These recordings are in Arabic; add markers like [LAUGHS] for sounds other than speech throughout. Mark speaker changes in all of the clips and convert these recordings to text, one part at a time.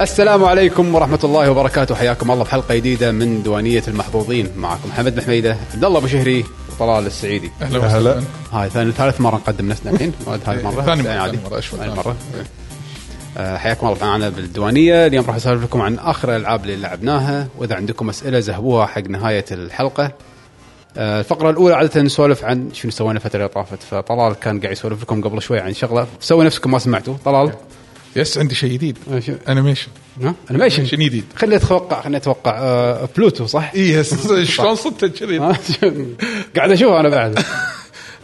Speaker 1: السلام عليكم ورحمة الله وبركاته حياكم الله بحلقة جديدة من دوانية المحظوظين معكم محمد محميدة عبد الله أبو شهري وطلال السعيدي
Speaker 2: اهلا
Speaker 3: هلا.
Speaker 2: وسهلا
Speaker 1: هاي ثاني ثالث مرة نقدم نفسنا الحين ما عاد هاي مرة
Speaker 2: ثاني مرة،
Speaker 1: يعني عادي.
Speaker 2: ثاني مرة، أشوف.
Speaker 1: ثاني مرة إيه. آه، حياكم الله معنا بالديوانية اليوم راح اسولف لكم عن اخر الالعاب اللي لعبناها واذا عندكم اسئله زهبوها حق نهايه الحلقه آه، الفقرة الأولى عادة نسولف عن شنو سوينا الفترة اللي طافت فطلال كان قاعد يسولف لكم قبل شوي عن شغلة سوي نفسكم ما سمعتوا طلال
Speaker 2: إيه. يس عندي شيء جديد
Speaker 1: آه، شو-
Speaker 2: انيميشن
Speaker 1: ها انيميشن
Speaker 2: شيء جديد
Speaker 1: خليني اتوقع خليني اتوقع آه، بلوتو صح؟
Speaker 2: اي
Speaker 3: إيه، [LAUGHS]
Speaker 2: يس شلون صدت كذي
Speaker 1: ها؟ [LAUGHS] قاعد اشوفه انا بعد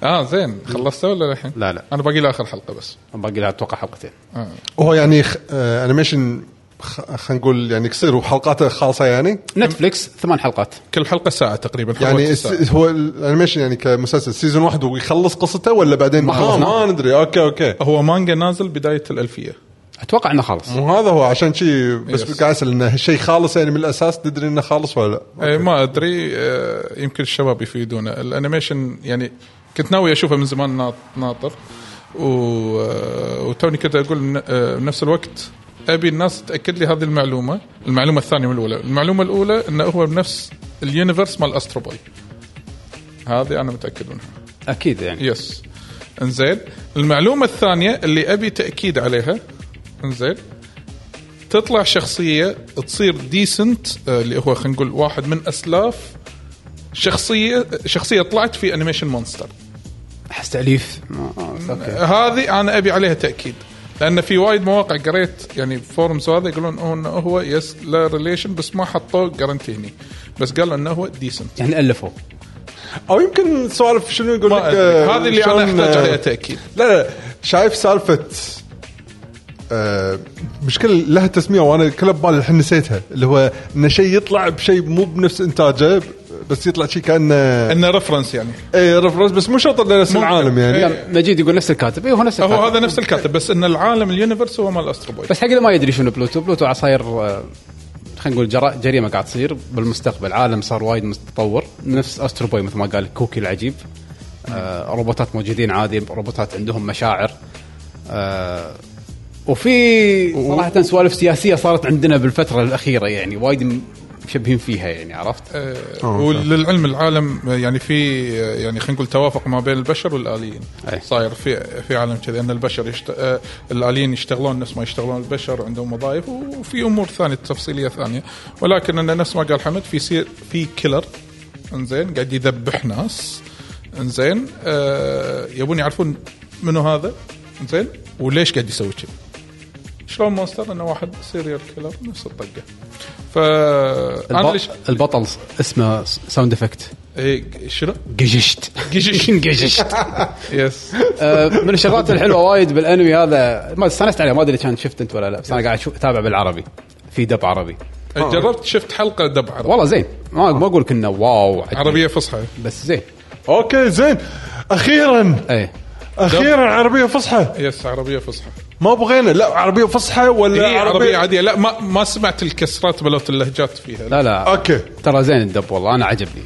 Speaker 2: اه زين خلصته ولا الحين؟
Speaker 1: لا، لا.
Speaker 2: انا باقي لي اخر حلقه بس
Speaker 1: باقي لها اتوقع حلقتين
Speaker 2: آه.
Speaker 3: هو يعني خ... آه انيميشن خ... خلينا نقول يعني قصير وحلقاته خاصه يعني
Speaker 1: نتفلكس ثمان حلقات
Speaker 2: كل حلقه ساعه تقريبا
Speaker 3: يعني
Speaker 2: حوالي
Speaker 3: الس...
Speaker 2: ساعة.
Speaker 3: هو الانيميشن يعني كمسلسل سيزون واحد ويخلص قصته ولا بعدين ما,
Speaker 1: خلصنا.
Speaker 3: ما ندري اوكي اوكي
Speaker 2: هو مانجا نازل بدايه الالفيه
Speaker 1: اتوقع انه خلص
Speaker 3: مو هذا هو عشان شي بس
Speaker 2: Yes.
Speaker 3: قاعد اسال انه شيء خالص يعني من الاساس تدري انه خالص ولا لا
Speaker 2: آه ما ادري آه يمكن الشباب يفيدونا الانيميشن يعني كنت ناوي اشوفه من زمان ناط- ناطر و... آه، وتوني كنت اقول إن- آه، بنفس الوقت ابي الناس تاكد لي هذه المعلومه المعلومه الثانيه من الاولى المعلومه الاولى انه هو بنفس اليونيفرس مال استرو بوي هذه انا متاكد منها
Speaker 1: اكيد يعني
Speaker 2: يس انزين المعلومه الثانيه اللي ابي تاكيد عليها انزين تطلع شخصيه تصير ديسنت اللي هو خلينا نقول واحد من اسلاف شخصيه شخصيه طلعت في انيميشن مونستر
Speaker 1: احس تاليف ما- آه، اوكي
Speaker 2: هذه انا ابي عليها تاكيد لان في وايد مواقع قريت يعني فورمز وهذا يقولون هو انه هو يس لا ريليشن بس ما حطوه جارنتي هني بس قالوا انه هو ديسنت
Speaker 1: يعني الفوا
Speaker 3: او يمكن سوالف شنو يقول لك
Speaker 2: ما أدري.
Speaker 3: آه،
Speaker 2: هذه اللي
Speaker 3: شلون،
Speaker 2: انا احتاج
Speaker 3: آه،
Speaker 2: عليها تاكيد
Speaker 3: لا لا شايف سالفه آه، مشكلة لها تسمية وانا كلها ببالي الحين نسيتها اللي هو انه شيء يطلع بشيء مو بنفس انتاجه بس يطلع شيء كانه
Speaker 2: انه رفرنس يعني
Speaker 3: اي رفرنس بس مو شرط انه نفس
Speaker 2: ممكن.
Speaker 3: العالم يعني
Speaker 2: إيه.
Speaker 1: لا، مجيد يقول نفس الكاتب اي هو نفس الكاتب
Speaker 2: هو هذا نفس الكاتب بس ان العالم اليونيفرس هو مال استرو بوي
Speaker 1: بس حق اللي ما يدري شنو بلوتو بلوتو عصاير آه، خلينا نقول جرا- جريمه قاعد تصير بالمستقبل عالم صار وايد متطور نفس استرو بوي مثل ما قال كوكي العجيب آه، روبوتات موجودين عادي روبوتات عندهم مشاعر آه، وفي صراحه سوالف سياسيه صارت عندنا بالفتره الاخيره يعني وايد م- مشبهين فيها يعني عرفت؟
Speaker 2: آه، وللعلم العالم آه، يعني في آه، يعني خلينا نقول توافق ما بين البشر والاليين
Speaker 1: أي.
Speaker 2: صاير في في عالم كذي ان البشر يشت... آه، الاليين يشتغلون نفس ما يشتغلون البشر عندهم وظائف وفي امور ثانيه تفصيليه ثانيه ولكن ان نفس ما قال حمد في سير في كيلر انزين قاعد يذبح ناس انزين آه، يبون يعرفون منو هذا انزين وليش قاعد يسوي كذي شلون مونستر انه واحد سيريال كيلر نفس الطقه ف انا
Speaker 1: الب-
Speaker 2: ليش
Speaker 1: البطل س- اسمه س- ساوند افكت
Speaker 2: إيه، شنو؟
Speaker 1: قجشت [LAUGHS]
Speaker 2: قجشت.
Speaker 1: قجشت
Speaker 2: يس
Speaker 1: آه، من الشغلات الحلوه وايد بالانمي هذا ما استانست عليه ما ادري كان شفت انت ولا لا بس انا قاعد أشوف- اتابع بالعربي في دب عربي
Speaker 2: جربت شفت حلقه دب عربي
Speaker 1: والله زين ما ما اقول لك انه واو عجيب،
Speaker 2: عربيه فصحى
Speaker 1: بس زين
Speaker 3: اوكي زين اخيرا
Speaker 1: ايه
Speaker 3: اخيرا عربية فصحى
Speaker 2: يس عربيه فصحى
Speaker 3: ما بغينا لا عربية فصحى ولا
Speaker 2: هي عربيه عاديه لا ما ما سمعت الكسرات بلوت اللهجات فيها لا.
Speaker 1: لا لا
Speaker 3: اوكي
Speaker 1: ترى زين الدب والله انا عجبني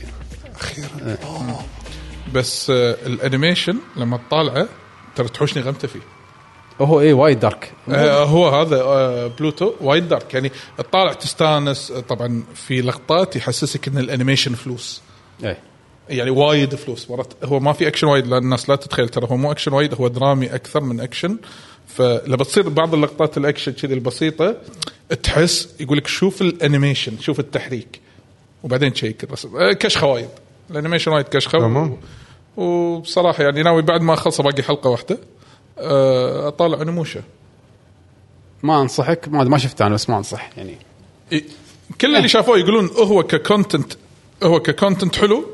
Speaker 2: بس آه الانيميشن لما تطالعه ترى تحوشني غمته فيه
Speaker 1: هو ايه وايد دارك
Speaker 2: آه هو هذا آه بلوتو وايد دارك يعني تطالع تستانس آه، طبعا في لقطات يحسسك ان الانيميشن فلوس
Speaker 1: ايه
Speaker 2: يعني وايد فلوس مرات هو ما في اكشن وايد لان الناس لا تتخيل ترى هو مو اكشن وايد هو درامي اكثر من اكشن فلما تصير بعض اللقطات الاكشن كذي البسيطه تحس يقول لك شوف الانيميشن شوف التحريك وبعدين تشيك الرسم آه، كشخه وايد الانيميشن وايد كشخه
Speaker 3: تمام.
Speaker 2: و- وبصراحه يعني ناوي بعد ما اخلصه باقي حلقه واحده آه، اطالع نموشه
Speaker 1: ما انصحك ما ما شفته انا بس ما انصح يعني
Speaker 2: إي- إيه، كل اللي شافوه يقولون هو ككونتنت هو ككونتنت حلو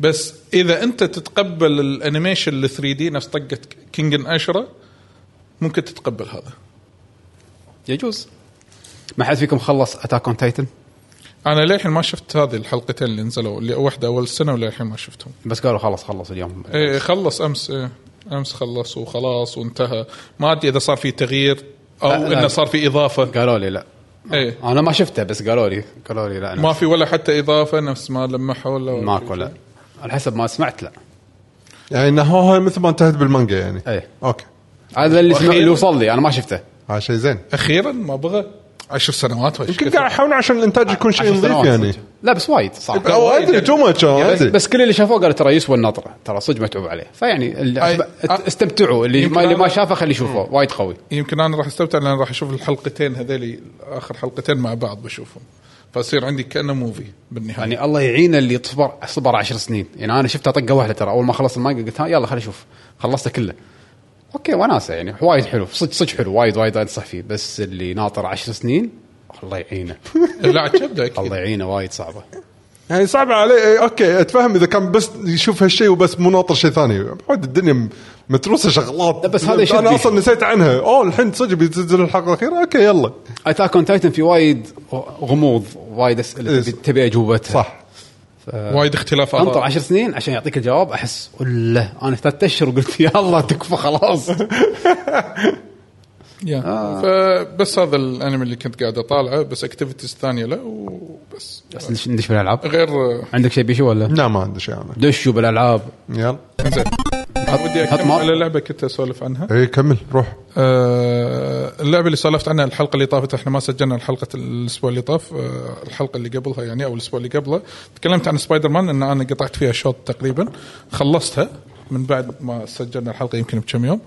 Speaker 2: بس اذا انت تتقبل الانيميشن ال 3 دي نفس طقه كينج ان اشرة ممكن تتقبل هذا
Speaker 1: يجوز ما حد فيكم خلص اتاك اون تايتن
Speaker 2: انا للحين ما شفت هذه الحلقتين اللي نزلوا اللي واحده اول السنه وللحين ما شفتهم
Speaker 1: بس قالوا خلاص خلص اليوم
Speaker 2: إيه خلص امس إيه امس خلص وخلاص وانتهى ما ادري اذا صار في تغيير او
Speaker 1: لا، لا.
Speaker 2: انه صار في اضافه
Speaker 1: قالوا لي لا
Speaker 2: إيه
Speaker 1: انا ما شفته بس قالوا لي قالوا لي لا أنا
Speaker 2: ما في ولا حتى اضافه نفس ما لمحوا ولا
Speaker 1: ماكو لا على حسب ما سمعت لا
Speaker 3: يعني انه هو مثل ما انتهت بالمانجا يعني
Speaker 1: ايه
Speaker 3: اوكي
Speaker 1: هذا اللي سمع
Speaker 2: وأخيراً-
Speaker 1: اللي وصل لي انا ما شفته
Speaker 3: هذا شيء زين
Speaker 2: اخيرا ما بغى عشر سنوات ولا شي
Speaker 3: يمكن
Speaker 2: كثر.
Speaker 3: قاعد يحاولون عشان الانتاج يكون شيء
Speaker 1: عشر
Speaker 3: نظيف
Speaker 1: سنوات
Speaker 3: يعني
Speaker 1: صدق. لا بس وايد يعني صح
Speaker 3: لا ما ادري تو ماتش ما
Speaker 1: بس,
Speaker 3: ادري
Speaker 1: بس كل اللي شافوه قالوا ترى يسوى النطره ترى صدق متعوب عليه فيعني اللي
Speaker 2: أي-
Speaker 1: أسب- استمتعوا اللي
Speaker 2: يمكن
Speaker 1: ما, اللي
Speaker 2: أنا-
Speaker 1: ما شافه خليه يشوفه وايد قوي
Speaker 2: يمكن انا راح استمتع لان راح اشوف الحلقتين هذيلي اخر حلقتين مع بعض بشوفهم فصير عندي كانه موفي بالنهايه
Speaker 1: يعني الله يعين اللي صبر صبر 10 سنين يعني انا شفتها طقه واحده ترى اول ما خلصت المانجا قلت ها يلا خليني اشوف خلصته كله اوكي وناسه يعني وايد حلو صدق صدق حلو وايد وايد انصح فيه بس اللي ناطر 10 سنين الله
Speaker 3: [LAUGHS]
Speaker 1: يعينه
Speaker 2: لا عاد كبده اكيد
Speaker 1: يعني الله يعينه وايد صعبه
Speaker 3: يعني صعب علي إيه، اوكي اتفهم اذا كان بس يشوف هالشيء وبس مو ناطر شيء ثاني بعد الدنيا م- متروسه شغلات
Speaker 1: لا، بس هذا يشد
Speaker 3: انا
Speaker 1: فيك.
Speaker 3: اصلا نسيت عنها اوه الحين صدق بتنزل الحلقه الاخيره اوكي يلا
Speaker 1: اتاك اون تايتن في وايد غموض وايد اسئله
Speaker 3: إيه،
Speaker 1: تبي- تبي اجوبتها
Speaker 3: صح
Speaker 2: وايد اختلاف آراء.
Speaker 1: انطر 10 سنين عشان يعطيك الجواب احس ولا انا ثلاث اشهر وقلت يا الله تكفى خلاص
Speaker 2: يا.
Speaker 1: آه.
Speaker 2: فبس هذا الانمي اللي كنت قاعد اطالعه بس اكتيفيتيز ثانيه له وبس
Speaker 1: بس ندش- ندش بالالعاب
Speaker 2: غير آه،
Speaker 1: عندك شيء بيشو ولا؟
Speaker 3: لا ما عندي شيء انا
Speaker 1: دشوا بالالعاب
Speaker 3: يلا
Speaker 2: زين ودي
Speaker 1: حط
Speaker 2: اكمل
Speaker 1: مار.
Speaker 2: على لعبه كنت اسولف عنها
Speaker 3: اي إيه، كمل روح
Speaker 2: آه، اللعبه اللي سولفت عنها الحلقه اللي طافت احنا ما سجلنا الحلقه الاسبوع اللي طاف آه، الحلقه اللي قبلها يعني او الاسبوع اللي قبله تكلمت عن سبايدر مان ان انا قطعت فيها شوط تقريبا خلصتها من بعد ما سجلنا الحلقه يمكن بكم يوم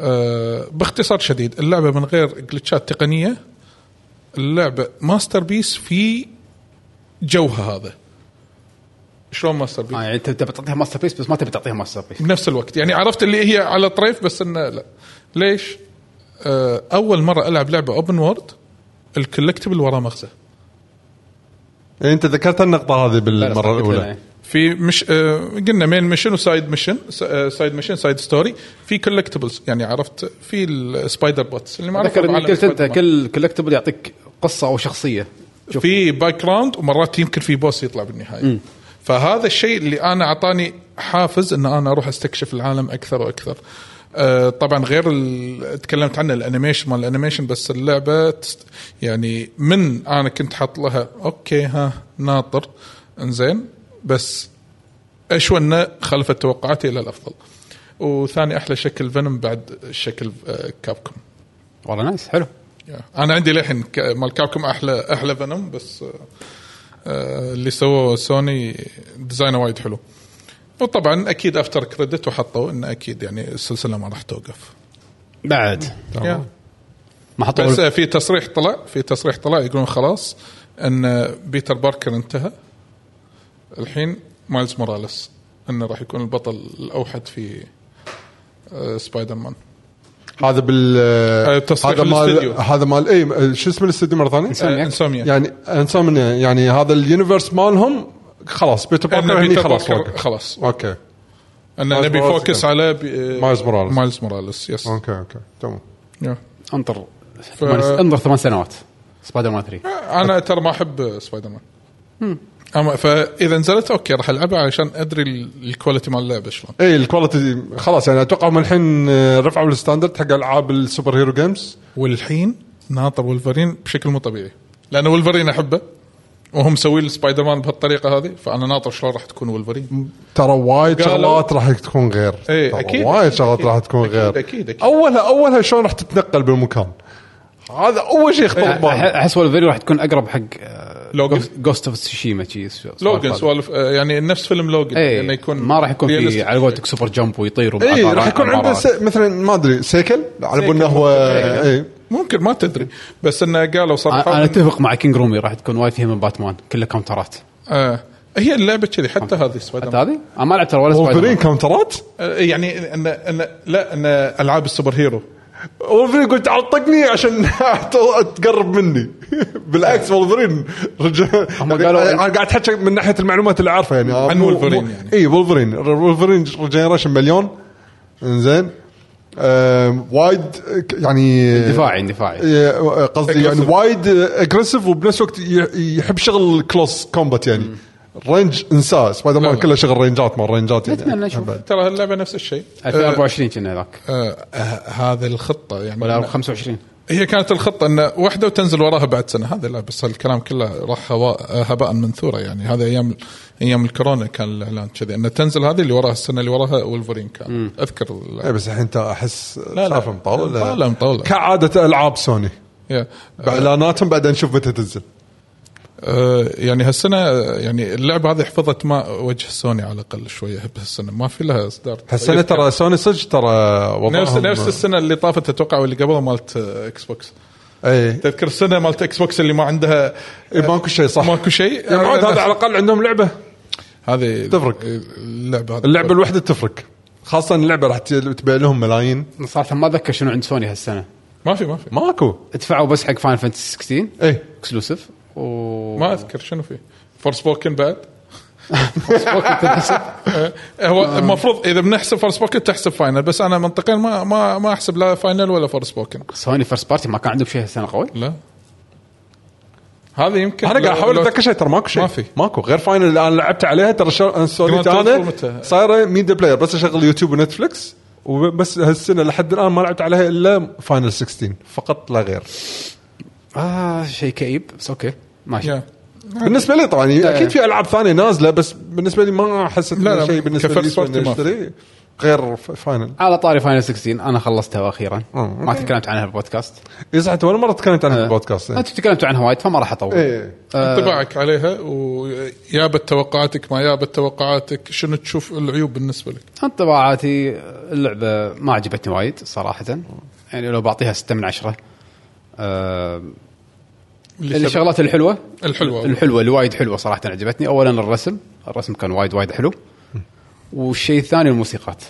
Speaker 2: آه، باختصار شديد اللعبه من غير جلتشات تقنيه اللعبه ماستر بيس في جوها هذا شلون ماستر بيس؟
Speaker 1: آه يعني انت تبي تعطيها ماستر بيس بس ما تبي تعطيها ماستر بيس
Speaker 2: بنفس الوقت يعني عرفت اللي هي على طريف بس انه لا ليش؟ آه، اول مره العب لعبه اوبن وورد الكولكتبل وراه مغزى
Speaker 3: إيه، انت ذكرت النقطه هذه بالمره
Speaker 1: يعني.
Speaker 3: الاولى
Speaker 2: في مش آه، قلنا مين ميشن وسايد ميشن س- آه، سايد ميشن سايد ستوري في كولكتبلز يعني عرفت في السبايدر بوتس اللي ما
Speaker 1: ذكر
Speaker 2: عرفهم
Speaker 1: اني
Speaker 2: عالم
Speaker 1: قلت انت
Speaker 2: سبايدر
Speaker 1: كل كولكتبل يعطيك قصه او شخصيه
Speaker 2: مان. في باك جراوند ومرات يمكن في بوس يطلع بالنهايه فهذا الشيء اللي انا اعطاني حافز ان انا اروح استكشف العالم اكثر واكثر آه، طبعا غير ال- تكلمت عنه الانيميشن مال الانيميشن بس اللعبه تست يعني من انا كنت حاط لها اوكي ها ناطر انزين بس اشوى انه خلفت توقعاتي الى الافضل وثاني احلى شكل فينوم بعد شكل آه، كابكوم
Speaker 1: والله نايس حلو
Speaker 2: انا عندي للحين ك- مال كابكم احلى احلى فنم بس آه، اللي سووه سوني ديزاينه وايد حلو وطبعا اكيد افتر كريدت وحطوا انه اكيد يعني السلسله ما راح توقف
Speaker 1: بعد
Speaker 2: يا.
Speaker 1: ما
Speaker 2: بس
Speaker 1: حطوا
Speaker 2: آه، في تصريح طلع في تصريح طلع يقولون خلاص ان بيتر باركر انتهى الحين مايلز موراليس انه راح يكون البطل الاوحد في آه، سبايدر مان
Speaker 3: هذا بال
Speaker 2: تصريح
Speaker 3: هذا مال
Speaker 2: الاستديو.
Speaker 3: هذا مال اي شو اسم الاستوديو مره ثانيه؟
Speaker 1: سوني.
Speaker 2: آه، انسوميا
Speaker 3: يعني انسان يعني هذا اليونيفرس مالهم خلاص بيتر
Speaker 2: إن
Speaker 3: باركر هني
Speaker 2: بيتر
Speaker 3: خلاص
Speaker 2: باركر
Speaker 3: وقف.
Speaker 2: خلاص
Speaker 3: اوكي
Speaker 2: ان
Speaker 3: مايلز
Speaker 2: نبي
Speaker 3: موراليس
Speaker 2: فوكس
Speaker 3: كان.
Speaker 2: على بي-
Speaker 3: مايلز موراليس.
Speaker 2: مايلز موراليس يس
Speaker 3: اوكي اوكي تمام
Speaker 2: يا.
Speaker 1: انطر ثمان- انظر ثمان سنوات سبايدر مان 3
Speaker 2: انا ترى ما احب سبايدر مان اما فاذا نزلت اوكي راح العبها علشان ادري ال- الكواليتي مال اللعبه شلون
Speaker 3: اي الكواليتي إيه، خلاص يعني اتوقع هم الحين آه، رفعوا الستاندرد حق العاب السوبر هيرو جيمز
Speaker 2: والحين ناطر ولفرين بشكل مو طبيعي لان ولفرين احبه وهم مسوين سبايدر مان بهالطريقه هذه فانا ناطر شلون راح تكون ولفرين
Speaker 3: ترى وايد
Speaker 2: قالوا-
Speaker 3: شغلات راح تكون غير
Speaker 2: إيه،
Speaker 3: ترى
Speaker 2: أكيد،
Speaker 3: وايد
Speaker 2: أكيد،
Speaker 3: شغلات
Speaker 2: أكيد،
Speaker 3: راح تكون
Speaker 2: أكيد،
Speaker 3: غير
Speaker 2: أكيد، أكيد.
Speaker 3: اولها اولها شلون راح تتنقل بالمكان هذا اول شيء
Speaker 2: إيه،
Speaker 3: يخطر ببالي
Speaker 1: احس والفيري راح تكون اقرب حق آه،
Speaker 2: لوجن
Speaker 1: جوست اوف تسوشيما شي
Speaker 2: لوجن سوالف آه، يعني نفس فيلم لوجن يعني
Speaker 1: اي
Speaker 2: يكون
Speaker 1: إيه، ما راح يكون يعني. في
Speaker 2: realistic.
Speaker 1: على قولتك سوبر جمب ويطير
Speaker 3: اي
Speaker 1: ومعبرات-
Speaker 3: إيه، راح يكون عنده
Speaker 1: معبرات.
Speaker 3: س- مثلا ما ادري سيكل على
Speaker 2: سيكل
Speaker 3: بالنا هو
Speaker 2: ممكن، إيه.
Speaker 3: اي
Speaker 2: ممكن ما تدري بس انه قالوا
Speaker 1: أنا-
Speaker 2: صراحه
Speaker 1: انا اتفق مع كينج رومي راح تكون وايد فيها من باتمان كلها كاونترات
Speaker 2: آه هي اللعبه كذي حتى هذه سبايدر
Speaker 1: حتى هذه انا ما لعبت ترى ولا سبايدر
Speaker 3: وولفرين
Speaker 1: مان.
Speaker 3: كاونترات
Speaker 2: يعني ان ان لا ان العاب السوبر هيرو
Speaker 3: وولفرين قلت عطقني عشان [LAUGHS] تقرب مني [LAUGHS] بالعكس وولفرين رجع
Speaker 1: هم قالوا-
Speaker 3: انا قاعد احكي من ناحيه المعلومات اللي عارفها يعني
Speaker 2: عن وولفرين يعني.
Speaker 3: اي وولفرين وولفرين ريجنريشن مليون انزين آم، وايد ك- يعني
Speaker 1: دفاعي دفاعي
Speaker 3: إيه، قصدي يعني
Speaker 2: Aggressive.
Speaker 3: وايد اجريسيف وبنفس الوقت ي- يحب شغل كلوس كومبات يعني رينج انساه سبايدر
Speaker 2: لا،
Speaker 3: مان
Speaker 2: لا.
Speaker 3: كله شغل رينجات ما يعني. رينجات
Speaker 1: نتمنى نشوف
Speaker 2: ترى هاللعبه نفس الشيء
Speaker 1: 2024 كنا ذاك
Speaker 2: آه، آه، هذه الخطه يعني
Speaker 1: ولا
Speaker 2: أنا-
Speaker 1: 25
Speaker 2: هي كانت الخطه ان واحده وتنزل وراها بعد سنه هذا لا بس الكلام كله راح هواء هباء منثورا يعني هذا ايام ايام الكورونا كان الاعلان كذي انه تنزل هذه اللي وراها السنه اللي وراها ولفرين كان اذكر ال-
Speaker 3: إيه، بس الحين انت احس
Speaker 2: لا.
Speaker 3: سالفه مطوله
Speaker 2: مطولة- مطولة.
Speaker 3: كعاده العاب سوني
Speaker 2: يا.
Speaker 3: باعلاناتهم بعد نشوف متى تنزل
Speaker 2: آه، يعني هالسنه آه، يعني اللعبه هذه حفظت ما وجه سوني على الاقل شويه بهالسنه ما في لها اصدار
Speaker 3: هالسنه ترى سوني صدق ترى وضعهم
Speaker 2: نفس نفس السنه اللي طافت اتوقع واللي قبلها مالت آه، اكس بوكس
Speaker 3: اي
Speaker 2: تذكر السنه مالت اكس بوكس اللي ما عندها آه،
Speaker 3: إي، ماكو شيء صح
Speaker 2: ماكو شيء آه،
Speaker 3: يا معود هذا على الاقل عندهم لعبه
Speaker 2: هذه
Speaker 3: تفرق.
Speaker 2: اللعبه هذه
Speaker 3: اللعبه الواحده تفرق خاصه اللعبه راح تبيع لهم ملايين
Speaker 1: صراحه ما اتذكر شنو عند سوني هالسنه
Speaker 2: ما في ما في
Speaker 3: ماكو
Speaker 1: دفعوا بس حق فاين فانتسي 16
Speaker 3: اي
Speaker 1: اكسلوسيف و [LAUGHS]
Speaker 2: ما اذكر شنو في فور سبوكن بعد
Speaker 1: ما
Speaker 2: آه، هو المفروض اذا بنحسب فور سبوكن تحسب فاينل بس انا منطقيا ما ما ما احسب لا فاينل ولا فور سبوكن
Speaker 1: سوني فيرست بارتي ما كان عندهم شيء هالسنه قوي
Speaker 2: لا هذا يمكن
Speaker 3: انا قاعد
Speaker 2: لو-
Speaker 3: احاول
Speaker 2: لو-
Speaker 3: اتذكر شيء ترى ماكو شيء
Speaker 2: ما في.
Speaker 3: ماكو غير فاينل اللي انا لعبت عليها ترى شا- أنا سوني
Speaker 2: Grand Theft Auto
Speaker 3: انا
Speaker 2: متى؟
Speaker 3: صايره ميديا بلاير بس اشغل يوتيوب ونتفلكس وبس هالسنه لحد الان ما لعبت عليها الا فاينل 16 فقط لا غير
Speaker 1: اه شيء كئيب بس اوكي ماشي
Speaker 2: يا.
Speaker 3: بالنسبه لي طبعا اكيد في العاب ثانيه نازله بس بالنسبه لي ما حسيت
Speaker 2: إيه. لا،
Speaker 3: لا
Speaker 2: لا،
Speaker 3: شيء بالنسبه لي
Speaker 2: كفرس
Speaker 3: يسوى
Speaker 2: وقت
Speaker 3: إني
Speaker 2: ما في.
Speaker 3: أشتري غير ف- فاينل
Speaker 1: على طاري فاينل 16 انا خلصتها اخيرا
Speaker 3: أوه.
Speaker 1: ما تكلمت عنها بالبودكاست
Speaker 3: يزعت ولا مره تكلمت عنها في
Speaker 1: آه.
Speaker 3: البودكاست يعني.
Speaker 1: انتم تكلمتوا عنها وايد فما راح اطول
Speaker 3: ايه
Speaker 2: انطباعك عليها ويابت توقعاتك ما يابت توقعاتك شنو تشوف العيوب بالنسبه لك
Speaker 1: انطباعاتي اللعبه ما عجبتني وايد صراحه يعني لو بعطيها 6 من 10 أه
Speaker 2: اللي سبب-
Speaker 1: الشغلات الحلوه
Speaker 2: الحلوة.
Speaker 1: الحلوه اللي وايد حلوه صراحه عجبتني اولا الرسم الرسم كان وايد وايد حلو والشيء الثاني الموسيقات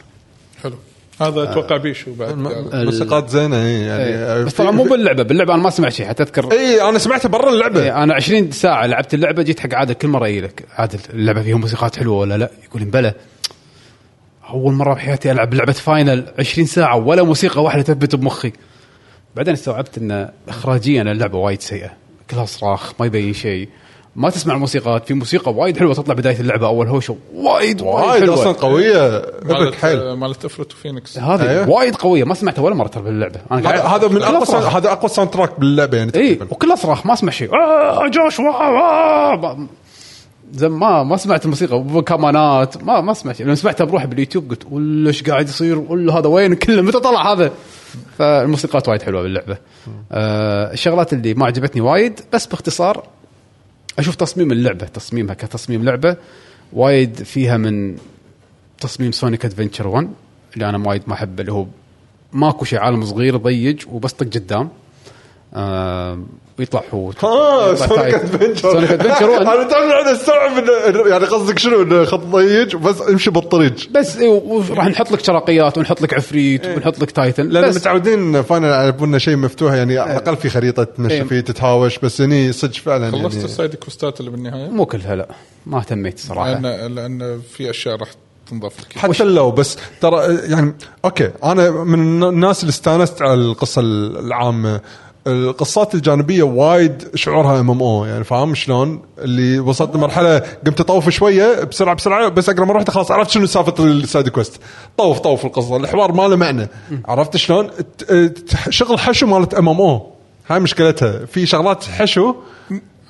Speaker 2: حلو هذا
Speaker 3: آه.
Speaker 2: اتوقع بيشو بعد
Speaker 3: موسيقات زينه إيه، يعني
Speaker 1: بس طبعا مو باللعبه باللعبه انا ما سمعت شيء حتى اذكر
Speaker 3: اي انا سمعتها برا اللعبه
Speaker 1: إيه، انا 20 ساعه لعبت اللعبه جيت حق عادل كل مره يجي لك عادل اللعبه فيها موسيقات حلوه ولا لا يقول لي بلى اول مره بحياتي العب لعبه فاينل 20 ساعه ولا موسيقى واحده تثبت بمخي بعدين استوعبت ان اخراجيا اللعبه وايد سيئه كلها صراخ ما يبين شيء ما تسمع موسيقات في موسيقى وايد حلوه تطلع بدايه اللعبه اول هوشه وايد وايد
Speaker 3: وايد
Speaker 1: حلوه
Speaker 3: اصلا قويه
Speaker 1: إيه.
Speaker 3: ابك
Speaker 2: مالت
Speaker 3: حيل
Speaker 2: مالت افرت وفينيكس
Speaker 1: هذه
Speaker 3: أيوه.
Speaker 1: وايد قويه ما سمعتها ولا مره ترى باللعبه انا قاعد-
Speaker 3: هذا هذا من
Speaker 1: كلها
Speaker 3: اقوى
Speaker 1: صراخ.
Speaker 3: ساوند- هذا اقوى ساوند تراك باللعبه يعني
Speaker 1: اي [LAUGHS]
Speaker 3: تقريبا
Speaker 1: وكله صراخ إيه، ما اسمع شيء آه جوش واو آه ب- زين ما ما سمعت الموسيقى وكمانات ما ما سمعت شيء لما سمعتها بروحي باليوتيوب قلت ولا ايش قاعد يصير ولا هذا وين [LAUGHS] كله متى طلع هذا فالموسيقات وايد حلوه باللعبه آه الشغلات اللي ما عجبتني وايد بس باختصار اشوف تصميم اللعبه تصميمها كتصميم لعبه وايد فيها من تصميم سونيك ادفنتشر 1 اللي انا وايد ما احبه اللي هو ماكو شيء عالم صغير ضيج وبس طق قدام آم، ويطلع حوت
Speaker 3: اه
Speaker 1: يطلع
Speaker 3: سونيك
Speaker 1: تايت.
Speaker 3: ادفنتشر
Speaker 1: سونيك ادفنتشر
Speaker 3: [LAUGHS]
Speaker 1: 1
Speaker 3: انا تعرف انا استوعب إنه- يعني قصدك شنو إنه خط ضيج بس امشي بالطريق
Speaker 1: بس إيه، وراح نحط لك شراقيات ونحط لك عفريت ونحط لك تايتن
Speaker 3: لان
Speaker 1: بس
Speaker 3: متعودين فاينل على انه شيء مفتوح يعني على الاقل في خريطه تمشي
Speaker 1: إيه.
Speaker 3: فيه تتهاوش بس هني صدق فعلا
Speaker 2: خلصت
Speaker 3: يعني
Speaker 2: السايد كوستات اللي بالنهايه
Speaker 1: مو كلها لا ما اهتميت صراحه
Speaker 2: لان لان في اشياء راح تنضاف لك
Speaker 3: حتى لو بس ترى يعني اوكي انا من الناس اللي استانست على القصه العامه القصات الجانبيه وايد شعورها ام ام او يعني فاهم شلون؟ اللي وصلت لمرحله قمت اطوف شويه بسرعه بسرعه بس اقرب ما رحت خلاص عرفت شنو سالفه السايد كويست طوف طوف القصه الحوار ما له معنى عرفت شلون؟ ت- ت- شغل حشو مالت ام ام او هاي مشكلتها في شغلات حشو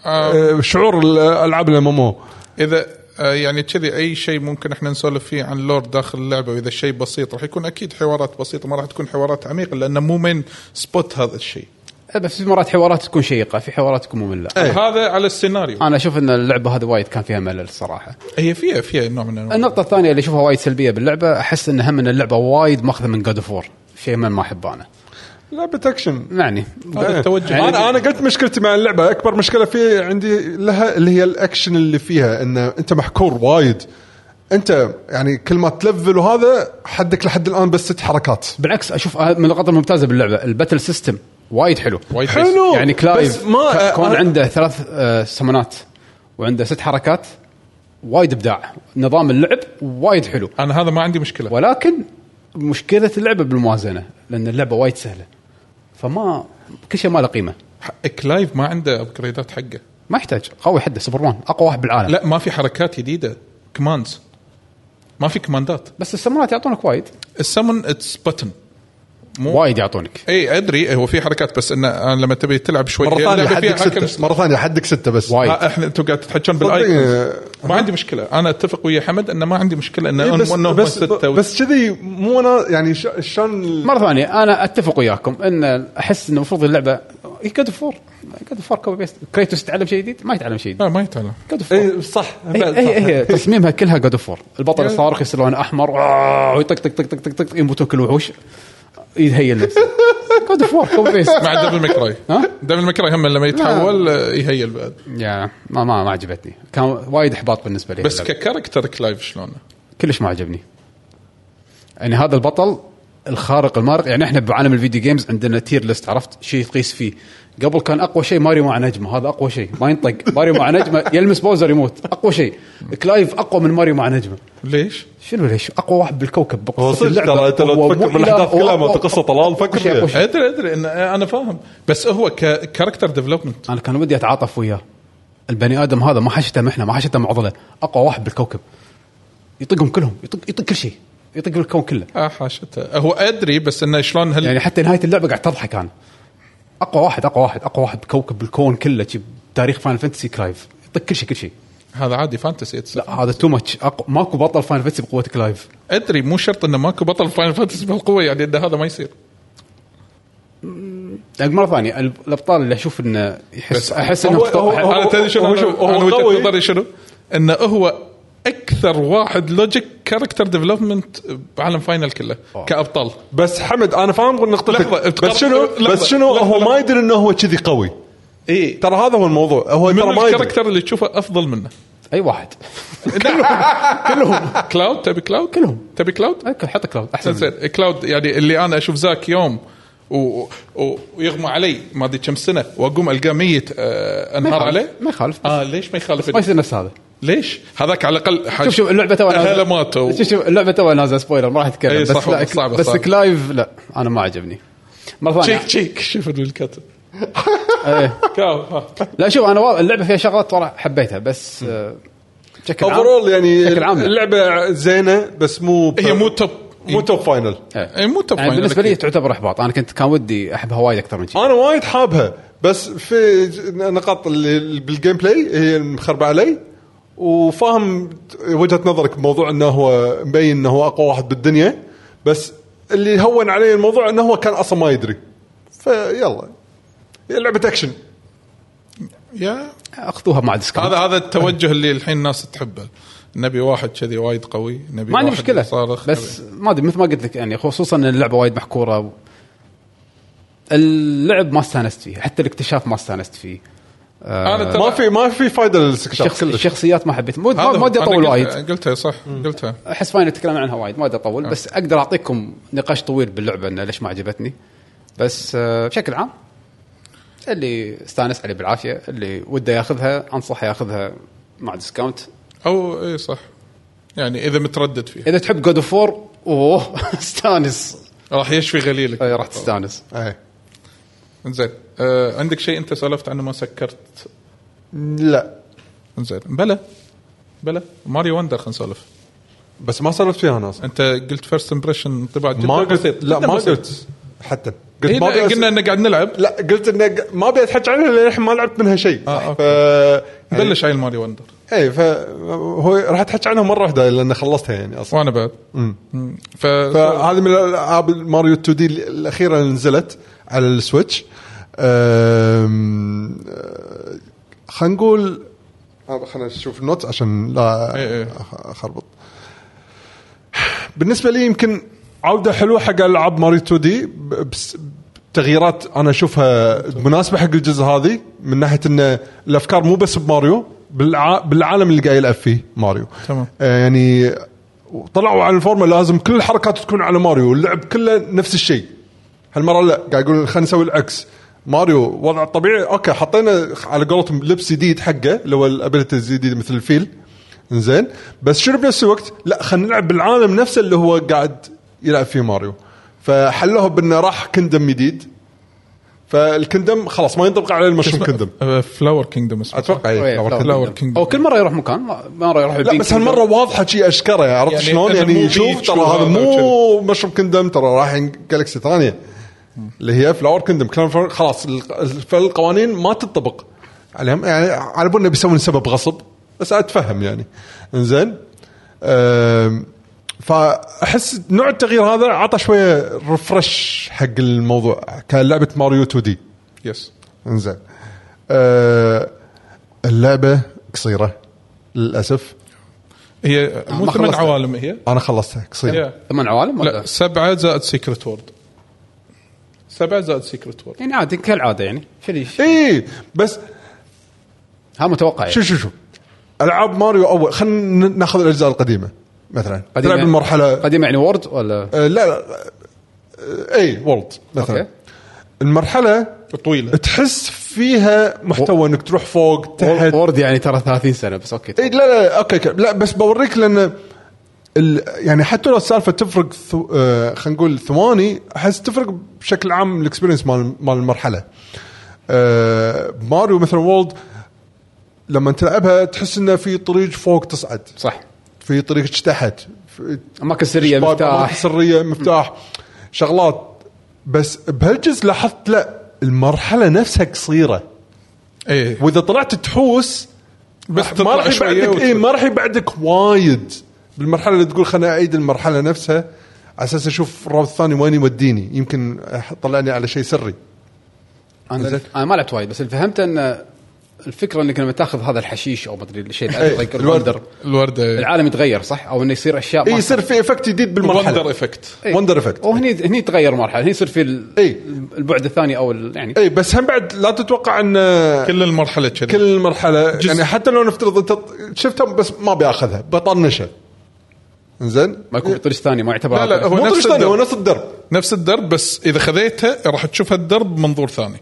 Speaker 3: آه، شعور الالعاب الام ام او
Speaker 2: اذا آه، يعني كذي اي شيء ممكن احنا نسولف فيه عن لور داخل اللعبه واذا شيء بسيط راح يكون اكيد حوارات بسيطه ما راح تكون حوارات عميقه لانه مو من سبوت هذا الشيء
Speaker 1: بس في مرات حوارات تكون شيقه في حوارات تكون ممله
Speaker 3: إيه.
Speaker 2: هذا على السيناريو
Speaker 3: آه.
Speaker 1: انا اشوف ان اللعبه هذه وايد كان فيها ملل صراحه
Speaker 2: هي فيها فيها نوع من انواع
Speaker 1: النقطة الثانية اللي اشوفها وايد سلبية باللعبة احس ان هم ان اللعبة وايد ماخذة من جاد اوف وور شيء من ما احبه انا
Speaker 3: لعبه اكشن
Speaker 1: يعني
Speaker 2: هذا التوجه
Speaker 1: يعني-
Speaker 3: انا انا إيه. قلت مشكلتي مع اللعبه اكبر مشكله في عندي لها اللي هي الاكشن اللي فيها ان انت محكور وايد انت يعني كل ما تلفل وهذا حدك لحد الان بس ست حركات
Speaker 1: بالعكس اشوف من النقاط الممتازة باللعبة الباتل سيستم وايد حلو
Speaker 2: وايد
Speaker 3: حلو
Speaker 1: يعني
Speaker 3: بس
Speaker 1: كلايف
Speaker 3: ما
Speaker 1: كون
Speaker 3: أنا-
Speaker 1: عنده ثلاث آه، سمنات وعنده ست حركات وايد ابداع نظام اللعب وايد حلو
Speaker 2: انا هذا ما عندي مشكله
Speaker 1: ولكن مشكلة اللعبة بالموازنة لان اللعبة وايد سهلة فما كل شيء ما له قيمة
Speaker 2: حق كلايف ما عنده ابجريدات حقه
Speaker 1: ما يحتاج قوي حده سوبر مان اقوى واحد بالعالم
Speaker 2: لا ما في حركات جديده كماندز ما في كماندات
Speaker 1: بس السمنات يعطونك وايد
Speaker 2: السمن اتس بتن
Speaker 1: وايد يعطونك
Speaker 2: اي ادري إيه، هو في حركات بس انه أنا لما تبي تلعب شوي
Speaker 3: مره
Speaker 2: هي
Speaker 3: ثانيه
Speaker 2: يعني اللعبة فيها
Speaker 3: حدك
Speaker 2: حركة-
Speaker 3: سته مره ثانيه حدك سته بس
Speaker 1: وايد.
Speaker 2: ها، احنا انتم آه، قاعد تتحكون
Speaker 3: صدق،
Speaker 2: بالايكونز
Speaker 3: آه.
Speaker 2: ما عندي مشكله انا اتفق ويا حمد انه ما عندي مشكله انه
Speaker 3: إيه، بس
Speaker 2: يعني إنه هم
Speaker 3: بس
Speaker 2: ستة و-
Speaker 3: بس كذي مو انا يعني ش- شلون ال-
Speaker 1: مره ثانيه انا اتفق وياكم ان احس ان المفروض إيه، اللعبه جاد اوف 4 جاد اوف 4 كوبي بيست كريتوس يتعلم شيء جديد ما يتعلم شيء جديد
Speaker 2: لا ما يتعلم
Speaker 1: جاد اوف 4
Speaker 3: اي صح بعد صح.
Speaker 1: هي هي إيه، تصميمها كلها جاد اوف 4 البطل الصاروخ يصير لونه احمر آه، ويطق طق طق طق طق طق يموتون كل الوحوش يتهيل نفسه جاد اوف 4 كوبي بيست
Speaker 3: [LAUGHS]
Speaker 2: مع دبل مكراي
Speaker 1: ها؟
Speaker 2: دبل مكراي هم لما يتحول آه، يهيل بعد
Speaker 1: يا ما ما ما عجبتني كان وايد احباط بالنسبه لي
Speaker 2: بس
Speaker 1: اللعبة.
Speaker 2: ككاركتر كلايف شلونه؟
Speaker 1: كلش ما عجبني يعني هذا البطل الخارق المارق يعني احنا بعالم الفيديو جيمز عندنا تير ليست عرفت شيء تقيس فيه قبل كان اقوى شيء ماريو مع نجمه هذا اقوى شيء ما ينطق ماريو مع نجمه يلمس بوزر يموت اقوى شيء كلايف اقوى من ماريو مع نجمه
Speaker 2: ليش؟
Speaker 1: شنو ليش اقوى واحد بالكوكب بقصة
Speaker 3: هو صدق
Speaker 1: اللعبة.
Speaker 3: ترى انت لو
Speaker 1: هو
Speaker 3: تفكر
Speaker 1: مو
Speaker 3: بالاحداث
Speaker 1: إله، هو
Speaker 3: كلها مالت
Speaker 1: أقوى-
Speaker 3: القصة طلال، فكر
Speaker 1: أقوى شيء،
Speaker 3: فيها.
Speaker 1: أقوى شيء.
Speaker 2: ادري ادري إن انا فاهم بس هو ككاركتر ديفلوبمنت
Speaker 1: انا كان ودي اتعاطف وياه البني ادم هذا ما حشته محنه ما حشته معضله اقوى واحد بالكوكب يطقهم كلهم يطق يطق كل شيء يطق الكون كله
Speaker 2: اه حاشته هو ادري بس انه شلون هل
Speaker 1: يعني حتى نهايه اللعبه قاعد تضحك انا اقوى واحد اقوى واحد اقوى واحد بكوكب بالكون كله شي بتاريخ فاينل فانتسي كلايف يطق كل شيء كل شيء
Speaker 2: هذا عادي فانتسي
Speaker 1: لا هذا تو ماتش أقو... ماكو بطل فاينل فانتسي بقوه كلايف
Speaker 2: ادري مو شرط انه ماكو بطل فاينل فانتسي بالقوه يعني انه هذا ما يصير
Speaker 1: لك مره ثانيه يعني ال- الابطال اللي اشوف انه يحس
Speaker 2: بس
Speaker 1: احس
Speaker 3: هو-
Speaker 1: انه
Speaker 3: هو-
Speaker 1: اختار-
Speaker 3: هو-
Speaker 2: انا تدري شنو
Speaker 3: هو-
Speaker 2: هو شوف
Speaker 3: هو
Speaker 2: انا وجهه
Speaker 3: قوي.
Speaker 2: نظري شنو؟ انه هو اكثر واحد لوجيك كاركتر ديفلوبمنت بعالم فاينل كله كابطال
Speaker 3: بس حمد انا فاهم
Speaker 2: لحظة،
Speaker 3: نقطتك
Speaker 2: تقرب-
Speaker 3: بس شنو
Speaker 2: لحظة،
Speaker 3: بس شنو
Speaker 2: لحظة،
Speaker 3: هو
Speaker 2: لحظة.
Speaker 3: ما يدري انه هو كذي قوي
Speaker 2: اي
Speaker 3: ترى هذا هو الموضوع هو
Speaker 2: من
Speaker 3: ترى ما يدري
Speaker 2: الكاركتر اللي تشوفه افضل منه
Speaker 1: اي واحد
Speaker 2: كلهم كلاود تبي كلاود
Speaker 1: كلهم.
Speaker 2: تبي كلاود
Speaker 1: أوكي، حط كلاود احسن
Speaker 2: زين
Speaker 1: منه.
Speaker 2: زين كلاود يعني اللي انا اشوف ذاك يوم و... و... ويغمى علي ما ادري كم سنه واقوم القاه ميت آه
Speaker 1: ما
Speaker 2: انهار
Speaker 1: يخالف،
Speaker 2: عليه
Speaker 1: ما يخالف
Speaker 2: اه ليش ما يخالف
Speaker 1: ما يصير نفس هذا
Speaker 2: ليش؟ هذاك على الاقل حاج-
Speaker 1: شوف شوف اللعبه تو
Speaker 2: اهله ماتوا
Speaker 1: شوف شوف اللعبه تو نازله سبويلر ما راح اتكلم
Speaker 2: إي،
Speaker 1: بس
Speaker 2: صح والله،
Speaker 1: لا
Speaker 2: صعبة،
Speaker 1: بس
Speaker 2: صعبة.
Speaker 1: كلايف لا انا ما عجبني مره ثانيه
Speaker 2: تشيك تشيك شوف الكاتب
Speaker 1: لا شوف انا والله اللعبه فيها شغلات ترى حبيتها بس آه، بشكل عام
Speaker 3: اوفرول يعني
Speaker 1: بشكل عام لا.
Speaker 3: اللعبه زينه بس مو إيه.
Speaker 2: هي مو توب
Speaker 3: مو توب فاينل
Speaker 2: هي إيه، مو توب
Speaker 1: يعني
Speaker 2: فاينل
Speaker 1: بالنسبه لي
Speaker 2: أكيد.
Speaker 1: تعتبر احباط انا كنت كان ودي احبها وايد اكثر من
Speaker 2: آه.
Speaker 1: شيء
Speaker 3: انا وايد حابها بس في ج- نقاط اللي بالجيم بلاي هي مخربه علي وفاهم وجهه نظرك بموضوع انه هو مبين انه هو اقوى واحد بالدنيا بس اللي هون علي الموضوع انه هو كان اصلا ما يدري فيلا هي لعبه اكشن
Speaker 2: يا
Speaker 1: اخذوها مع ديسكاونت
Speaker 2: هذا هذا التوجه اللي الحين الناس تحبه نبي واحد كذي وايد قوي نبي
Speaker 1: ما عندي
Speaker 2: واحد
Speaker 1: مشكله
Speaker 2: صارخ
Speaker 1: بس ما ادري مثل ما قلت لك يعني خصوصا ان اللعبه وايد محكوره و... اللعب ما استانست فيه حتى الاكتشاف ما استانست فيه آه.
Speaker 2: انا
Speaker 3: ما
Speaker 2: ترى-
Speaker 3: في ما في فائده للاستكشاف
Speaker 1: الشخص...
Speaker 3: كلش
Speaker 1: الشخصيات ما حبيت مو- ما
Speaker 2: هذا
Speaker 1: ما ودي
Speaker 2: هو.
Speaker 1: اطول
Speaker 2: أنا
Speaker 1: وايد
Speaker 2: قلت- يعني قلتها صح قلتها
Speaker 1: احس فاين نتكلم عنها وايد ما ودي
Speaker 2: آه.
Speaker 1: اطول بس اقدر اعطيكم نقاش طويل باللعبه انه ليش ما عجبتني بس آه، بشكل عام اللي استانس عليه بالعافيه اللي وده ياخذها انصحه ياخذها مع ديسكاونت
Speaker 2: او اي إيه، صح يعني اذا متردد فيها
Speaker 1: اذا تحب جود اوف 4 [LAUGHS] اوه استانس
Speaker 2: راح يشفي غليلك
Speaker 1: أي إيه، راح تستانس
Speaker 3: أي.
Speaker 2: زين آه عندك شيء انت سولفت عنه ما سكرت
Speaker 3: لا
Speaker 2: زين بلا بلا ماريو وندر خلينا نسولف
Speaker 3: بس ما سولفت فيها انا اصلا
Speaker 2: انت قلت فيرست امبريشن انطباع جدا
Speaker 3: ما
Speaker 2: بسيط،
Speaker 3: قلت لا
Speaker 2: جداً
Speaker 3: ما
Speaker 2: بسيط.
Speaker 3: قلت حتى
Speaker 2: إيه،
Speaker 3: ما أبي أس-
Speaker 2: قلنا ان قاعد نلعب
Speaker 3: لا قلت انه ق- ما ابي اتحكى عنها لان ما لعبت منها شيء
Speaker 2: آه،
Speaker 3: ف يعني-
Speaker 2: أوكي. بلش عيل ماري وندر
Speaker 3: اي فهو راح اتحكى عنها مره واحده لان خلصتها يعني اصلا
Speaker 2: وانا بعد مم. ف
Speaker 3: فهذه من الالعاب ماريو 2 دي الاخيره اللي نزلت على السويتش أم، أه، خلينا نقول آه، خلينا نشوف النوت عشان لا
Speaker 2: إيه، إيه.
Speaker 3: أخ- اخربط بالنسبه لي يمكن عوده حلوه حق العاب ماريو 2 دي ب- بس تغييرات انا اشوفها مناسبه حق الجزء هذه من ناحيه ان الافكار مو بس بماريو بالع... بالعالم اللي قاعد يلعب فيه ماريو
Speaker 2: تمام.
Speaker 3: آه يعني طلعوا على الفورمه لازم كل الحركات تكون على ماريو واللعب كله نفس الشيء هالمره لا قاعد يقول خلينا نسوي العكس ماريو وضع الطبيعي اوكي حطينا على قولتهم لبس جديد حقه اللي هو الابيلتيز جديد مثل الفيل زين بس شنو بنفس الوقت لا خلينا نلعب بالعالم نفسه اللي هو قاعد يلعب فيه ماريو فحلوها بانه راح كندم جديد فالكندم خلاص ما ينطبق عليه المشروم كندم
Speaker 2: فلاور كينجدوم اسمه
Speaker 3: اتوقع
Speaker 1: إيه،
Speaker 3: إيه.
Speaker 1: Flower
Speaker 2: Flower
Speaker 1: Kingdom.
Speaker 2: Kingdom.
Speaker 1: او كل مره يروح مكان ما- مره يروح
Speaker 3: لا
Speaker 1: البين
Speaker 3: بس
Speaker 1: Kingdom.
Speaker 3: هالمره واضحه شي اشكره عرفت
Speaker 2: يعني
Speaker 3: شلون
Speaker 2: إنه
Speaker 3: يعني
Speaker 2: مو
Speaker 3: شوف
Speaker 2: بيتش
Speaker 3: ترى
Speaker 2: ولا
Speaker 3: هذا
Speaker 2: هذا
Speaker 3: مو مشروب كندم ترى رايحين جالكسي ثانيه اللي هي فلاور كندم كلام فلاور- خلاص ال- فالقوانين ما تنطبق عليهم يعني على بالنا بيسوون سبب غصب بس اتفهم يعني انزين أم، فاحس نوع التغيير هذا عطى شويه ريفرش حق الموضوع كلعبه ماريو 2 دي
Speaker 2: يس
Speaker 3: انزين آه اللعبه قصيره للاسف
Speaker 2: هي
Speaker 3: آه،
Speaker 2: مو
Speaker 1: ما
Speaker 2: ثمان
Speaker 1: خلصت.
Speaker 2: عوالم هي
Speaker 3: انا خلصتها قصيره
Speaker 2: هي.
Speaker 1: ثمان عوالم طيب، ولا
Speaker 2: لا سبعه زائد سيكرت وورد سبعه زائد سيكرت وورد
Speaker 1: يعني عادي كالعاده يعني شو
Speaker 3: اي إيه، بس
Speaker 1: ها متوقع
Speaker 3: شو
Speaker 1: يعني.
Speaker 3: شو شو العاب ماريو اول خلينا ناخذ الاجزاء القديمه مثلا
Speaker 1: قديمة-
Speaker 3: تلعب المرحله
Speaker 1: قديمه يعني وورد ولا
Speaker 3: آه، لا لا آه، اي وولد مثلا
Speaker 1: أوكي.
Speaker 3: المرحله
Speaker 2: طويله
Speaker 3: تحس فيها محتوى انك تروح فوق تحت
Speaker 1: وورد يعني ترى 30 سنه بس طيب. اوكي
Speaker 3: اي إيه، لا لا اوكي اوكي لا بس بوريك لان ال يعني حتى لو السالفه تفرق ثو آه خلينا نقول ثواني احس تفرق بشكل عام الاكسبيرينس مال مال المرحله. آه ماريو مثلا وولد لما تلعبها تحس انه في طريق فوق تصعد
Speaker 1: صح
Speaker 3: في طريق تحت في
Speaker 1: اماكن سريه
Speaker 3: شباك، أماكن
Speaker 1: مفتاح
Speaker 3: سريه مفتاح شغلات بس بهالجزء لاحظت لا المرحله نفسها قصيره
Speaker 2: اي
Speaker 3: واذا طلعت تحوس
Speaker 2: إيه. بس
Speaker 3: ما
Speaker 2: تطلع
Speaker 3: راح
Speaker 2: شويه
Speaker 3: يبعدك
Speaker 2: وت-
Speaker 3: اي ما راح يبعدك وايد بالمرحله اللي تقول خليني اعيد المرحله نفسها على اساس اشوف الراوند الثاني وين يوديني يمكن أح- طلعني على شيء سري
Speaker 1: انا
Speaker 3: زين.
Speaker 1: انا ما لعبت وايد بس اللي فهمته ان الفكره انك لما تاخذ هذا الحشيش او ما ادري الشيء
Speaker 3: إيه،
Speaker 1: اللي
Speaker 3: الورد.
Speaker 1: الوندر
Speaker 2: الورده إيه.
Speaker 1: العالم يتغير صح او انه يصير اشياء
Speaker 3: اي
Speaker 1: ما-
Speaker 3: إيه، يصير في افكت جديد
Speaker 2: وندر
Speaker 3: بالمرحله
Speaker 2: افكت
Speaker 1: إيه.
Speaker 3: وندر افكت
Speaker 1: وهني هني تغير مرحله هني يصير في ال-
Speaker 3: إيه.
Speaker 1: البعد الثاني او ال- يعني
Speaker 3: اي إيه، بس هم بعد لا تتوقع ان
Speaker 2: كل المرحله كذا
Speaker 3: كل مرحله
Speaker 2: جزء.
Speaker 3: يعني حتى لو نفترض انت ط- شفتها بس ما بياخذها بطنشها زين
Speaker 1: ما يكون في طريق ثاني ما يعتبر
Speaker 2: لا، لا،
Speaker 1: هذا.
Speaker 2: هو
Speaker 3: مو
Speaker 2: نفس
Speaker 3: طريق ثاني هو
Speaker 2: الدرب.
Speaker 3: نفس الدرب
Speaker 2: نفس الدرب بس اذا خذيتها راح تشوف الدرب منظور ثاني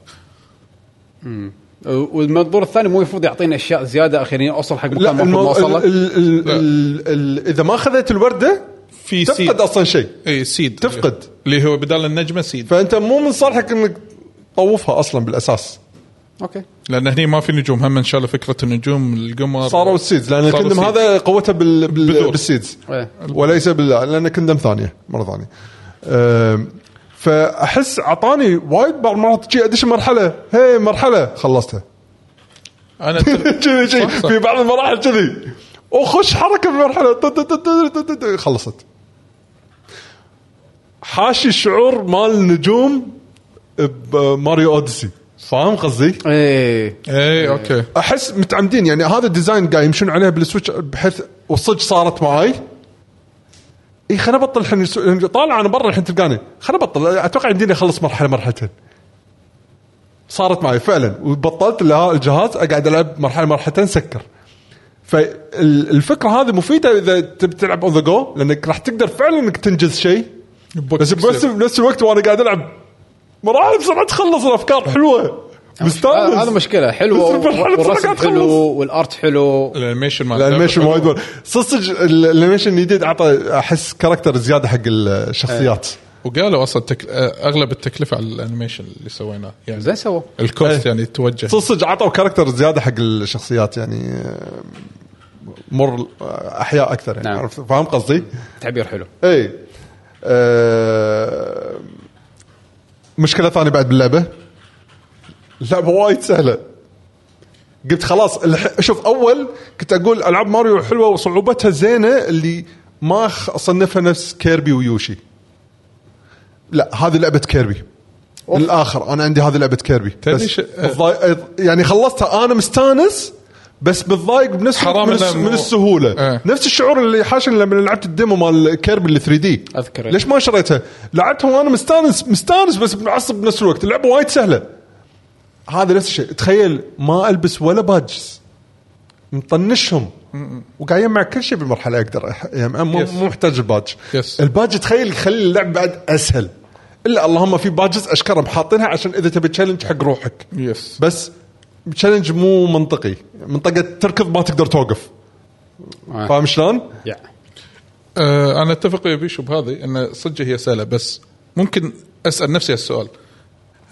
Speaker 1: والمنظور الثاني مو المفروض يعطينا اشياء زياده اخيرا اوصل حق
Speaker 3: لا
Speaker 1: مكان ما
Speaker 3: المو...
Speaker 1: اوصل
Speaker 3: ال...
Speaker 1: له
Speaker 3: ال... ال... ال... ال... اذا ما اخذت الورده
Speaker 2: في سيد
Speaker 3: تفقد اصلا شيء
Speaker 2: اي سيد
Speaker 3: تفقد.
Speaker 2: اللي هو بدال النجمه سيد
Speaker 3: فانت مو من صالحك انك تطوفها اصلا بالاساس
Speaker 1: اوكي
Speaker 2: لان هني ما في نجوم هم ان شاء الله فكره النجوم القمر
Speaker 3: صاروا السيدز لان
Speaker 2: صاروا
Speaker 3: الكندم
Speaker 2: السيدز.
Speaker 3: هذا قوته بال... بال...
Speaker 2: بذور.
Speaker 3: بالسيدز
Speaker 1: إيه.
Speaker 3: وليس بال لان كندم ثانيه مره ثانيه أم... فاحس اعطاني وايد بعض المرات شي ادش مرحله هي مرحله خلصتها
Speaker 2: انا أتفق.
Speaker 3: [LAUGHS] كذي كذي
Speaker 2: صح، صح.
Speaker 3: في بعض المراحل كذي وخش حركه بمرحله تت- تت- تت- تت- تت- خلصت حاشي الشعور مال النجوم بماريو اوديسي فاهم قصدي؟
Speaker 1: ايه
Speaker 2: اي اوكي
Speaker 3: احس متعمدين يعني هذا الديزاين قاعد يمشون عليه بالسويتش بحيث والصج صارت معاي اي خليني ابطل الحين السو- لأن طالع انا برا الحين تلقاني خليني ابطل اتوقع يمديني اخلص مرحله مرحلتين صارت معي فعلا وبطلت ال- الجهاز اقعد العب مرحله مرحلتين سكر فالفكره هذه مفيده اذا تبي تلعب اون ذا جو لانك راح تقدر فعلا انك تنجز شيء بس بس بنفس الوقت وانا قاعد العب مراحل بسرعه تخلص الافكار حلوه مستانس
Speaker 1: هذا مشكله حلوه
Speaker 3: بس المرحلة
Speaker 1: والرسم
Speaker 3: بسرعة تخلص.
Speaker 1: حلو والارت حلو
Speaker 2: الانيميشن مال
Speaker 3: الانيميشن وايد مر- صدق ال- الانيميشن الجديد اعطى احس كاركتر زياده حق الشخصيات
Speaker 1: إيه.
Speaker 2: وقالوا اصلا تك... آه، اغلب التكلفه على الانيميشن اللي سويناه يعني
Speaker 1: زين سووا
Speaker 2: الكوست
Speaker 3: إيه.
Speaker 2: يعني توجه
Speaker 3: صدق عطوا كاركتر زياده حق الشخصيات يعني آه، مر آه، احياء اكثر يعني
Speaker 1: نعم.
Speaker 3: عرفت فاهم قصدي؟
Speaker 1: تعبير حلو
Speaker 3: اي إيه. آه، مشكله ثانيه بعد باللعبه اللعبه وايد سهله قلت خلاص الح- شوف اول كنت اقول العاب ماريو حلوه وصعوبتها زينه اللي ما خ- اصنفها نفس كيربي ويوشي لا هذه لعبه كيربي
Speaker 1: أوف.
Speaker 3: الاخر انا عندي هذه لعبه كيربي
Speaker 2: تدري
Speaker 3: بس
Speaker 2: ش-
Speaker 3: متضايق- يعني خلصتها انا مستانس بس متضايق بنفس
Speaker 2: حرام
Speaker 3: من,
Speaker 2: إنه
Speaker 3: الس-
Speaker 2: مو-
Speaker 3: من السهوله
Speaker 2: إيه.
Speaker 3: نفس الشعور اللي حاشني لما لعبت الديمو مال كيربي اللي 3 دي
Speaker 1: أذكر.
Speaker 3: ليش ما شريتها؟ لعبتها وانا مستانس مستانس بس معصب بنفس الوقت اللعبه وايد سهله هذا نفس الشيء تخيل ما البس ولا بادجز مطنشهم وقاعد يجمع كل شيء بالمرحله اقدر أح- يعني مو
Speaker 2: Yes.
Speaker 3: مو محتاج البادج
Speaker 2: Yes.
Speaker 3: البادج تخيل يخلي اللعب بعد اسهل الا اللهم في بادجز اشكرهم حاطينها عشان اذا تبي تشالنج حق روحك
Speaker 2: يس
Speaker 3: بس تشالنج مو منطقي منطقه تركض ما تقدر توقف
Speaker 1: آه.
Speaker 3: فاهم شلون؟
Speaker 1: يا
Speaker 2: آه انا اتفق يا بيشو بهذه ان صدق هي سهله بس ممكن اسال نفسي هالسؤال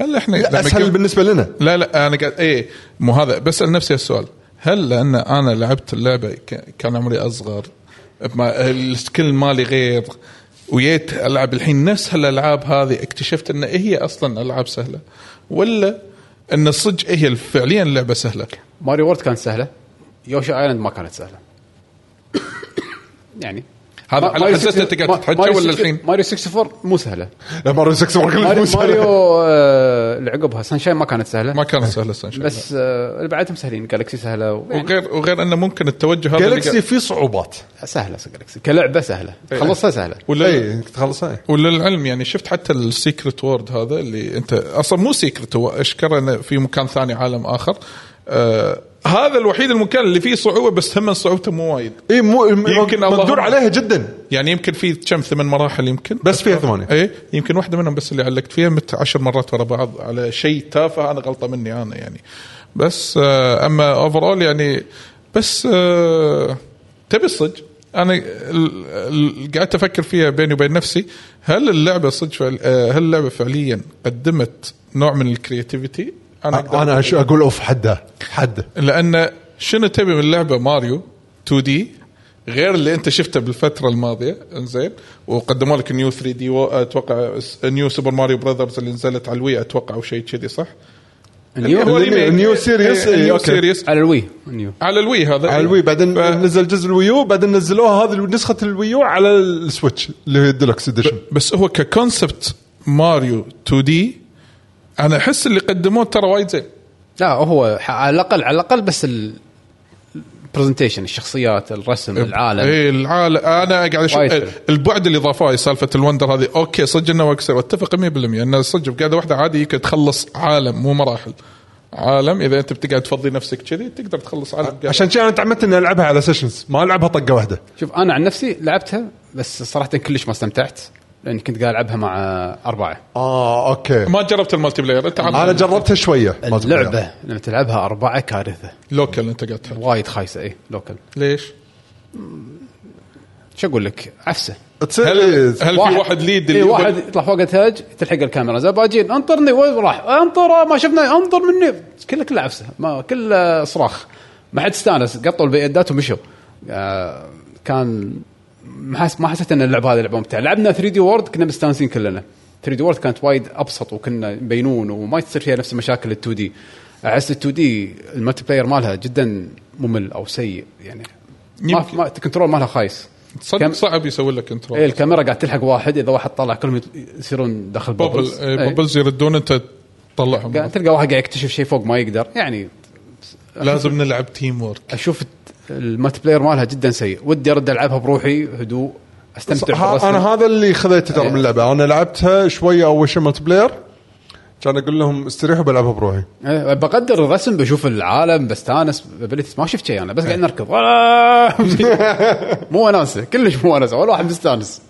Speaker 2: هل احنا لما
Speaker 3: اسهل
Speaker 2: قبل-
Speaker 3: بالنسبه لنا
Speaker 2: لا لا انا قاعد اي مو هذا بسال نفسي السؤال هل لان انا لعبت اللعبه ك- كان عمري اصغر ما- السكيل مالي غير وجيت العب الحين نفس هالالعاب هذه اكتشفت ان هي اصلا العاب سهله ولا ان صدق هي فعليا لعبه سهله
Speaker 1: ماري وورد كانت سهله يوشي ايلاند ما كانت سهله يعني
Speaker 2: هذا
Speaker 1: ما-
Speaker 2: على
Speaker 1: ماريو
Speaker 2: حسيت
Speaker 1: 64
Speaker 2: انت
Speaker 1: ما-
Speaker 2: قاعد تتحكى
Speaker 1: ماريو
Speaker 2: ولا
Speaker 1: 64
Speaker 2: الحين؟
Speaker 1: ماريو 64 مو سهله
Speaker 3: لا ماريو 64
Speaker 1: ماريو,
Speaker 3: كلش مو سهل.
Speaker 1: ماريو آه، اللي عقبها سانشاين ما كانت سهله
Speaker 2: ما كان سهل سانشاين
Speaker 1: [LAUGHS] بس آه، اللي بعدهم سهلين جالكسي سهله و...
Speaker 2: وغير وغير انه ممكن التوجه هذا اللي
Speaker 3: جالكسي
Speaker 2: قاعد-
Speaker 3: فيه صعوبات
Speaker 1: سهله جالكسي كلعبه سهله خلصها سهله
Speaker 2: ولا
Speaker 3: اي تخلصها
Speaker 2: وللعلم يعني شفت حتى السيكرت وورد هذا اللي انت اصلا مو سيكرت هو اشكره انه في مكان ثاني عالم اخر آه هذا الوحيد المكان اللي فيه صعوبه بس هم صعوبته مو وايد
Speaker 3: اي مو
Speaker 2: يمكن اللهم-
Speaker 3: مقدور عليها جدا
Speaker 2: يعني يمكن في كم ثمان مراحل يمكن
Speaker 3: بس فيها ثمانيه
Speaker 2: اي إيه، يمكن واحده منهم بس اللي علقت فيها مت عشر مرات ورا بعض على شيء تافه انا غلطه مني انا يعني بس آه، اما اوفرول يعني بس آه، تبي الصج انا ال- ال- قعدت افكر فيها بيني وبين نفسي هل اللعبه صدق فعل- آه، هل اللعبه فعليا قدمت نوع من الكرياتيفيتي أقدر
Speaker 3: انا أش- اقول اوف حده حده
Speaker 2: لان شنو تبي من اللعبه ماريو 2 دي غير اللي انت شفته بالفتره الماضيه انزين وقدموا لك نيو 3 دي اتوقع س- نيو سوبر ماريو براذرز اللي نزلت على الوي اتوقع او شيء كذي صح؟
Speaker 1: نيو
Speaker 2: إيه. هو
Speaker 3: النيو-
Speaker 2: remake.
Speaker 3: النيو سيريس،
Speaker 2: إيه،
Speaker 3: إيه،
Speaker 2: النيو
Speaker 3: أوكي.
Speaker 2: سيريس
Speaker 1: على الوي نيو
Speaker 2: على الوي هذا
Speaker 3: على الوي بعدين
Speaker 2: ف-
Speaker 3: نزل جزء الويو بعدين نزلوها هذه نسخه الويو على السويتش اللي هي الديلوكس اديشن
Speaker 2: بس هو ككونسبت ماريو 2 دي انا احس اللي قدموه ترى وايد زين
Speaker 1: لا هو ح- على الاقل على الاقل بس ال- البرزنتيشن الشخصيات الرسم العالم
Speaker 2: اي إيه، العالم انا قاعد اشوف
Speaker 1: وايد حلو.
Speaker 2: البعد اللي ضافوه سالفه الوندر هذه اوكي صدق انه واكسر اتفق 100% انه صدق بقعده واحده عادي يمكن تخلص عالم مو مراحل عالم اذا انت بتقعد تفضي نفسك كذي تقدر تخلص عالم بقعدة.
Speaker 3: عشان كذا انا تعمدت اني العبها على سيشنز ما العبها طقه واحده
Speaker 1: شوف انا عن نفسي لعبتها بس صراحه كلش ما استمتعت لاني كنت قاعد العبها مع اربعه
Speaker 3: اه اوكي
Speaker 2: ما جربت المالتي بلاير انت
Speaker 3: انا
Speaker 2: عن
Speaker 3: جربتها شويه ما تبغى.
Speaker 1: اللعبه لما تلعبها اربعه كارثه
Speaker 2: لوكال انت قاعد تحب
Speaker 1: وايد إيه، خايسه اي لوكل
Speaker 2: ليش؟
Speaker 1: شو اقول لك عفسه
Speaker 3: تصير
Speaker 2: هل
Speaker 3: إيه،
Speaker 2: هل في واحد ليد اللي
Speaker 1: إيه
Speaker 2: يقول-
Speaker 1: واحد يطلع فوق التاج تلحق الكاميرا زباجين انطرني وين راح انطر آه، ما شفنا انطر مني كله كله عفسه ما كله صراخ ما حد استانس قطوا البيدات ومشوا آه، كان ما حس- ما حسيت ان اللعبه هذه لعبه ممتعه لعبنا 3 دي وورد كنا مستانسين كلنا 3 دي وورد كانت وايد ابسط وكنا بينون وما تصير فيها نفس مشاكل ال 2 دي احس ال 2 دي الملتي بلاير مالها جدا ممل او سيء يعني ما,
Speaker 2: يمكن.
Speaker 1: ما الكنترول مالها خايس
Speaker 2: صدق
Speaker 1: كم-
Speaker 2: صعب يسوي لك
Speaker 1: ايه
Speaker 2: كنترول
Speaker 1: الكاميرا قاعد تلحق واحد اذا واحد طلع كلهم يط- يصيرون داخل
Speaker 2: بوبل
Speaker 1: بوبلز
Speaker 2: إيه،
Speaker 1: إيه.
Speaker 2: بوبلز يردون انت
Speaker 1: قاعد
Speaker 2: تطلعهم
Speaker 1: تلقى واحد قاعد يكتشف شيء فوق ما يقدر يعني
Speaker 2: لازم نلعب تيم وورك
Speaker 1: اشوف الت- الملتي بلاير مالها جدا سيء ودي ارد العبها بروحي هدوء استمتع
Speaker 3: ها- انا
Speaker 1: بالرسم
Speaker 3: هذا اللي خذيته
Speaker 2: إيه.
Speaker 3: ترى من اللعبه انا لعبتها شويه اول شيء ملتي بلاير كان اقول لهم استريحوا بلعبها بروحي
Speaker 1: إيه، بقدر الرسم بشوف العالم بستانس abilities، ما شفت شيء انا بس قاعد نركض [LAUGHS] مو وناسه كلش مو وناسه ولا واحد مستانس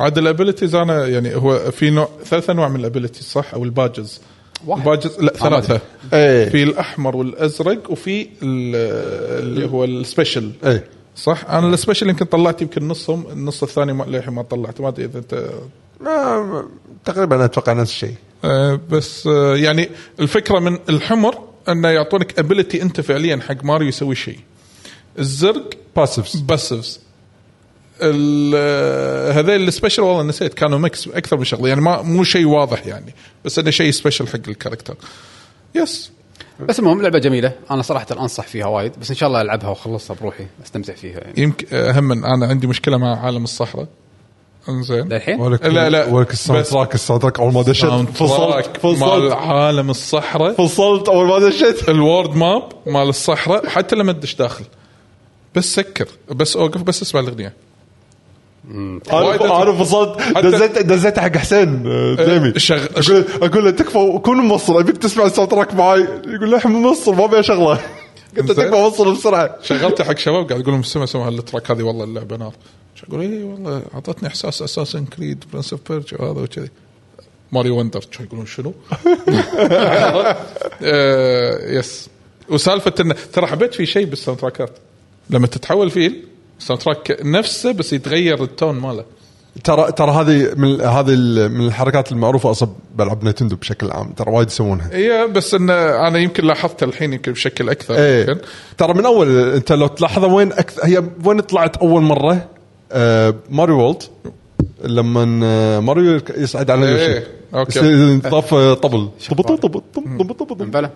Speaker 2: عاد الابيلتيز انا يعني هو في نوع ثلاث انواع من الابيلتيز صح او الباجز
Speaker 1: واحد.
Speaker 2: الباجز لا
Speaker 1: آه، ما
Speaker 2: ثلاثه
Speaker 3: إيه.
Speaker 2: في الاحمر والازرق وفي ال- اللي هو السبيشل
Speaker 3: إيه.
Speaker 2: صح انا السبيشل يمكن طلعت يمكن نصهم النص الثاني ما للحين ما طلعت ما ادري اذا انت
Speaker 3: ما- ما- تقريبا اتوقع نفس الشيء
Speaker 2: آه، بس آه، يعني الفكره من الحمر انه يعطونك ابيلتي انت فعليا حق ماريو يسوي شيء الزرق
Speaker 3: باسفز
Speaker 2: باسفز ال- هذيل السبيشل والله نسيت كانوا ميكس اكثر من شغله يعني ما مو شيء واضح يعني بس انه شيء سبيشل حق الكاركتر يس
Speaker 1: بس المهم لعبه جميله انا صراحه انصح فيها وايد بس ان شاء الله العبها واخلصها بروحي استمتع فيها يعني
Speaker 2: يمكن اهم انا عندي مشكله مع عالم الصحراء انزين
Speaker 1: للحين
Speaker 3: ولك
Speaker 2: لا، لا.
Speaker 3: ولك الساوند
Speaker 2: بس-
Speaker 3: تراك الساوند تراك اول ما دشت فصلت
Speaker 2: فصلت مال
Speaker 3: فصلت
Speaker 2: عالم الصحراء
Speaker 3: فصلت اول ما
Speaker 2: [LAUGHS]
Speaker 3: دشت
Speaker 2: الورد ماب مال الصحراء حتى لما تدش داخل بس سكر بس اوقف بس اسمع الاغنيه وايد إيه،
Speaker 3: انا أنا فصلت دزيت دزيت حق حسين آه، ديمي
Speaker 2: شغ-
Speaker 3: أقول- اقول له تكفى كون ممصر ابيك تسمع الساوند تراك معاي يقول له احنا من مصر ما بيها شغله [LAUGHS] قلت له
Speaker 2: زين.
Speaker 3: تكفى مصر بسرعه
Speaker 2: شغلته حق شباب قاعد اقول لهم سمع سمع هالتراك هذه والله اللعبه نار اقول اي والله اعطتني احساس اساسا كريد برنس اوف بيرج وهذا وكذي ماريو وندر شو يقولون شنو؟ [LAUGHS] آه، يس وسالفه انه ترى حبيت في شيء بالساوند تراكات لما تتحول فيل الساوند تراك نفسه بس يتغير التون ماله
Speaker 3: ترى ترى هذه من هذه ال- من الحركات المعروفه اصلا بالعاب نتندو بشكل عام ترى وايد يسوونها
Speaker 2: هي إيه، بس انه انا يمكن لاحظتها الحين يمكن بشكل اكثر
Speaker 3: ايه
Speaker 2: يمكن.
Speaker 3: ترى من اول انت لو تلاحظه وين أكثر هي وين طلعت اول مره آه ماريو وولد لما آه، ماريو يصعد على
Speaker 2: إيه،
Speaker 3: يوشي
Speaker 2: أوكي.
Speaker 3: يصير ينضاف آه، طبل طبل طبل طبل طبل طبل
Speaker 1: بلى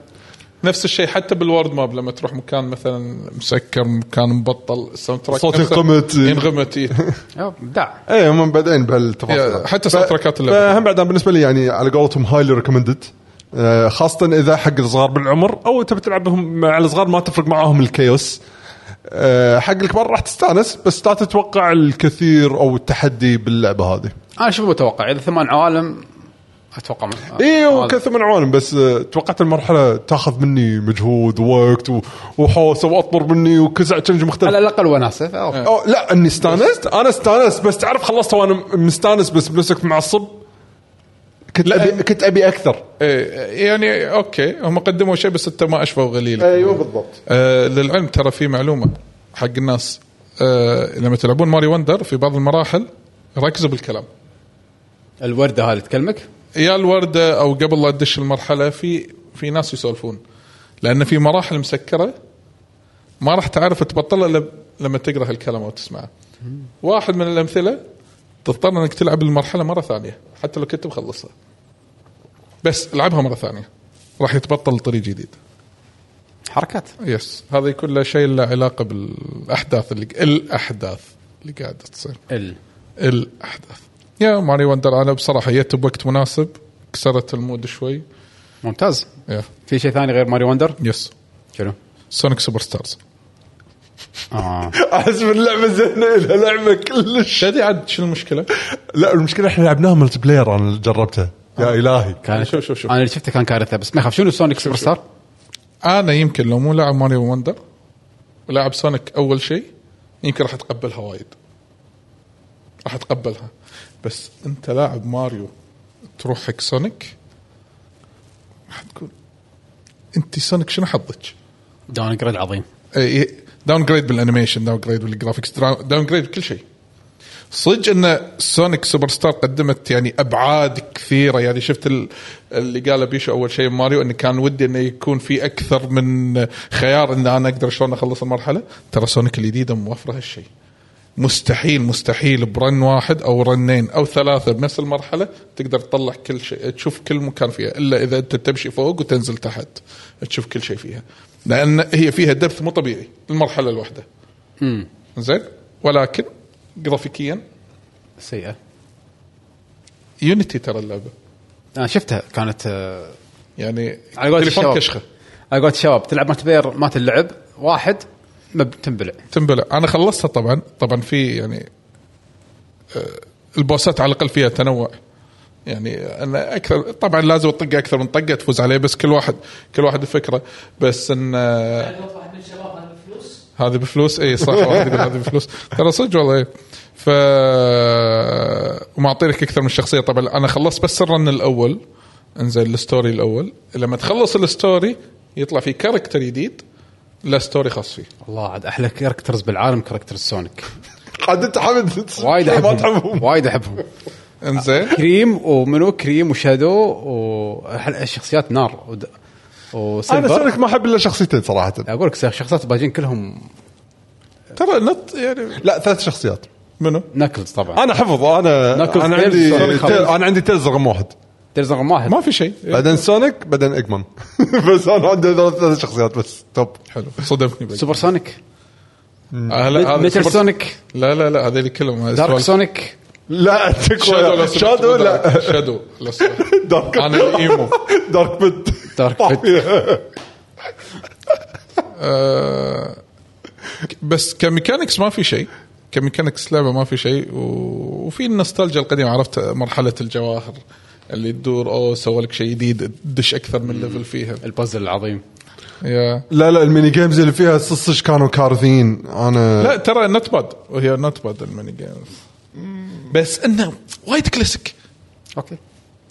Speaker 2: نفس الشيء حتى بالورد ماب لما تروح مكان مثلا مسكر مكان مبطل الساوند تراك
Speaker 3: صوت
Speaker 2: نفسه
Speaker 3: ينغمت.
Speaker 2: ينغمت إيه.
Speaker 1: أه، ابداع
Speaker 3: اي إيه، هم بعدين بهالتفاصيل
Speaker 2: يا، حتى ساوند تراكات اللعبة.
Speaker 3: فهم بعد بالنسبه لي يعني على قولتهم هايلي ريكومندد خاصة إذا حق الصغار بالعمر أو أنت بتلعبهم مع الصغار ما تفرق معاهم الكيوس آه، حق الكبار راح تستانس بس لا تتوقع الكثير أو التحدي باللعبة هذه
Speaker 1: انا شو آه، متوقع اذا ثمان عوالم اتوقع ما-
Speaker 2: إيه،
Speaker 3: اي
Speaker 1: هذا.
Speaker 3: وكثر إيه، من عوالم بس آه، توقعت المرحله تاخذ مني مجهود ووقت و- وحوسه واطبر مني وكزع تشنج مختلف
Speaker 1: على الاقل وناسه
Speaker 2: إيه.
Speaker 1: فأوكي.
Speaker 3: أو لا اني استانست انا استانست بس تعرف خلصت وانا مستانس بس بنفسك معصب كنت ابي كنت ابي اكثر
Speaker 2: إيه، يعني اوكي هم قدموا شيء بس انت ما اشفوا غليل
Speaker 3: ايوه بالضبط
Speaker 2: آه للعلم ترى في معلومه حق الناس آه لما تلعبون ماري وندر في بعض المراحل ركزوا بالكلام
Speaker 1: الورده هذه تكلمك
Speaker 2: يا الورده او قبل لا تدش المرحله في في ناس يسولفون لان في مراحل مسكره ما راح تعرف تبطلها الا لما تقرا هالكلام او تسمعه. واحد من الامثله تضطر انك تلعب المرحله مره ثانيه حتى لو كنت مخلصها. بس العبها مره ثانيه راح يتبطل طريق جديد.
Speaker 1: حركات
Speaker 2: يس هذا كله شيء له علاقه بالاحداث اللي الاحداث اللي قاعده تصير.
Speaker 1: ال
Speaker 2: الاحداث. يا ماري وندر انا بصراحه جت بوقت مناسب كسرت المود شوي.
Speaker 1: ممتاز
Speaker 2: يا
Speaker 1: في شيء ثاني غير ماري وندر
Speaker 2: يس
Speaker 1: شنو؟
Speaker 2: سونيك سوبر ستارز [LAUGHS]
Speaker 1: اه
Speaker 3: احس من اللعبه زينه لها لعبه كلش
Speaker 2: تدري عاد شنو المشكله؟
Speaker 3: لا المشكله احنا لعبناها ملتي بلاير انا اللي جربتها يا الهي
Speaker 1: كانت
Speaker 2: شوف- شوف- شوف.
Speaker 1: انا اللي شفته كان كارثه بس ما يخاف شنو سونيك سوبر ستار؟
Speaker 2: انا يمكن لو مو لاعب ماريو وندر ولاعب سونيك اول شيء يمكن راح اتقبلها وايد راح اتقبلها بس انت لاعب ماريو تروح حق سونيك راح تقول انت سونيك شنو حظك؟
Speaker 1: داون جريد عظيم
Speaker 2: إيه، داون جريد بالانيميشن داون جريد بالجرافكس داون جريد بكل شيء صدق ان سونيك سوبر ستار قدمت يعني ابعاد كثيره يعني شفت ال- اللي قاله بيشو اول شيء ماريو انه كان ودي انه يكون في اكثر من خيار ان انا اقدر شلون اخلص المرحله ترى سونيك الجديده موفره هالشيء مستحيل مستحيل برن واحد او رنين او ثلاثه بنفس المرحله تقدر تطلع كل شيء تشوف كل مكان فيها الا اذا انت تمشي فوق وتنزل تحت تشوف كل شيء فيها لان هي فيها دبث مو طبيعي المرحله الواحده زين ولكن جرافيكيا
Speaker 1: سيئه
Speaker 2: يونيتي ترى اللعبه
Speaker 1: انا شفتها كانت آه،
Speaker 2: يعني
Speaker 1: على قولة
Speaker 2: تليفون
Speaker 1: الشباب.
Speaker 2: كشخه
Speaker 1: على قولة الشباب تلعب مالتي بلاير مات اللعب واحد ما بتنبلع
Speaker 2: تنبلع انا خلصتها طبعا طبعا في يعني آه، البوسات على الاقل فيها تنوع يعني انا اكثر طبعا لازم تطق اكثر من طقه تفوز عليه بس كل واحد كل واحد الفكره بس ان آه،
Speaker 4: واحد من الشباب هذا بفلوس
Speaker 2: هذه بفلوس اي صح واحد يقول هذه بفلوس ترى صدق والله إيه. ف ومعطي لك اكثر من شخصيه طبعا انا خلصت بس الرن الاول انزين الستوري الاول لما تخلص الستوري يطلع في كاركتر جديد له ستوري خاص فيه
Speaker 1: الله عاد احلى كاركترز بالعالم كاركتر سونيك
Speaker 3: عاد انت حمد
Speaker 2: [LAUGHS]
Speaker 1: وايد
Speaker 3: ما
Speaker 1: احبهم
Speaker 3: تحبهم
Speaker 1: وايد احبهم
Speaker 2: انزين
Speaker 1: كريم ومنو كريم وشادو والشخصيات نار ود-
Speaker 3: انا
Speaker 1: وسيلفر
Speaker 3: سونيك ما احب الا شخصيتين صراحه
Speaker 1: اقول لك شخصيات الباجين كلهم
Speaker 2: ترى نط يعني
Speaker 3: لا ثلاث شخصيات
Speaker 2: منو؟
Speaker 1: ناكلز طبعا
Speaker 3: انا حفظ انا
Speaker 1: ناكل
Speaker 3: انا
Speaker 1: تيلز
Speaker 3: عندي
Speaker 1: سونيك
Speaker 3: تيل-
Speaker 1: خلاص.
Speaker 3: انا عندي تيلز رقم واحد
Speaker 1: تيرز رقم واحد
Speaker 2: ما في شيء
Speaker 3: بعدين سونيك بعدين اجمن [LAUGHS] بس انا عندي ثلاث ثلاث شخصيات بس توب
Speaker 2: حلو صدمتني بقى.
Speaker 1: سوبر سونيك
Speaker 2: آه، لا، هذا
Speaker 1: ميتل
Speaker 2: سوبر-
Speaker 1: سونيك
Speaker 2: لا لا لا هذول كلهم هذا
Speaker 1: دارك
Speaker 2: سوالف.
Speaker 1: سونيك
Speaker 3: لا تكوى
Speaker 2: شادو
Speaker 3: شادو لا [LAUGHS]
Speaker 2: لا شادو لا صح.
Speaker 3: دارك
Speaker 2: انا الايمو
Speaker 3: [LAUGHS] دارك بيت
Speaker 1: دارك بيت.
Speaker 2: آه، بس كميكانكس ما في شيء كميكانكس لعبه ما في شيء و... وفي النوستالجيا القديمه عرفت مرحله الجواهر اللي تدور او سوى لك شيء جديد تدش اكثر من ليفل فيها
Speaker 1: البازل العظيم
Speaker 2: يا
Speaker 3: لا لا الميني جيمز اللي فيها صصش كانوا كارثين انا
Speaker 2: لا ترى نوت باد وهي نوت باد الميني جيمز بس انه وايد كلاسيك
Speaker 1: اوكي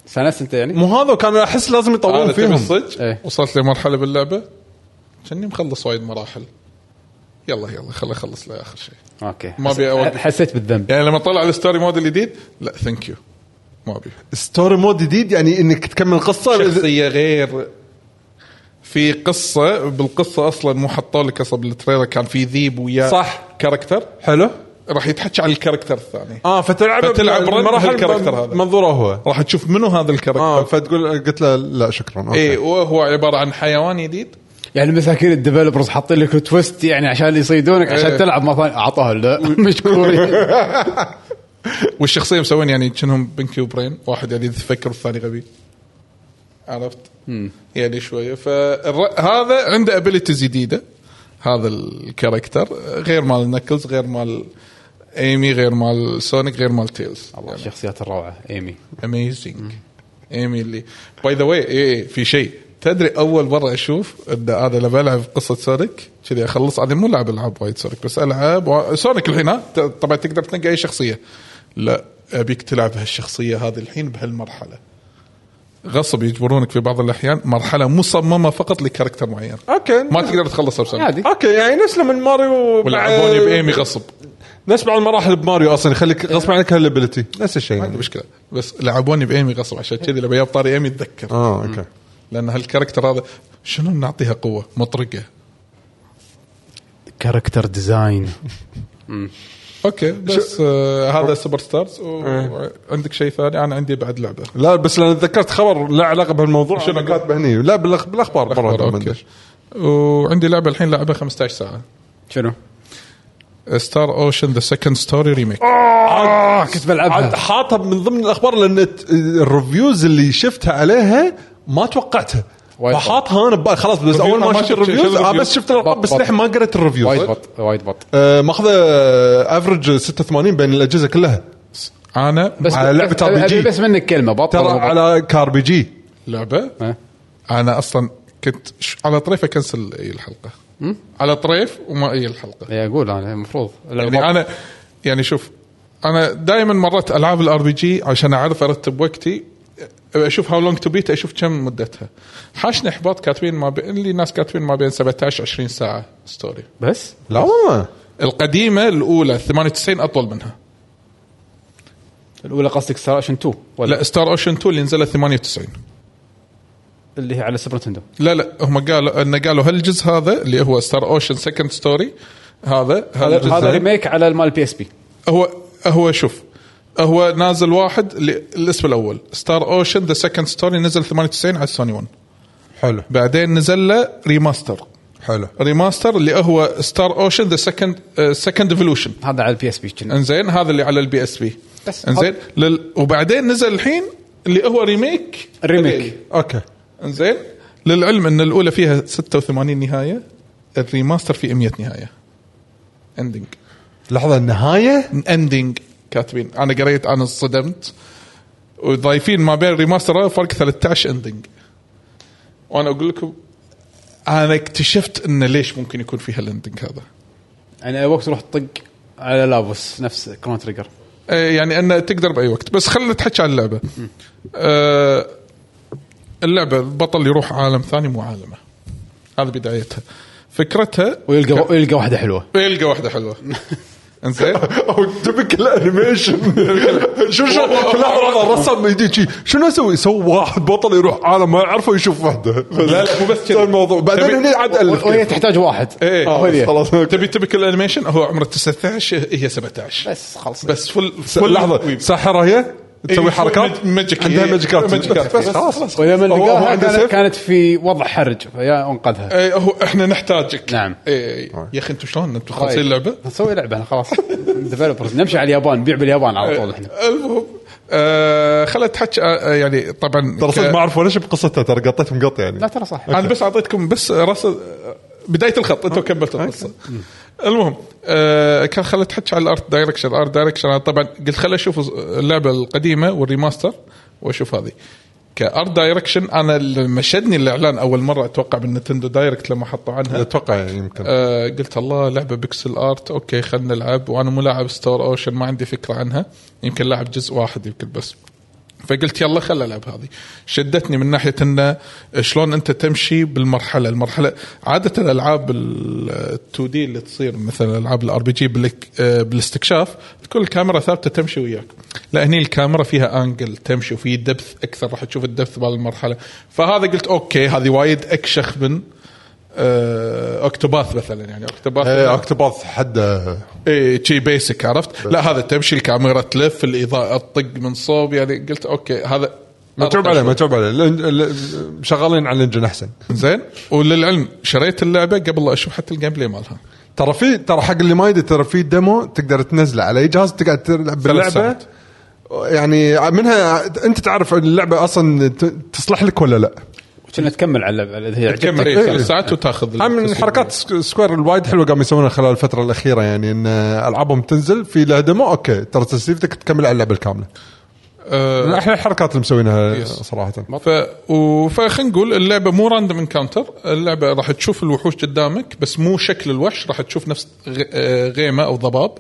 Speaker 1: سانس انت يعني
Speaker 3: مو هذا كان احس لازم يطولون
Speaker 2: انا تبي
Speaker 3: فيهم
Speaker 2: الصج
Speaker 1: إيه.
Speaker 2: وصلت لمرحله باللعبه كاني مخلص وايد مراحل يلا يلا خل اخلص لاخر شيء
Speaker 1: اوكي
Speaker 2: ما أبي أوقف.
Speaker 1: حسيت بالذنب
Speaker 2: يعني لما طلع الستوري مود الجديد لا ثانك يو ما ابي
Speaker 3: ستوري مود جديد يعني انك تكمل قصه
Speaker 2: شخصيه غير في قصه بالقصه اصلا مو حطوا لك اصلا بالتريلر كان في ذيب ويا
Speaker 3: صح.
Speaker 2: كاركتر
Speaker 3: حلو
Speaker 2: راح يتحكى عن الكاركتر الثاني
Speaker 3: اه فتلعب
Speaker 2: فتلعب رن
Speaker 3: المراحل
Speaker 2: بالكاركتر هذا.
Speaker 3: منظوره هو آه،
Speaker 2: راح تشوف منو هذا الكاركتر إيه.
Speaker 3: اه فتقول قلت له لا شكرا اوكي
Speaker 2: اي وهو عباره عن حيوان جديد
Speaker 1: يعني مساكين الديفلوبرز حاطين لك تويست يعني عشان يصيدونك عشان
Speaker 2: إيه.
Speaker 1: تلعب مره ثانيه اعطوها لا [LAUGHS]
Speaker 2: [LAUGHS]
Speaker 1: مشكورين
Speaker 2: والشخصيه مسوين يعني كأنهم بنكي وبرين واحد يعني يفكر والثاني غبي عرفت؟ يعني شويه فهذا عنده ابيلتيز جديده هذا الكاركتر غير مال نكلز غير مال ايمي غير مال سونيك غير مال يعني تيلز
Speaker 1: الله الشخصيات الروعه ايمي
Speaker 2: اميزنج ايمي اللي باي ذا واي إيه، في شيء تدري اول مره اشوف ان انا لما العب قصه سونيك كذي اخلص انا مو لعب العاب وايد سونيك بس العب و... سونيك الحين ها ت- طبعا تقدر تنقي اي شخصيه لا ابيك تلعب هالشخصيه هذه الحين بهالمرحله غصب يجبرونك في بعض الاحيان مرحله مصممه فقط لكاركتر معين
Speaker 3: اوكي
Speaker 2: ما تقدر تخلصها بسرعه
Speaker 1: عادي
Speaker 3: اوكي يعني نفس لما ماريو آه.
Speaker 2: ولعبوني بايمي غصب
Speaker 3: نفس بعض المراحل بماريو اصلا يخليك غصب عنك هالابيلتي نفس الشيء
Speaker 2: إيه. ما عندي
Speaker 3: يعني.
Speaker 2: مشكله بس لعبوني بايمي غصب عشان كذي لما جاب طاري ايمي اتذكر
Speaker 3: اه اوكي
Speaker 2: لان هالكاركتر هذا شنو نعطيها قوه مطرقه
Speaker 1: كاركتر ديزاين
Speaker 2: اوكي بس آه هذا سوبر ستارز وعندك شيء ثاني انا عندي بعد لعبه
Speaker 3: لا بس لان تذكرت خبر لا علاقه بهالموضوع
Speaker 2: شنو
Speaker 3: شنو كاتبه هني لا بالأخ- بالاخبار
Speaker 2: أخبار،
Speaker 3: برا
Speaker 2: اوكي وعندي لعبه الحين لعبها 15 ساعه
Speaker 1: شنو؟
Speaker 2: ستار اوشن ذا سكند ستوري ريميك
Speaker 1: اه كنت
Speaker 3: عاد
Speaker 1: بلعبها
Speaker 3: حاطها من ضمن الاخبار لان الت- الريفيوز اللي شفتها عليها ما توقعتها
Speaker 1: وايد بط.
Speaker 3: فحاطها انا ببالي خلاص بس اول ما
Speaker 2: ما
Speaker 3: شفت
Speaker 2: شفت- شفت
Speaker 3: الريفيوز آه
Speaker 2: الريفيوز.
Speaker 3: بس شفت الالعاب
Speaker 1: بط-
Speaker 3: بس
Speaker 1: بط.
Speaker 3: للحين ما قريت
Speaker 1: وايد
Speaker 3: الريفيوز
Speaker 1: بط وايد بط
Speaker 3: آه، ماخذه افرج 86 بين الاجهزه كلها
Speaker 2: انا
Speaker 1: بس
Speaker 3: على لعبة
Speaker 1: بس-
Speaker 3: RPG.
Speaker 1: أبي بس منك كلمه بط
Speaker 3: ترى
Speaker 1: ولا بط؟
Speaker 3: على كاربي جي
Speaker 2: لعبه
Speaker 1: ها؟
Speaker 2: انا اصلا كنت ش- على طريف اكنسل اي الحلقه على طريف وما اي الحلقه
Speaker 1: إيه، اقول انا المفروض
Speaker 2: يعني انا يعني شوف انا دائما مرات العاب الار بي جي عشان اعرف ارتب وقتي اشوف هاو لونج تو بيت اشوف كم مدتها حاشني احباط كاتبين ما بين اللي ناس كاتبين ما بين 17 20 ساعه ستوري
Speaker 1: بس
Speaker 3: لا والله
Speaker 2: القديمه الاولى 98 اطول منها
Speaker 1: الاولى قصدك ستار اوشن 2 ولا
Speaker 2: لا ستار اوشن 2 اللي نزلت 98
Speaker 1: اللي هي على سوبر نتندو
Speaker 2: لا لا هم قالوا ان قالوا هالجزء هذا اللي هو ستار اوشن سكند ستوري هذا هالجزء
Speaker 1: هذا ريميك على المال بي اس بي
Speaker 2: هو هو شوف هو نازل واحد ل- الاسم الاول ستار اوشن ذا سكند ستوري نزل 98 على سوني 1
Speaker 3: حلو
Speaker 2: بعدين نزل له ريماستر
Speaker 3: حلو
Speaker 2: ريماستر اللي هو ستار اوشن ذا سكند سكند ايفولوشن
Speaker 1: هذا على البي اس بي
Speaker 2: uh,
Speaker 3: أه.
Speaker 2: انزين هذا اللي على البي اس بي
Speaker 1: بس.
Speaker 2: انزين لل... وبعدين نزل الحين اللي هو ريميك
Speaker 1: ريميك
Speaker 3: اوكي
Speaker 2: انزين للعلم ان الاولى فيها 86 نهايه الريماستر فيه 100 نهايه اندنج
Speaker 3: لحظه النهايه
Speaker 2: اندنج كاتبين انا قريت انا انصدمت وضايفين ما بين الريماستر هذا فرق 13 اندنج وانا اقول لكم انا اكتشفت انه ليش ممكن يكون في هالاندنج هذا
Speaker 1: يعني أي وقت تروح تطق على لابوس نفس كرون تريجر
Speaker 2: إيه، يعني انه تقدر باي وقت بس خلينا نتحكي عن اللعبه آه، اللعبه البطل يروح عالم ثاني مو عالمه هذا بدايتها فكرتها
Speaker 1: ويلقى ويلقى واحده حلوه
Speaker 2: يلقى واحده
Speaker 3: [LAUGHS]
Speaker 2: حلوه انزين
Speaker 3: او تبك الانيميشن [LAUGHS] شو شو لحظه الرسم يجي شي. شنو اسوي؟ سوي واحد بطل يروح عالم ما يعرفه يشوف وحده
Speaker 2: لا، لا، مو بس كذي.
Speaker 3: الموضوع بعدين
Speaker 2: تبي-
Speaker 3: هني عاد الف
Speaker 1: وهي تحتاج واحد
Speaker 2: إيه.
Speaker 1: آه،
Speaker 3: كيف.
Speaker 1: وهي.
Speaker 3: خلاص أوكي.
Speaker 2: تبي تبكل الانيميشن هو عمره 19 هي 17
Speaker 1: بس
Speaker 3: أه،
Speaker 1: خلاص
Speaker 2: بس فل
Speaker 3: س- لحظه ساحره هي
Speaker 2: إيه،
Speaker 3: تسوي حركات
Speaker 2: ماجيك
Speaker 3: عندها
Speaker 2: إيه،
Speaker 3: ماجيكات
Speaker 2: ماجيكات.
Speaker 3: بس خلاص
Speaker 1: ولما
Speaker 3: هو- هو
Speaker 1: لقاها
Speaker 3: عنده
Speaker 1: كانت-
Speaker 3: سيف؟ أه،
Speaker 1: كانت في وضع حرج فيا انقذها
Speaker 2: اي إيه، هو احنا نحتاجك
Speaker 1: نعم. طيب.
Speaker 2: اي يا اخي انتم شلون انتم خالصين اللعبه
Speaker 1: نسوي لعبه خلاص [LAUGHS] ديفلوبرز نمشي على اليابان نبيع باليابان على
Speaker 3: أه.
Speaker 1: طول احنا
Speaker 2: المهم آه خلت حكي آه يعني طبعا
Speaker 3: ترى صدق
Speaker 2: ك-
Speaker 3: ما اعرف ولا شيء بقصتها ترى قطيت مقط يعني
Speaker 1: لا ترى صح
Speaker 2: انا بس اعطيتكم بس رصد بدايه الخط انتم كملتوا القصه المهم آه كان خلت حكي على الارت دايركشن الارت دايركشن أنا طبعا قلت خل اشوف اللعبه القديمه والريماستر واشوف هذه كارت دايركشن انا لما شدني الاعلان اول مره اتوقع بالنتندو دايركت لما حطوا عنها
Speaker 3: اتوقع يعني
Speaker 1: أه،
Speaker 3: يمكن
Speaker 2: آه قلت الله لعبه بيكسل ارت اوكي خلنا نلعب وانا مو لاعب ستار اوشن ما عندي فكره عنها يمكن لاعب جزء واحد يمكن بس فقلت يلا خل العب هذه شدتني من ناحيه انه شلون انت تمشي بالمرحله المرحله عاده الالعاب ال 2 دي اللي تصير مثلا العاب الار بي جي آه، بالاستكشاف تكون الكاميرا ثابته تمشي وياك لا هني الكاميرا فيها انجل تمشي وفي دبث اكثر راح تشوف الدبث بالمرحله فهذا قلت اوكي هذه وايد اكشخ من آه، اوكتوباث مثلا يعني اوكتوباث
Speaker 1: أه،
Speaker 3: إيه، اكتوباث حده
Speaker 2: اي إيه، شي بيسك عرفت؟ لا هذا تمشي الكاميرا تلف الاضاءه تطق من صوب يعني قلت اوكي هذا
Speaker 3: متعوب
Speaker 1: أه،
Speaker 3: عليه متعوب عليه لأن- ال- شغالين على الانجن احسن
Speaker 2: زين وللعلم شريت اللعبه قبل لا اشوف حتى الجيم بلاي مالها
Speaker 3: ترى في ترى حق اللي ما يدري ترى في ديمو تقدر تنزله على اي جهاز تقعد تلعب باللعبه
Speaker 2: ساعات.
Speaker 3: يعني منها انت تعرف اللعبه اصلا ت- تصلح لك ولا لا
Speaker 1: كنا تكمل على اللعبة اذا هي
Speaker 2: تكمل
Speaker 1: عجبتك
Speaker 2: إيه، ثلاث ساعات وتاخذ
Speaker 3: هم من
Speaker 2: الفلوس.
Speaker 3: حركات سك- سكوير الوايد حلوه قاموا يسوونها خلال الفتره الاخيره يعني ان العابهم تنزل في لها ديمو اوكي ترى تسليفتك تكمل على اللعبه الكامله من
Speaker 2: آه،
Speaker 3: احلى الحركات اللي مسوينها
Speaker 2: يس.
Speaker 3: صراحه
Speaker 2: ف... و... فخلينا نقول اللعبه مو راندوم انكاونتر اللعبه راح تشوف الوحوش قدامك بس مو شكل الوحش راح تشوف نفس غ... آه، غيمه او ضباب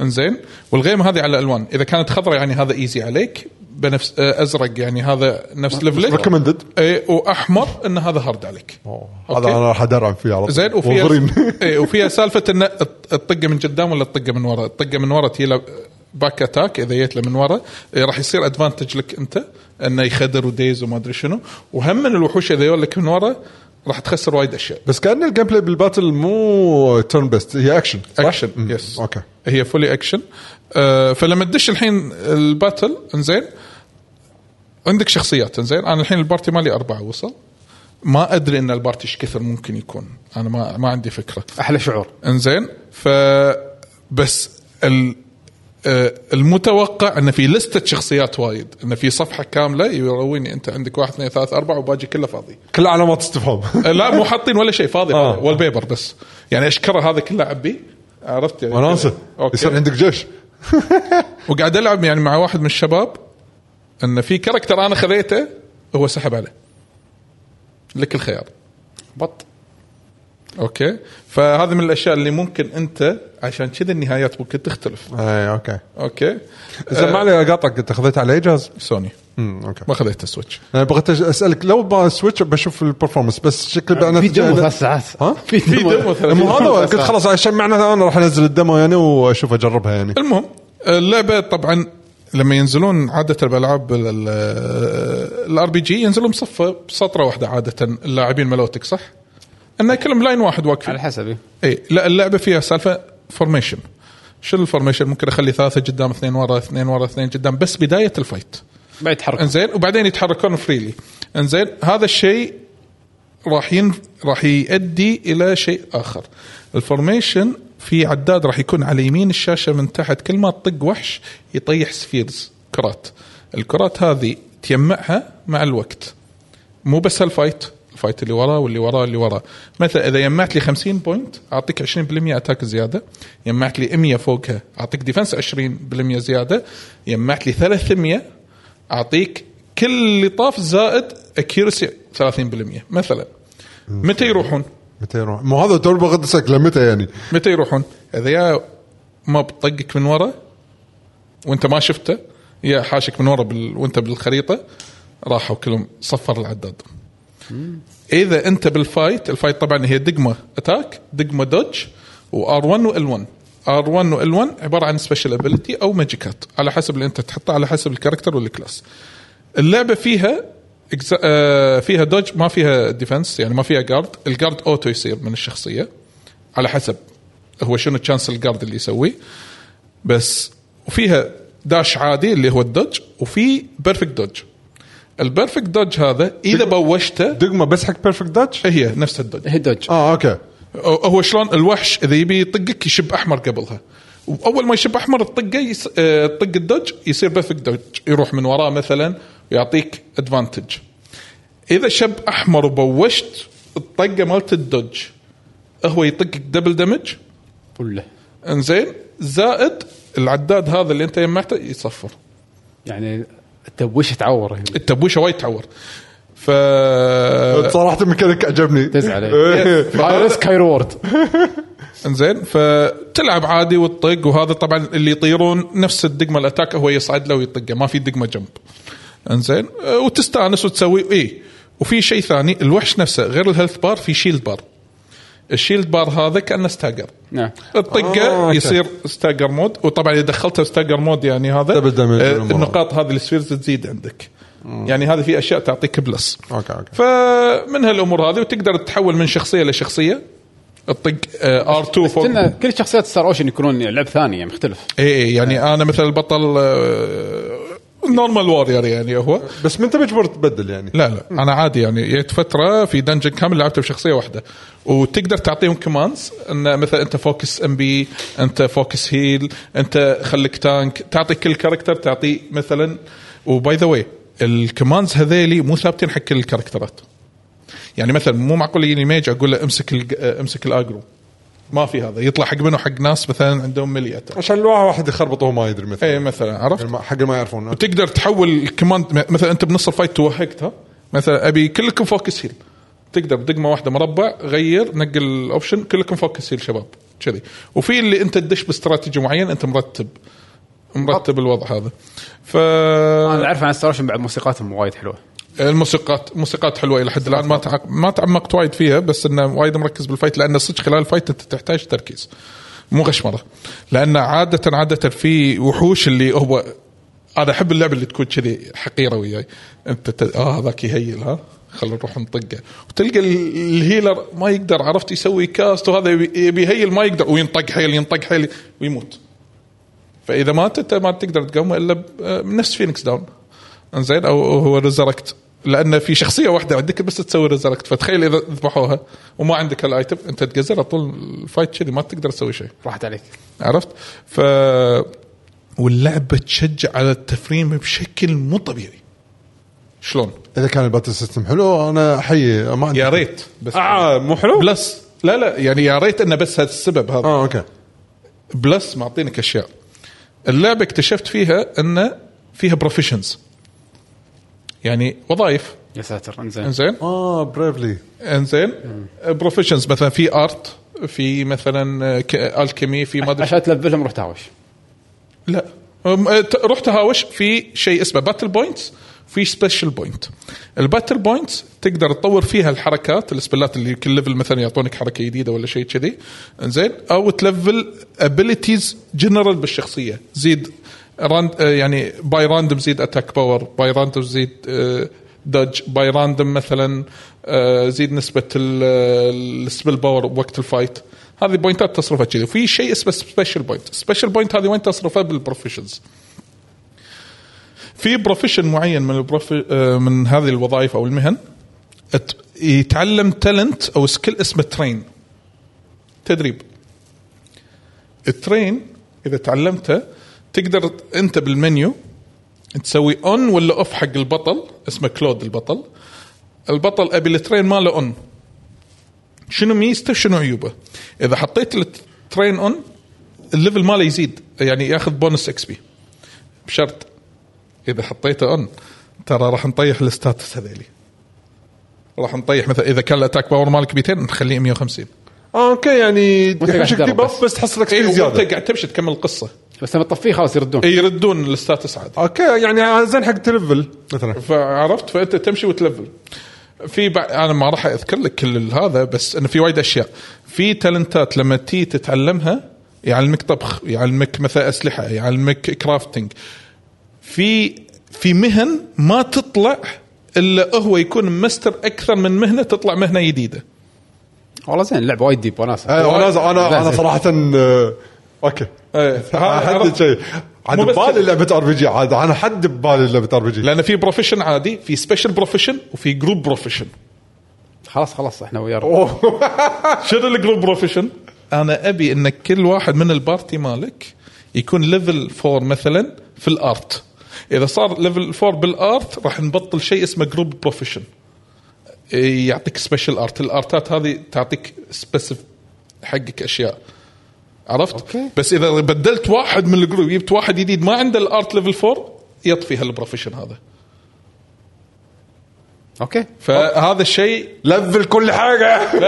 Speaker 2: انزين والغيمه هذه على الوان اذا كانت خضراء يعني هذا ايزي عليك بنفس آه، ازرق يعني هذا نفس ليفلك
Speaker 3: recommended.
Speaker 2: اي واحمر ان إيه، هذا هارد عليك
Speaker 3: هذا
Speaker 2: أوكي.
Speaker 3: انا راح ادرعم فيه على طول.
Speaker 2: زين إيه،
Speaker 3: وولفرين. [LAUGHS]
Speaker 2: وفيها اي وفيها سالفه ان الط- الطقه من قدام ولا الطقه من ورا، الطقه من ورا تجي له باك اتاك اذا جيت له من ورا إيه، راح يصير ادفانتج لك انت انه يخدر وديز وما ادري شنو، وهم من الوحوش اذا يقول لك من ورا راح تخسر وايد اشياء.
Speaker 3: بس كان الجيم بلاي بالباتل مو تيرن بيست هي اكشن صح؟
Speaker 2: اكشن
Speaker 3: مم.
Speaker 2: يس
Speaker 3: اوكي
Speaker 2: هي فولي اكشن آه، فلما تدش الحين الباتل انزين عندك شخصيات انزين انا الحين البارتي مالي اربعه وصل ما ادري ان البارتي ايش كثر ممكن يكون انا ما ما عندي فكره
Speaker 1: احلى شعور
Speaker 2: انزين ف بس ال آه، المتوقع ان في لستة شخصيات وايد ان في صفحه كامله يرويني انت عندك واحد اثنين ثلاث اربع وباجي كله فاضي
Speaker 3: كل علامات استفهام
Speaker 2: [LAUGHS] آه، لا مو حاطين ولا شيء فاضي
Speaker 3: آه.
Speaker 2: والبيبر بس يعني اشكره هذا كله عبي عرفت يعني
Speaker 3: وناسه
Speaker 2: أوكي.
Speaker 3: يصير عندك جيش
Speaker 2: وقاعد العب يعني مع واحد من الشباب ان في كاركتر انا خذيته هو سحب عليه لك الخيار
Speaker 1: بط
Speaker 2: اوكي فهذه من الاشياء اللي ممكن انت عشان كذا النهايات ممكن تختلف
Speaker 3: اي اوكي
Speaker 2: اوكي
Speaker 3: زين ما علي اقاطعك انت خذيت على اي جهاز؟
Speaker 2: آه، سوني
Speaker 3: امم اوكي
Speaker 2: ما خذيت السويتش
Speaker 3: انا بغيت أج- اسالك لو بسويتش بشوف البرفورمانس بس شكل بأنا
Speaker 1: في دمو ثلاث ساعات
Speaker 3: ها؟
Speaker 1: في
Speaker 2: دمو
Speaker 1: دمو
Speaker 2: ثلاث-
Speaker 3: المهم
Speaker 1: [LAUGHS]
Speaker 3: هذا
Speaker 1: ثلاث
Speaker 3: قلت
Speaker 1: ساعات.
Speaker 3: خلاص عشان معناته انا راح انزل الدمو يعني واشوف اجربها [LAUGHS] يعني
Speaker 2: المهم آه، اللعبه طبعا لما ينزلون عاده بالالعاب الار بي جي ينزلون بصفه بسطره واحده عاده اللاعبين ملوتك صح؟ انه كلهم لاين واحد
Speaker 1: على
Speaker 2: واقفين
Speaker 1: حسب
Speaker 2: اي لا اللعبه فيها سالفه فورميشن شنو الفورميشن ممكن اخلي ثلاثه قدام اثنين ورا اثنين ورا اثنين قدام بس بدايه الفايت
Speaker 1: بعد يتحرك
Speaker 2: انزين وبعدين يتحركون فريلي انزين هذا الشيء راح ين... راح يؤدي الى شيء اخر الفورميشن في عداد راح يكون على يمين الشاشه من تحت كل ما تطق وحش يطيح سفيرز كرات الكرات هذه تجمعها مع الوقت مو بس هالفايت الفايت اللي وراه واللي وراه اللي وراه مثلا اذا جمعت لي 50 بوينت اعطيك 20% اتاك زياده جمعت لي 100 فوقها اعطيك ديفنس 20% زياده جمعت لي 300 اعطيك كل اللي طاف زائد اكيرسي 30% مثلا متى يروحون؟
Speaker 3: متى يروح؟ مو هذا تو بغيت اسالك لمتى يعني؟
Speaker 2: متى يروحون؟ اذا يا ما بطقك من ورا وانت ما شفته يا حاشك من ورا بال... وانت بالخريطه راحوا كلهم صفر العداد. اذا انت بالفايت، الفايت طبعا هي دقمه اتاك، دقمه دوج وار 1 وال 1. ار 1 وال 1 عباره عن سبيشل ابيلتي او ماجيكات على حسب اللي انت تحطه على حسب الكاركتر والكلاس. اللعبه فيها إجزا- آه، فيها دوج ما فيها ديفنس يعني ما فيها جارد، الجارد اوتو يصير من الشخصيه على حسب هو شنو تشانس الجارد اللي يسويه بس وفيها داش عادي اللي هو الدوج وفي بيرفكت دوج البيرفكت دوج هذا اذا بوشته
Speaker 3: دقمه بس حق بيرفكت داتش؟
Speaker 2: هي نفس الدوج
Speaker 1: هيدوج
Speaker 3: اه اوكي
Speaker 2: هو شلون الوحش اذا يبي يطقك يشب احمر قبلها واول ما يشب احمر الطقه يس... آه، طق الدوج يصير بيرفكت دوج يروح من وراه مثلا ويعطيك ادفانتج اذا شب احمر وبوشت الطقه مالت الدوج هو يطقك دبل دمج
Speaker 1: كله
Speaker 2: انزين زائد العداد هذا اللي انت جمعته يصفر
Speaker 1: يعني التبويش تعور هنا.
Speaker 2: التبوشه وايد تعور ف
Speaker 3: صراحه الميكانيك عجبني
Speaker 1: تزعل إيه.
Speaker 3: [LAUGHS] إيه.
Speaker 1: هاي ريسك هاي ريورد
Speaker 2: انزين فتلعب عادي وتطق وهذا طبعا اللي يطيرون نفس الدقمه الاتاك هو يصعد له ويطقه ما في دقمه جنب انزين أه، وتستانس وتسوي اي وفي شيء ثاني الوحش نفسه غير الهيلث بار في شيلد بار الشيلد بار هذا كانه ستاجر
Speaker 1: نعم
Speaker 2: الطقه
Speaker 3: آه،
Speaker 2: آه
Speaker 3: أوكي.
Speaker 2: يصير ستاجر مود وطبعا اذا دخلتها ستاجر مود يعني هذا
Speaker 3: Double damage
Speaker 2: آه،
Speaker 3: والأمور.
Speaker 2: النقاط هذه السفيرز تزيد عندك يعني هذه في اشياء تعطيك بلس
Speaker 3: اوكي اوكي
Speaker 2: فمن هالامور هذه وتقدر تحول من شخصيه لشخصيه تطق ار 2 آه، فوق إيه،
Speaker 1: كنا كل يعني شخصيات ستار اوشن يكونون لعب ثاني يعني مختلف
Speaker 2: اي يعني انا مثل البطل آه، نورمال وورير يعني هو
Speaker 3: بس ما انت مجبور تبدل يعني
Speaker 2: لا لا انا عادي يعني جيت فتره في دنجن كامل لعبته بشخصيه واحده وتقدر تعطيهم كوماندز ان مثلا انت فوكس ام بي انت فوكس هيل انت خليك تانك تعطي كل كاركتر تعطي مثلا وباي ذا واي الكوماندز هذيلي مو ثابتين حق كل الكاركترات يعني مثلا مو معقول يجيني ميج اقول له امسك الج- امسك الاجرو ما في هذا يطلع حق منه حق ناس مثلا عندهم ملي اتاك
Speaker 3: عشان الواحد واحد يخربط وهو إيه، ما يدري مثلا
Speaker 2: اي مثلا عرفت
Speaker 3: الم- حق اللي ما يعرفون
Speaker 2: وتقدر تحول الكوماند مثلا انت بنص الفايت توهقت ها مثلا ابي كلكم فوكس هيل تقدر بدقمه واحده مربع غير نقل الاوبشن كلكم فوكس هيل شباب كذي وفي اللي انت تدش باستراتيجي معين انت مرتب مرتب الوضع هذا ف آه.
Speaker 1: انا اعرف عن ستارشن بعد موسيقاتهم وايد حلوه
Speaker 2: الموسيقات موسيقات حلوه الى حد الان ما تعق- ما تعمقت وايد فيها بس انه وايد مركز بالفايت لان صدق خلال الفايت انت تحتاج تركيز مو غشمره لان عاده عاده في وحوش اللي هو انا احب اللعبه اللي تكون كذي حقيره وياي انت ت... اه هذاك يهيل ها خلينا نروح نطقه وتلقى ال- الهيلر ما يقدر عرفت يسوي كاست وهذا يبي يبي يهيل ما يقدر وينطق حيل ينطق حيل ويموت فاذا مات انت ما تقدر تقومه الا ب- آه، نفس فينيكس داون انزين او هو ريزركت لان في شخصيه واحده عندك بس تسوي ريزركت فتخيل اذا ذبحوها وما عندك الايتم انت تقزر طول الفايت كذي ما تقدر تسوي شيء
Speaker 1: راحت عليك
Speaker 2: عرفت ف واللعبه تشجع على التفريم بشكل مو طبيعي شلون
Speaker 3: اذا كان الباتل سيستم حلو انا احيي ما عندي
Speaker 2: يا ريت بس
Speaker 3: آه، مو حلو؟
Speaker 2: بلس لا لا يعني يا ريت انه بس هذا السبب هذا
Speaker 3: اه اوكي
Speaker 2: بلس معطينك اشياء اللعبه اكتشفت فيها ان فيها بروفيشنز يعني وظائف
Speaker 1: يا ساتر انزين
Speaker 2: انزين
Speaker 3: اه بريفلي
Speaker 2: انزين بروفيشنز مثلا في ارت في مثلا الكيمي في ما ادري
Speaker 1: عشان تلفلهم روح تهاوش
Speaker 2: لا أم، آه، ت- روح تهاوش في شيء اسمه باتل بوينتس في سبيشل بوينت الباتل بوينتس تقدر تطور فيها الحركات السبلات اللي كل ليفل مثلا يعطونك حركه جديده ولا شيء كذي زين او تلفل ابيلتيز جنرال بالشخصيه زيد راند آه، يعني باي راندوم زيد اتاك باور باي راندوم زيد آه، دج باي راندوم مثلا آه، زيد نسبه السبل باور بوقت الفايت هذه بوينتات تصرفها كذي وفي شيء اسمه سبيشل بوينت سبيشل بوينت هذه وين تصرفها بالبروفيشنز في بروفيشن معين من البروف آه، من هذه الوظائف او المهن ات- يتعلم تالنت او سكيل اسمه ترين تدريب الترين اذا تعلمته تقدر انت بالمنيو تسوي اون ولا اوف حق البطل اسمه كلود البطل البطل ابي الترين ماله اون شنو ميزته شنو عيوبه اذا حطيت الترين اون الليفل ماله يزيد يعني ياخذ بونس اكس بي بشرط اذا حطيته اون ترى راح نطيح الستاتس هذيلي راح نطيح مثلا اذا كان الاتاك باور مالك 200 نخليه 150
Speaker 3: اه اوكي يعني
Speaker 1: قاعد
Speaker 3: يحوشك
Speaker 1: تدرب
Speaker 3: دي
Speaker 1: بس.
Speaker 3: بف بس تحصل لك
Speaker 2: اي
Speaker 3: XP
Speaker 2: وانت
Speaker 3: زياده
Speaker 2: إيه، قاعد تمشي تكمل القصه
Speaker 1: بس لما تطفيه خلاص يردون
Speaker 2: إي، يردون الستاتس عادي
Speaker 3: اوكي يعني زين حق تلفل مثلا
Speaker 2: فعرفت فانت تمشي وتلفل في بع... انا ما راح اذكر لك كل هذا بس انه في وايد اشياء في تالنتات لما تي تتعلمها يعلمك طبخ يعلمك مثلا اسلحه يعلمك كرافتنج في في مهن ما تطلع الا هو يكون مستر اكثر من مهنه تطلع مهنه جديده
Speaker 1: والله زين اللعبه وايد ديب وناسه
Speaker 3: آه، انا انا انا
Speaker 1: زين.
Speaker 3: صراحه آه، اوكي [LAUGHS]
Speaker 2: إيه.
Speaker 3: حد شيء عاد
Speaker 2: مو بس-
Speaker 3: ببالي لعبه ار بي جي عاد انا حد ببالي لعبه ار بي جي
Speaker 2: لان في بروفيشن عادي في سبيشل بروفيشن وفي جروب بروفيشن
Speaker 1: خلاص خلاص احنا ويا الرب.
Speaker 2: شنو الجروب بروفيشن؟ انا ابي ان كل واحد من البارتي مالك يكون ليفل 4 مثلا في الارت اذا صار ليفل 4 بالارت راح نبطل شيء اسمه جروب بروفيشن يعطيك سبيشل ارت الارتات هذه تعطيك سبيسيف حقك اشياء عرفت
Speaker 1: أوكي.
Speaker 2: بس اذا بدلت واحد من الجروب جبت واحد جديد ما عنده الارت ليفل 4 يطفي هالبروفيشن هذا
Speaker 1: اوكي
Speaker 2: فهذا الشيء
Speaker 3: لفل كل حاجه
Speaker 1: كل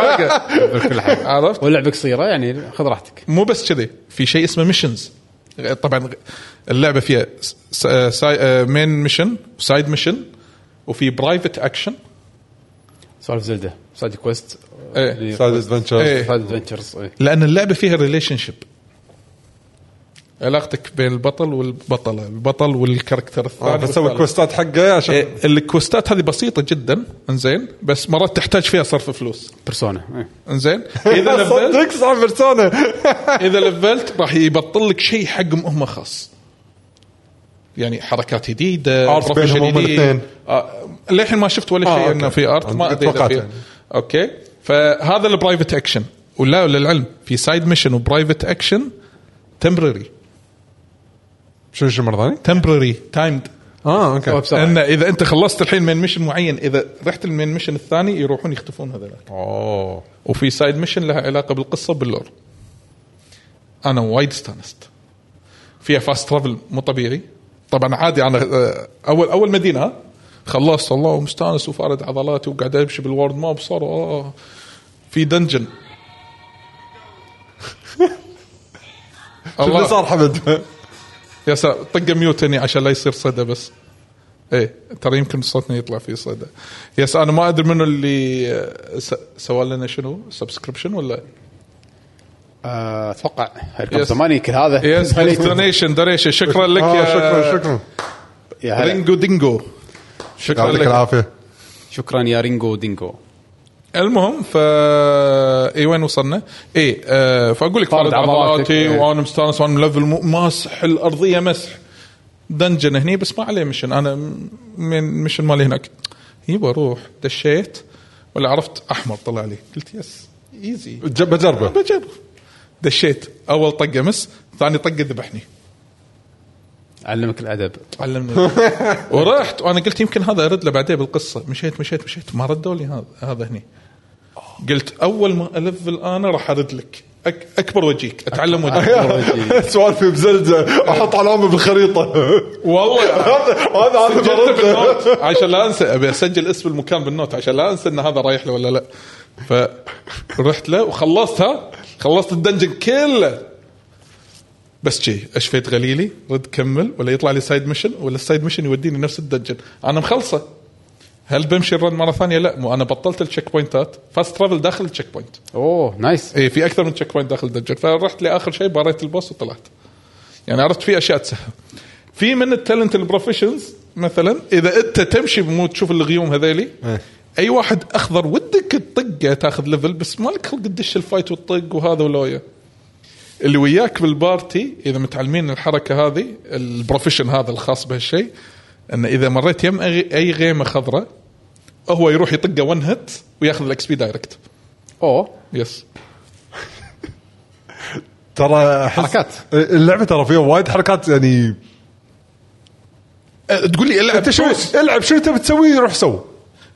Speaker 1: حاجه
Speaker 2: عرفت
Speaker 1: واللعبه قصيره يعني خذ راحتك
Speaker 2: مو بس كذي في شيء اسمه ميشنز طبعا اللعبه فيها uh, مين ميشن وسايد ميشن وفي برايفت اكشن
Speaker 1: سوالف زلده سايد كويست
Speaker 2: إيه.
Speaker 1: اللي-
Speaker 3: سايد ادفنتشر
Speaker 2: إيه.
Speaker 1: سايد ادفنتشرز إيه.
Speaker 2: لان اللعبه فيها ريليشن شيب علاقتك بين البطل والبطله البطل والكاركتر الثاني
Speaker 3: آه، بسوي
Speaker 2: والثالث.
Speaker 3: كوستات حقه عشان
Speaker 2: إيه، الكوستات هذه بسيطه جدا انزين بس مرات تحتاج فيها صرف فلوس
Speaker 1: بيرسونا إيه.
Speaker 2: انزين اذا لفلت
Speaker 3: صدق صح بيرسونا
Speaker 2: اذا لفلت راح يبطل لك شيء حق مهمه خاص يعني حركات جديده
Speaker 3: Art
Speaker 2: بروفيشن
Speaker 3: بينهم هم
Speaker 2: جديد.
Speaker 3: الاثنين.
Speaker 2: آه، للحين ما شفت ولا
Speaker 3: آه،
Speaker 2: شيء
Speaker 3: أوكي.
Speaker 2: انه في ارت ما أدري إذا
Speaker 3: توقعت
Speaker 2: في-
Speaker 3: يعني.
Speaker 2: اوكي فهذا البرايفت اكشن ولا للعلم في سايد ميشن وبرايفت اكشن تمبرري
Speaker 3: [LAUGHS] شو شو مره ثانيه؟
Speaker 2: تمبرري تايمد
Speaker 3: اه اوكي
Speaker 1: وبسرعة.
Speaker 2: ان اذا انت خلصت الحين من ميشن معين اذا رحت من ميشن الثاني يروحون يختفون هذول
Speaker 3: اوه
Speaker 2: وفي سايد ميشن لها علاقه بالقصه باللور انا وايد استانست فيها فاست ترافل مو طبيعي طبعا عادي انا آه، اول اول مدينه ها، خلصت الله ومستانس وفارد عضلاتي وقاعد امشي بالورد ماب صار آه، في دنجن
Speaker 3: شو اللي صار حمد؟
Speaker 2: يا سلام طق ميوت هني عشان لا يصير صدى بس ايه ترى يمكن صوتنا يطلع فيه صدى يا سلام انا ما ادري منو اللي آه، س- سوى لنا شنو سبسكريبشن ولا
Speaker 1: آه، اتوقع هيركم
Speaker 2: Yes.
Speaker 1: زماني يمكن هذا [LAUGHS]
Speaker 3: [LAUGHS]
Speaker 2: يس
Speaker 1: يا
Speaker 2: دونيشن دونيشن شكرا لك
Speaker 3: آه،
Speaker 2: يا
Speaker 3: شكرا شكرا
Speaker 1: هلا.
Speaker 2: رينجو دينجو شكرا
Speaker 3: يعطيك
Speaker 2: لك
Speaker 3: العافيه
Speaker 1: شكرا يا رينجو دينجو
Speaker 2: المهم ف اي وين وصلنا؟ اي آه فاقول لك
Speaker 1: طارد
Speaker 2: طارد
Speaker 1: عضلاتك.
Speaker 2: عضلاتي
Speaker 1: إيه.
Speaker 2: وانا مستانس وانا ملفل مو- ماسح الارضيه مسح دنجن هني بس ما عليه مشن انا م- من مشن مالي هناك يبا اروح دشيت ولا عرفت احمر طلع لي قلت يس ايزي
Speaker 3: ج- بجربه
Speaker 2: بجرب دشيت اول طقه مس ثاني طقه ذبحني
Speaker 1: علمك
Speaker 2: [LAUGHS]
Speaker 1: الادب
Speaker 2: علمني ورحت وانا قلت يمكن هذا ارد له بعدين بالقصه مشيت مشيت مشيت ما ردوا لي هذا هذا هني قلت اول ما الفل انا راح ارد لك أك اكبر وجهك اتعلم وجهك
Speaker 3: [LAUGHS] سوالفي بزلزه احط علامه [LAUGHS] بالخريطه
Speaker 2: والله
Speaker 3: هذا هذا هذا
Speaker 2: سجلت
Speaker 3: برد.
Speaker 2: بالنوت
Speaker 3: [LAUGHS]
Speaker 2: عشان لا انسى ابي اسجل اسم المكان بالنوت عشان لا انسى ان هذا رايح له ولا لا فرحت له وخلصتها خلصت الدنجن كله بس شي اشفيت غليلي رد كمل ولا يطلع لي سايد ميشن ولا السايد ميشن يوديني نفس الدنجن انا مخلصه هل بمشي الرن مره ثانيه لا مو انا بطلت التشيك بوينتات فاست ترافل داخل التشيك بوينت
Speaker 1: اوه نايس
Speaker 2: اي إيه، في اكثر من تشيك بوينت داخل الدنجن فرحت لاخر شيء باريت البوس وطلعت يعني عرفت في اشياء تسهل في من التالنت البروفيشنز مثلا اذا انت تمشي مو تشوف الغيوم هذيلي
Speaker 3: إيه.
Speaker 2: اي واحد اخضر ودك تطقه تاخذ ليفل بس مالك خلق تدش الفايت وتطق وهذا ولويا اللي وياك بالبارتي اذا متعلمين الحركه هذه البروفيشن هذا الخاص بهالشيء ان اذا مريت يم أي- اي غيمه خضراء هو يروح يطقه ون هيت وياخذ الاكس بي دايركت
Speaker 1: اوه
Speaker 2: يس
Speaker 3: ترى أحس-
Speaker 1: حركات.
Speaker 3: اللعبه ترى فيها وايد حركات يعني
Speaker 2: أه، تقول لي العب
Speaker 3: انت شو
Speaker 2: فلوس.
Speaker 3: العب شو تبي تسوي روح سو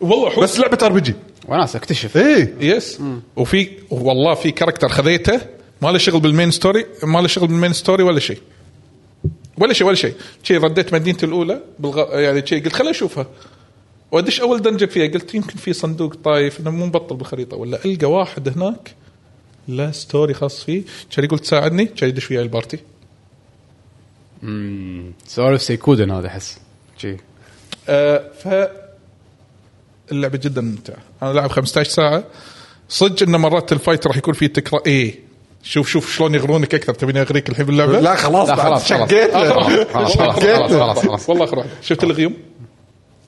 Speaker 2: والله حوس
Speaker 3: بس لعبه ار بي جي
Speaker 1: وناس اكتشف
Speaker 3: ايه
Speaker 2: يس وفي والله في كاركتر خذيته ما له شغل بالمين ستوري ما له شغل بالمين ستوري ولا شيء ولا شيء ولا شيء شي رديت مدينتي الاولى بالغ... يعني شي قلت خليني اشوفها وادش اول دنجن فيها قلت يمكن في صندوق طايف انه مو مبطل بالخريطه ولا القى واحد هناك لا ستوري خاص فيه كان يقول تساعدني كان يدش وياي البارتي
Speaker 1: سوالف سيكودن هذا احس شي
Speaker 2: آه، ف اللعبه جدا ممتعه انا لاعب 15 ساعه صدق ان مرات الفايت راح يكون فيه تكرار ايه شوف شوف شلون يغرونك اكثر تبيني اغريك الحين باللعبه
Speaker 3: لا خلاص
Speaker 1: لا،
Speaker 3: بعد
Speaker 1: خلاص، خلاص.
Speaker 3: شقيت
Speaker 2: آه،
Speaker 3: له.
Speaker 1: خلاص خلاص خلاص خلاص خلاص خلاص
Speaker 2: [LAUGHS] والله خرافي شفت الغيوم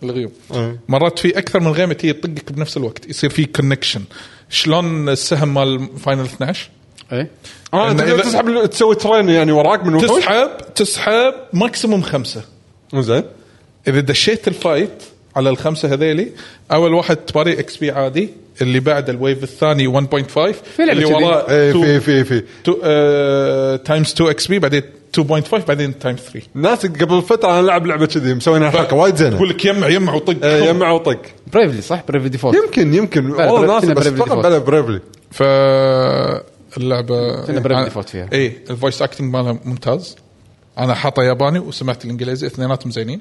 Speaker 2: الغيوم
Speaker 3: إيه.
Speaker 2: مرات في اكثر من غيمه تيجي تطقك بنفس الوقت يصير في كونكشن شلون السهم مال فاينل 12
Speaker 1: اي
Speaker 3: اه
Speaker 2: إن
Speaker 3: تقدر
Speaker 2: إذا-
Speaker 3: تسحب تسوي ترين يعني وراك من وحوش
Speaker 2: تسحب تسحب ماكسيموم خمسه
Speaker 3: زين
Speaker 2: اذا دشيت الفايت على الخمسه هذيلي اول واحد تباري اكس بي عادي اللي بعد الويف الثاني 1.5
Speaker 1: لعبة
Speaker 2: اللي
Speaker 1: كذي.
Speaker 3: ايه في
Speaker 2: وراه آه،
Speaker 3: في في
Speaker 2: تايمز 2 اكس بي بعدين 2.5 بعدين تايمز 3
Speaker 3: ناس قبل فتره انا لعب لعبه كذي مسوينها حركه وايد
Speaker 2: يقول
Speaker 3: زينه
Speaker 2: لك يمع يمع وطق
Speaker 3: إيه، يمع وطق
Speaker 1: بريفلي صح بريفلي ديفولت
Speaker 3: يمكن يمكن والله
Speaker 1: برا-
Speaker 3: ناس
Speaker 1: كنا
Speaker 3: بس
Speaker 1: بريفلي
Speaker 3: فقط
Speaker 1: ديفولت.
Speaker 3: بلا بريفلي
Speaker 2: ف آه، اللعبه
Speaker 1: كنا بريف ديفولت فيها.
Speaker 2: اي الفويس اكتنج مالها ممتاز انا حاطه ياباني وسمعت الانجليزي اثنيناتهم زينين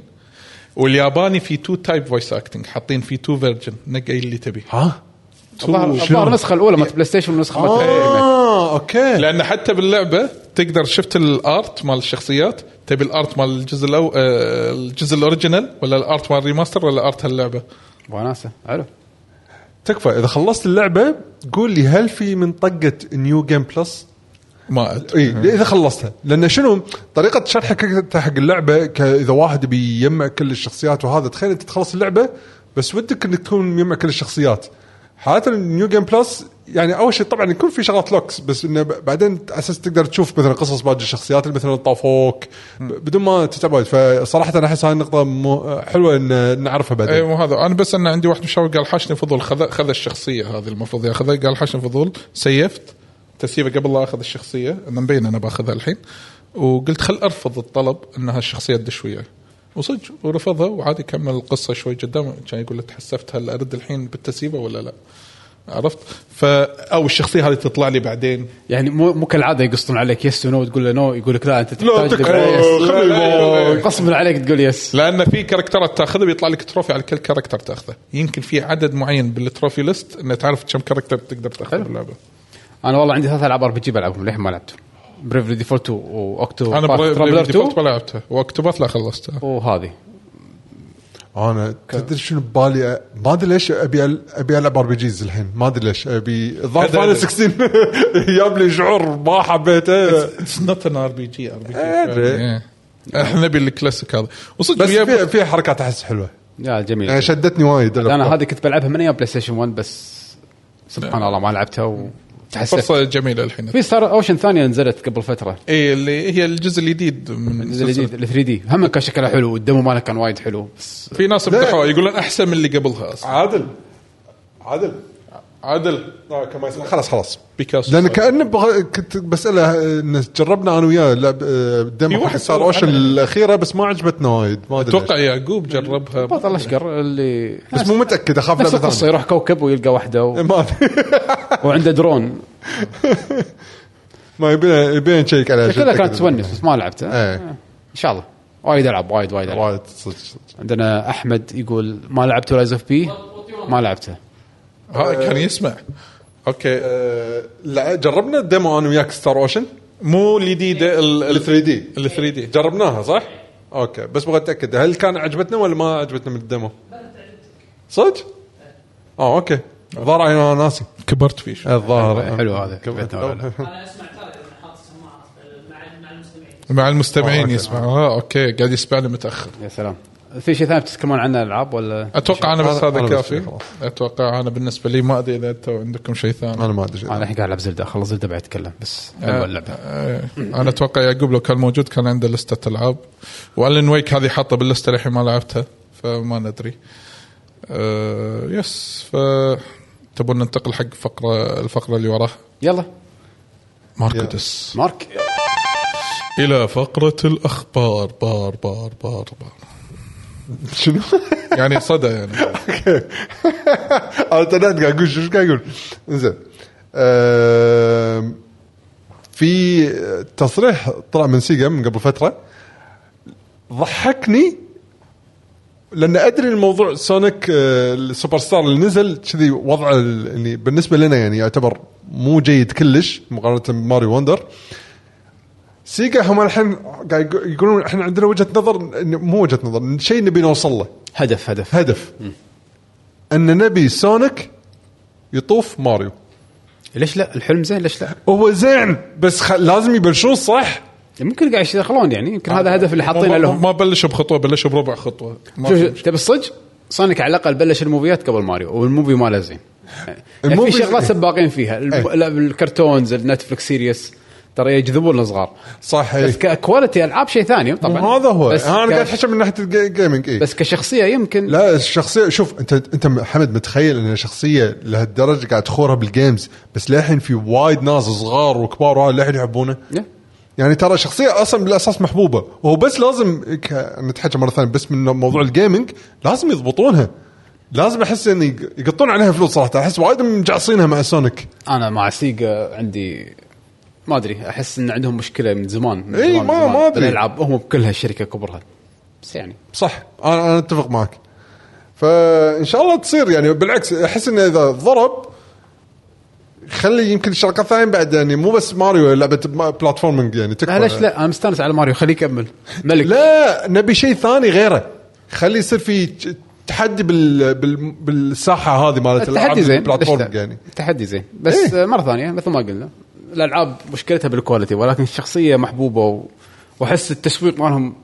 Speaker 2: والياباني في تو تايب فويس اكتنج حاطين في تو فيرجن نقي اللي تبي
Speaker 3: ها
Speaker 1: الظاهر النسخه الاولى مالت بلاي ستيشن والنسخه
Speaker 2: آه.
Speaker 1: مالت إيه.
Speaker 3: اه اوكي
Speaker 2: لان حتى باللعبه تقدر شفت الارت مال الشخصيات تبي الارت مال الجزء الاول الجزء الاوريجينال ولا الارت مال الريماستر ولا ارت هاللعبه
Speaker 1: وناسه حلو
Speaker 3: تكفى اذا خلصت اللعبه قول لي هل في من طقه نيو جيم بلس؟
Speaker 2: ما أدري.
Speaker 3: اي اذا خلصتها لان شنو طريقه شرحك حق اللعبه ك- اذا واحد بيجمع كل الشخصيات وهذا تخيل انت تخلص اللعبه بس ودك انك تكون مجمع كل الشخصيات حالات النيو جيم بلس يعني اول شيء طبعا يكون في شغلات لوكس بس انه ب- بعدين على اساس تقدر تشوف مثلا قصص باقي الشخصيات اللي مثلا طافوك ب- بدون ما تتعب وايد. فصراحه انا احس هاي النقطه مو- حلوه ان نعرفها بعدين
Speaker 2: اي إيه، مو هذا انا بس انا عندي واحد مشاور قال حاشني فضول خذ خذ الشخصيه هذه المفروض ياخذها قال حاشني فضول سيفت تسييفه قبل لا اخذ الشخصيه انا مبين انا باخذها الحين وقلت خل ارفض الطلب انها الشخصيه تدش وياي وصدق ورفضها وعادي كمل القصه شوي قدام كان يقول له تحسفت هل ارد الحين بالتسييفه ولا لا عرفت ف او الشخصيه هذه تطلع لي بعدين
Speaker 1: يعني مو مو كالعاده يقصون عليك يس ونو تقول له نو يقول لك لا انت
Speaker 2: لا
Speaker 1: تحتاج
Speaker 2: تقرا
Speaker 1: لبريس.
Speaker 2: خلي
Speaker 1: غصبا عليك تقول يس
Speaker 2: لان في كاركترات تاخذه بيطلع لك تروفي على كل كاركتر تاخذه يمكن في عدد معين بالتروفي ليست انه تعرف كم كاركتر تقدر تاخذه باللعبه
Speaker 1: انا والله عندي ثلاث العاب ار بي جي بلعبهم للحين ما لعبتهم بريفلي ديفولت واوكتو
Speaker 2: انا
Speaker 1: باث ترابلر 2
Speaker 2: ديفولت ما لعبته واكتوبات لا خلصتها
Speaker 1: وهذه
Speaker 3: انا تدري شنو ببالي ما ادري ليش ابي أل- ابي العب ار بي جيز الحين ما ادري ليش ابي الظاهر
Speaker 2: هذا-
Speaker 3: فاينل 16 [LAUGHS] جاب لي شعور ما حبيته
Speaker 2: اتس نوت ان ار بي جي ار بي
Speaker 3: أدري.
Speaker 2: جي احنا [LAUGHS] نبي الكلاسيك هذا وصدق
Speaker 3: بس في
Speaker 2: ويا-
Speaker 3: في حركات احس حلوه
Speaker 1: يا جميل
Speaker 3: يعني شدتني وايد
Speaker 1: انا هذه كنت بلعبها من ايام بلاي ستيشن 1 بس
Speaker 3: نعم.
Speaker 1: سبحان الله ما لعبتها وتحسفت
Speaker 2: فرصه جميله الحين
Speaker 1: في ستار اوشن ثانيه نزلت قبل فتره
Speaker 2: اي اللي هي الجزء الجديد من
Speaker 1: الجزء
Speaker 2: الجزء
Speaker 1: الجديد ال 3 دي هم كان شكلها حلو والدمو ماله كان وايد حلو بس
Speaker 2: في ناس مدحوها يقولون احسن من اللي قبلها اصلا
Speaker 3: عادل عادل
Speaker 2: عادل
Speaker 3: خلاص خلاص
Speaker 2: بيكاسو
Speaker 3: لان كانه بغ... كنت بساله إنه جربنا انا وياه لعب آه،
Speaker 2: في
Speaker 3: ديمو
Speaker 2: واحد
Speaker 3: حق ستار
Speaker 2: سوى
Speaker 3: اوشن
Speaker 2: عنها.
Speaker 3: الاخيره بس ما عجبتنا وايد ما ادري
Speaker 2: اتوقع
Speaker 3: ليش.
Speaker 2: يعقوب جربها
Speaker 1: بطل اشقر اللي
Speaker 3: بس مو متاكد اخاف
Speaker 1: نفس
Speaker 3: لعبه
Speaker 1: القصه
Speaker 3: ثانيه
Speaker 1: يروح كوكب ويلقى واحده و...
Speaker 3: ما أدري. [LAUGHS]
Speaker 1: وعنده درون
Speaker 3: ما يبينا يبينا نشيك عليها
Speaker 1: شكلها كانت تونس بس ما لعبتها
Speaker 3: إيه.
Speaker 1: ان شاء الله وايد العب وايد وايد العب
Speaker 3: وايد صدق صدق.
Speaker 1: عندنا احمد يقول ما لعبت رايز اوف بي ما لعبته
Speaker 2: ها، كان يسمع اوكي
Speaker 3: آه، لا جربنا الديمو انا وياك ستار اوشن
Speaker 2: مو الجديده
Speaker 3: ال 3 دي
Speaker 2: ال 3 دي
Speaker 3: جربناها صح؟ اوكي بس بغيت اتاكد هل كان عجبتنا ولا ما عجبتنا من الديمو؟ صدق؟ اه اوكي الظاهر انا ناسي
Speaker 2: كبرت فيه شوي
Speaker 3: الظاهر
Speaker 1: حلو هذا
Speaker 4: انا اسمع ترى لما حاط السماعه مع مع
Speaker 2: مع
Speaker 3: آه،
Speaker 4: المستمعين
Speaker 2: المستمعين
Speaker 3: أوكي.
Speaker 2: يسمع اه اوكي قاعد يسمعنا متاخر
Speaker 1: يا سلام في شيء ثاني بتتكلمون عنه العاب ولا
Speaker 2: اتوقع انا بس
Speaker 3: أنا- أنا
Speaker 2: هذا
Speaker 3: بس كذا
Speaker 2: كافي
Speaker 3: خلاص.
Speaker 2: اتوقع انا بالنسبه لي ما ادري اذا انتم عندكم شيء ثاني
Speaker 3: انا ما ادري
Speaker 1: انا الحين قاعد العب زلده خلص زلده بعد اتكلم بس
Speaker 2: آه،
Speaker 1: حلوه اللعبه
Speaker 2: آه، انا اتوقع يعقوب لو كان موجود كان عنده لسته العاب والن ويك هذه حاطه باللسته للحين ما لعبتها فما ندري آه، يس ف تبون ننتقل حق فقره الفقره اللي وراها
Speaker 1: يلا
Speaker 2: ماركتس
Speaker 1: مارك
Speaker 2: الى فقره الاخبار بار بار بار بار
Speaker 3: شنو؟ [LAUGHS]
Speaker 2: يعني صدى [LAUGHS] يعني
Speaker 3: انا تنادى قاعد اقول شو إيش قاعد اقول؟ زين آم، في تصريح طلع من سيجا من قبل فتره ضحكني لان ادري الموضوع سونيك آه، السوبر ستار اللي نزل كذي وضعه ال- يعني بالنسبه لنا يعني يعتبر مو جيد كلش مقارنه بماريو وندر سيجا هم الحين قاعد يقو- يقولون احنا عندنا وجهه نظر مو وجهه نظر شيء نبي نوصل له
Speaker 1: هدف هدف
Speaker 3: هدف ان نبي سونيك يطوف ماريو
Speaker 1: ليش لا الحلم زين ليش لا
Speaker 3: هو زين بس خ... لازم يبلشون صح
Speaker 1: يمكن قاعد يشتغلون يعني يمكن هذا
Speaker 3: آه.
Speaker 1: الهدف اللي
Speaker 2: ما-
Speaker 1: حاطينه
Speaker 2: ما-
Speaker 1: لهم
Speaker 2: ما بلشوا بخطوه بلشوا بربع خطوه ما
Speaker 1: شوف
Speaker 2: في
Speaker 1: شوف،
Speaker 2: مشكلة.
Speaker 1: تبي الصج سونيك على الاقل بلش الموفيات قبل ماريو والموفي ماله زين يعني في
Speaker 3: الموفي إيه.
Speaker 1: شغلات
Speaker 3: زين.
Speaker 1: سباقين فيها الم- لا، الكرتونز النتفلكس سيريس ترى يجذبون الصغار
Speaker 3: صح
Speaker 1: بس
Speaker 3: إيه.
Speaker 1: ككواليتي العاب شيء ثاني طبعا
Speaker 3: هذا هو
Speaker 1: بس
Speaker 3: انا
Speaker 1: ك-
Speaker 3: قاعد احكي من ناحيه الجيمنج اي
Speaker 1: بس كشخصيه يمكن
Speaker 3: إيه. لا الشخصيه شوف انت انت حمد متخيل ان شخصيه لهالدرجه قاعد تخورها بالجيمز بس للحين في وايد ناس صغار وكبار وهذا للحين يحبونه
Speaker 1: Yeah.
Speaker 3: يعني ترى شخصية اصلا بالاساس محبوبة وهو بس لازم ك... نتحكى مرة ثانية بس من موضوع الجيمنج لازم يضبطونها لازم احس ان يق- يقطون عليها فلوس صراحة احس وايد مجعصينها مع سونيك
Speaker 1: انا مع سيجا عندي ما ادري احس ان عندهم مشكله من زمان من
Speaker 3: إي،
Speaker 1: زمان-
Speaker 3: ما-
Speaker 1: من زمان
Speaker 3: ما أدري.
Speaker 1: بالالعاب هم بكلها شركه كبرها بس يعني
Speaker 3: صح انا انا اتفق معك فان شاء الله تصير يعني بالعكس احس انه اذا ضرب خلي يمكن الشركات الثانيه بعد يعني مو بس ماريو لعبه ما- بلاتفورمينج يعني تكفى
Speaker 1: لا ليش لا انا مستانس على ماريو خليه يكمل ملك
Speaker 3: لا نبي شيء ثاني غيره خلي يصير في ت- تحدي بال... بال... بالساحه هذه مالت
Speaker 1: التحدي زين ليش
Speaker 3: البلاتفورم
Speaker 1: لا؟
Speaker 3: يعني
Speaker 1: التحدي زين بس
Speaker 3: إيه.
Speaker 1: إيه؟ مره ثانيه مثل ما قلنا الالعاب مشكلتها بالكواليتي ولكن الشخصيه محبوبه و... واحس التسويق مالهم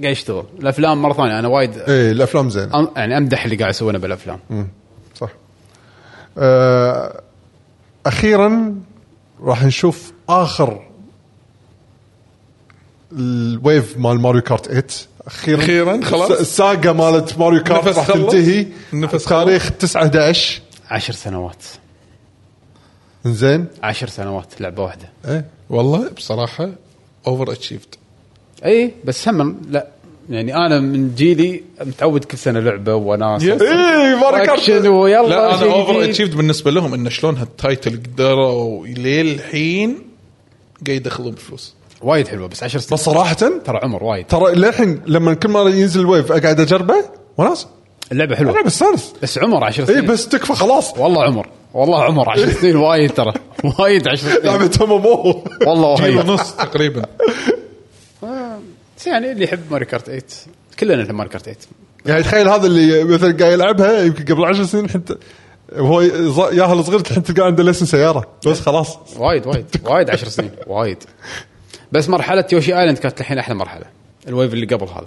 Speaker 1: قاعد يشتغل
Speaker 3: إيه،
Speaker 1: الافلام مره ثانيه انا وايد آه.
Speaker 3: ايه الافلام زينه
Speaker 1: أم... يعني امدح اللي قاعد يسوونه بالافلام
Speaker 3: صح آه، اخيرا راح نشوف اخر الويف مال ماريو كارت 8 اخيرا
Speaker 2: أخيراً، خلاص.
Speaker 3: الس- الساقه مالت ماريو كارت
Speaker 2: نفس
Speaker 3: راح
Speaker 2: خلص.
Speaker 3: تنتهي
Speaker 2: نفس
Speaker 3: تاريخ 9 11
Speaker 1: عشر سنوات
Speaker 3: زين
Speaker 1: عشر سنوات لعبه واحده
Speaker 2: إيه.
Speaker 3: ايه
Speaker 2: والله بصراحه اوفر اتشيفد
Speaker 1: اي إيه، بس هم لا يعني انا من جيلي متعود كل سنه لعبه وناس
Speaker 2: Yes.
Speaker 3: إيه، ماريو
Speaker 1: اكشن
Speaker 3: كارت
Speaker 1: ويلا
Speaker 2: لا انا
Speaker 1: شيء
Speaker 2: اوفر
Speaker 1: جديد.
Speaker 2: اتشيفد بالنسبه لهم ان شلون هالتايتل قدروا للحين قاعد يدخلون بفلوس
Speaker 1: وايد حلوه بس عشر سنوات
Speaker 3: بس صراحه
Speaker 1: ترى عمر وايد
Speaker 3: ترى للحين لما كل مره ينزل الويف اقعد اجربه وناس
Speaker 1: اللعبه
Speaker 3: انا
Speaker 1: حلوه
Speaker 3: بستانس
Speaker 1: بس عمر عشر سنين
Speaker 3: اي إيه، بس إيه. تكفى خلاص
Speaker 1: والله عمر والله عمر عشر سنين وايد ترى [LAUGHS] وايد عشر سنين
Speaker 3: لعبه ام ام او
Speaker 1: والله
Speaker 2: جيل
Speaker 1: وايد
Speaker 2: ونص
Speaker 3: [LAUGHS]
Speaker 2: تقريبا
Speaker 1: بس يعني اللي يحب ماري كارت 8 كلنا نحب ماري كارت 8
Speaker 3: يعني تخيل هذا اللي مثلا قاعد يلعبها يمكن قبل 10 سنين حتى وهو ز- ياهل صغير الحين تلقاه عنده لسن سياره بس خلاص
Speaker 1: وايد وايد وايد 10 سنين وايد بس مرحله يوشي ايلاند كانت الحين احلى مرحله الويف اللي قبل هذا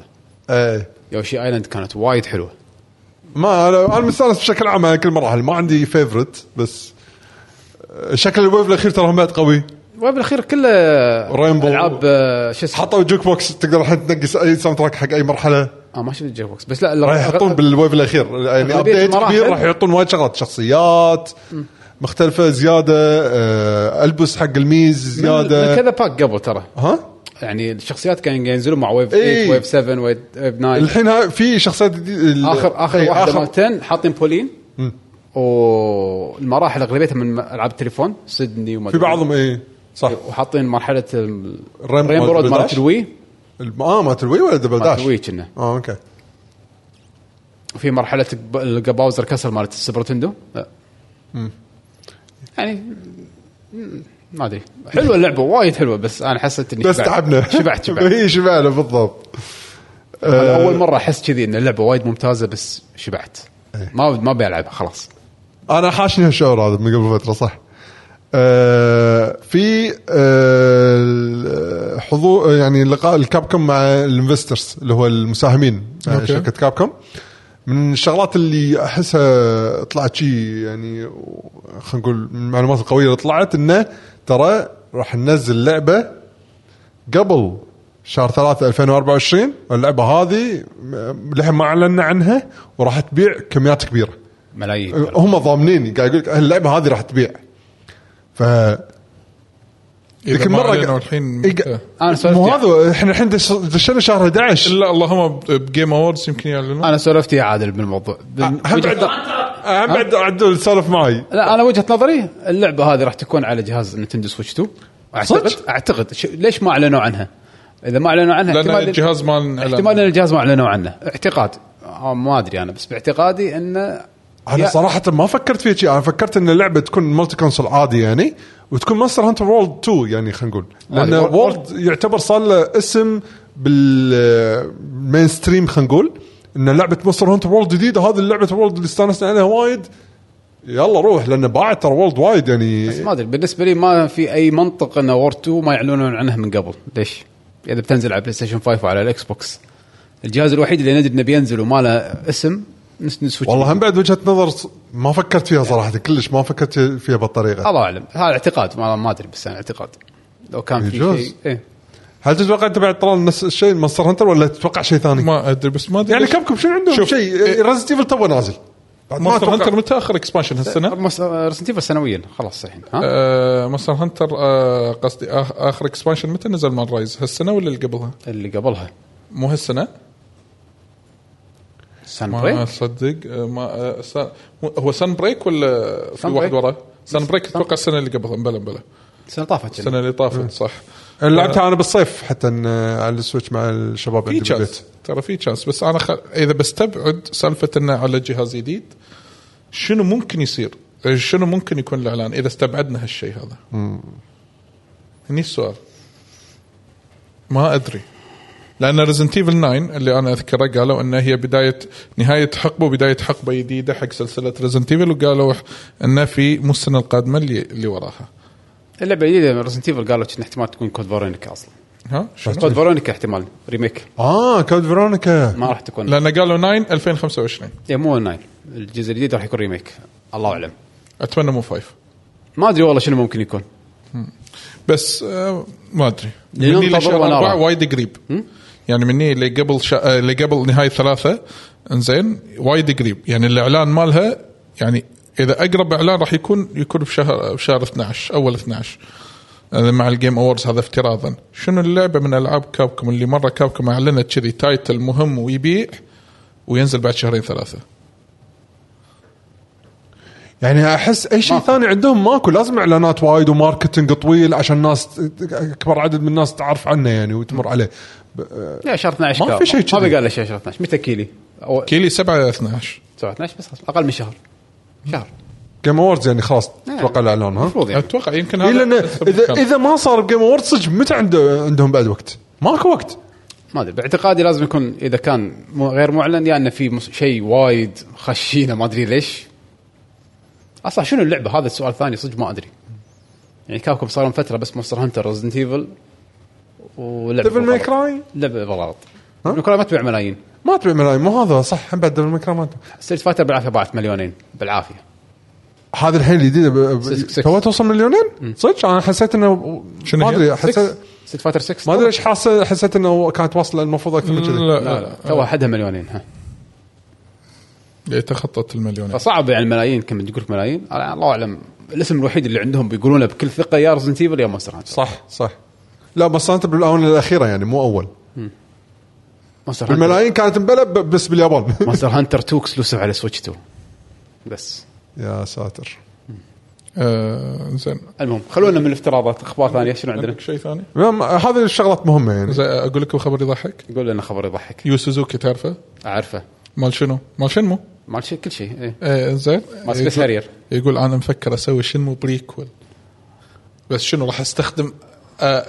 Speaker 3: ايه
Speaker 1: يوشي ايلاند كانت وايد حلوه
Speaker 3: ما انا انا مستانس بشكل عام على كل مراحل ما عندي فيفرت بس آه، شكل الويف الاخير ترى هم بعد قوي
Speaker 1: الويف الاخير كله
Speaker 3: رينبو.
Speaker 1: العاب آه، شو اسمه
Speaker 3: حطوا جوك بوكس تقدر الحين تنقي اي ساوند تراك حق اي مرحله
Speaker 1: اه ما شفت الجيك بوكس بس لا لا،
Speaker 3: راح يحطون بالويف الاخير يعني
Speaker 1: أغلبية
Speaker 3: ابديت
Speaker 1: المراحل.
Speaker 3: كبير راح يحطون وايد شغلات شخصيات مختلفه زياده آه، البس حق الميز
Speaker 1: من- من
Speaker 3: زياده
Speaker 1: كذا باك قبل ترى
Speaker 3: ها
Speaker 1: يعني الشخصيات كانوا ينزلون مع ويف 8
Speaker 3: إيه.
Speaker 1: ويف 7 ويف 9
Speaker 3: الحين ها- في شخصيات جديدة-
Speaker 1: اخر اخر
Speaker 3: إيه،
Speaker 1: واحده
Speaker 3: آخر-
Speaker 1: مال 10 حاطين بولين والمراحل اغلبيتها من العاب التليفون سيدني وما
Speaker 3: في
Speaker 1: أدري.
Speaker 3: بعضهم اي صح
Speaker 1: وحاطين مرحله
Speaker 3: الريمبو
Speaker 1: الريمبو رود
Speaker 3: مال
Speaker 1: مالت
Speaker 3: 11.
Speaker 1: الوي
Speaker 3: الم- اه مالت الوي ولا دبل
Speaker 1: مالت
Speaker 3: داش؟
Speaker 1: الوي كنا
Speaker 3: اه اوكي
Speaker 1: وفي مرحله الب- الباوزر كسل مالت السوبر تندو لا يعني مم، ما ادري حلوه اللعبه وايد حلوه بس انا حسيت اني
Speaker 3: بس
Speaker 1: شبعت.
Speaker 3: تعبنا
Speaker 1: شبعت
Speaker 3: [LAUGHS]
Speaker 1: شبعت
Speaker 3: اي شبعنا بالضبط
Speaker 1: انا اول مره احس كذي ان اللعبه وايد ممتازه بس شبعت
Speaker 3: إيه.
Speaker 1: ما ما بلعبها خلاص
Speaker 3: انا حاشني هالشعور هذا من قبل فتره صح آه في آه حضور يعني لقاء الكابكم مع الانفسترز اللي هو المساهمين مع
Speaker 2: أوكي.
Speaker 3: شركه كابكم من الشغلات اللي احسها طلعت شي يعني خلينا نقول من المعلومات القويه اللي طلعت انه ترى راح ننزل لعبه قبل شهر 3 2024 اللعبه هذه م- للحين ما اعلنا عنها وراح تبيع كميات كبيره
Speaker 1: ملايين
Speaker 3: هم ضامنين قاعد يقول لك اللعبه هذه راح تبيع ف
Speaker 2: اذا
Speaker 3: لكن
Speaker 2: ما
Speaker 3: مرة
Speaker 2: اعلنوا
Speaker 3: قاعد-
Speaker 2: الحين
Speaker 3: إيه
Speaker 2: متى؟
Speaker 3: قاعد-
Speaker 1: انا سولفت
Speaker 3: مو
Speaker 1: يا-
Speaker 3: هذا احنا الحين دش- دشينا شهر 11
Speaker 2: الا اللهم ب- بجيم اووردز يمكن
Speaker 3: آه،
Speaker 2: يعلنون
Speaker 1: انا سولفت يا عادل بالموضوع
Speaker 3: هم
Speaker 1: بال- وجهة
Speaker 3: أه، بعد
Speaker 1: نظر-
Speaker 3: هم بعد عدول سولف معي
Speaker 1: لا انا وجهه نظري اللعبه هذه راح تكون على جهاز نتندو سويتش 2 اعتقد
Speaker 3: صدق؟
Speaker 1: اعتقد ش- ليش ما اعلنوا عنها؟ اذا ما اعلنوا عنها
Speaker 2: لان
Speaker 1: احتمال
Speaker 2: الجهاز مالنا
Speaker 1: احتمال ان الجهاز ما اعلنوا عنه اعتقاد آه، ما ادري انا بس باعتقادي انه
Speaker 3: انا
Speaker 1: يا-
Speaker 3: صراحه ما فكرت فيها شيء انا فكرت ان اللعبه تكون مالتي كونسول عادي يعني وتكون ماستر هانتر وورلد 2 يعني خلينا نقول لان
Speaker 1: وورلد-
Speaker 3: وورلد يعتبر صار له اسم بالمين ستريم خلينا نقول ان لعبه ماستر هانتر وورلد جديده هذه اللعبه وورلد اللي استانسنا عليها وايد يلا روح لان باعت ترى وورلد وايد يعني
Speaker 1: بس ما ادري بالنسبه لي ما في اي منطق ان وور 2 ما يعلنون عنها من قبل ليش؟ اذا بتنزل على بلاي ستيشن 5 وعلى الاكس بوكس الجهاز الوحيد اللي ندري انه بينزل وما له اسم نس- سويتش
Speaker 3: والله هم بعد وجهه نظر ص- ما فكرت فيها صراحه كلش ما فكرت فيها بالطريقه
Speaker 1: الله اعلم هذا اعتقاد ما, ما ادري بس انا اعتقاد لو كان في
Speaker 3: يجوز.
Speaker 1: شيء إيه.
Speaker 3: هل تتوقع انت بعد طلال نفس الشيء ماستر هانتر ولا تتوقع شيء ثاني؟
Speaker 2: ما ادري بس ما ادري
Speaker 3: يعني
Speaker 2: ليش.
Speaker 3: كم شنو عندهم
Speaker 2: شوف، إيه.
Speaker 3: شيء ريزنت ايفل تو نازل بعد ما
Speaker 2: مونستر
Speaker 3: اتوقع
Speaker 2: هانتر متى اخر اكسبانشن هالسنه؟
Speaker 1: ريزنت ايفل سنويا خلاص الحين ها
Speaker 2: آه، مونستر هانتر آه، قصدي آخ- اخر اكسبانشن متى نزل مال رايز؟ هالسنه ولا اللي قبلها؟
Speaker 1: اللي قبلها
Speaker 2: مو هالسنه؟
Speaker 1: سان
Speaker 2: ما
Speaker 1: بريك
Speaker 2: اصدق آه، ما آه، سن- هو سن بريك ولا في
Speaker 1: سن
Speaker 2: واحد
Speaker 1: بريك.
Speaker 2: وراه؟ سن بريك اتوقع السنه اللي قبلها بلا بلا
Speaker 1: السنه طافت
Speaker 2: السنه اللي طافت صح آه،
Speaker 3: لعبتها انا بالصيف حتى إن- آه، على السويتش مع الشباب
Speaker 2: في
Speaker 3: عندي
Speaker 2: تشانس ترى في تشانس بس انا خ... اذا بستبعد سالفه انه على جهاز جديد شنو ممكن يصير؟ شنو ممكن يكون الاعلان اذا استبعدنا هالشيء هذا؟ هني السؤال ما ادري لان ريزنت ايفل 9 اللي انا اذكره قالوا انه هي بدايه نهايه حقبه وبدايه حقبه جديده حق سلسله ريزنت ايفل وقالوا انه في مو السنه القادمه اللي اللي وراها
Speaker 1: اللعبه الجديده ريزنت ايفل قالوا ان احتمال تكون كود فيرونيكا اصلا
Speaker 2: ها شنو؟
Speaker 1: كود فيرونيكا احتمال ريميك
Speaker 3: اه كود فيرونيكا
Speaker 1: ما راح تكون
Speaker 2: لان قالوا 9 2025
Speaker 1: إيه، مو 9 الجزء الجديد راح يكون ريميك الله اعلم
Speaker 2: اتمنى مو فايف
Speaker 1: ما ادري والله شنو ممكن يكون
Speaker 2: بس آه ما ادري
Speaker 1: لأنه
Speaker 2: مني
Speaker 1: انتظر
Speaker 2: لشهر
Speaker 1: وأنا
Speaker 2: اربعه
Speaker 1: أرى.
Speaker 2: وايد قريب يعني مني اللي قبل شا... آه، اللي قبل نهايه ثلاثه انزين وايد قريب يعني الاعلان مالها يعني اذا اقرب اعلان راح يكون يكون بشهر بشهر 12 اول 12 هذا مع الجيم اووردز هذا افتراضا شنو اللعبه من العاب كابكم اللي مره كابكم اعلنت كذي تايتل مهم ويبيع وينزل بعد شهرين ثلاثه
Speaker 3: يعني احس اي شيء ثاني عندهم ماكو لازم اعلانات وايد وماركتنج طويل عشان الناس ت- اكبر عدد من الناس تعرف عنه يعني وتمر عليه
Speaker 1: لا شهر 12
Speaker 3: ما
Speaker 1: كاب.
Speaker 3: في شيء
Speaker 1: ما
Speaker 3: كذي.
Speaker 1: بقى له شيء شهر 12 متى كيلي؟ أو
Speaker 2: كيلي 7 12
Speaker 1: سبعة 12 بس اقل من شهر شهر
Speaker 3: جيم اووردز يعني خلاص
Speaker 2: إيه.
Speaker 3: اتوقع الاعلان ها
Speaker 1: المفروض يعني
Speaker 2: اتوقع يمكن
Speaker 3: إيه
Speaker 2: هذا
Speaker 3: لان
Speaker 2: أسبب
Speaker 3: اذا
Speaker 2: كان.
Speaker 3: اذا ما صار بجيم اووردز صدق متى عنده عندهم بعد وقت؟ ماكو وقت
Speaker 1: ما ادري باعتقادي لازم يكون اذا كان مو- غير معلن يا انه في مس- شيء وايد خشينه ما ادري ليش اصلا شنو اللعبه هذا السؤال الثاني صدق ما ادري يعني كابكم صار لهم فتره بس مونستر هانتر ريزدنت ايفل ولعبه
Speaker 3: ديفل ماي
Speaker 1: بالغلط.
Speaker 3: كراي
Speaker 1: لعبه بالغلط
Speaker 3: ها؟
Speaker 1: ديفل ما تبيع ملايين
Speaker 3: ما تبيع ملايين مو هذا صح هم بعد ديفل ماي كراي ما تبيع
Speaker 1: ستريت فايتر بالعافيه باعت مليونين بالعافيه
Speaker 3: هذا الحين الجديده ب- ب-
Speaker 1: سكس- سكس.
Speaker 3: توها توصل مليونين صدق انا حسيت انه
Speaker 2: شنو
Speaker 3: ما
Speaker 2: هي؟
Speaker 3: ادري
Speaker 1: ستريت
Speaker 3: حسيت
Speaker 1: فايتر 6
Speaker 3: ما ادري ايش حاسه حسيت انه كانت واصله المفروض اكثر من كذي
Speaker 2: لا
Speaker 1: لا لا توها حدها آه، مليونين ها
Speaker 2: يتخطط المليون
Speaker 1: فصعب يعني الملايين كم تقول لك ملايين أنا الله اعلم الاسم الوحيد اللي عندهم بيقولونه بكل ثقه يا رزنت ايفل يا مونستر هانتر
Speaker 3: صح صح لا بس انت بالاونه الاخيره يعني مو اول
Speaker 1: مونستر هانتر
Speaker 3: بالملايين كانت مبلى ب- بس باليابان [LAUGHS]
Speaker 2: [LAUGHS]
Speaker 1: مونستر هانتر 2 اكسلوسيف على سويتش 2 بس
Speaker 3: يا ساتر
Speaker 2: آه زين
Speaker 1: المهم خلونا من الافتراضات اخبار ثانيه شنو عندنا؟
Speaker 2: عندك شيء ثاني؟
Speaker 3: المهم، هذه الشغلات مهمه يعني
Speaker 2: زين اقول لكم خبر يضحك
Speaker 1: يقول لنا خبر يضحك
Speaker 2: يو سوزوكي تعرفه؟
Speaker 1: اعرفه
Speaker 2: مال شنو؟ مال شنمو؟
Speaker 1: مال شيء كل شيء ايه
Speaker 2: آه زين
Speaker 1: مال سبيس
Speaker 2: يقول-
Speaker 1: هارير
Speaker 2: يقول انا مفكر اسوي شنمو بريكول بس شنو راح استخدم آه، آه،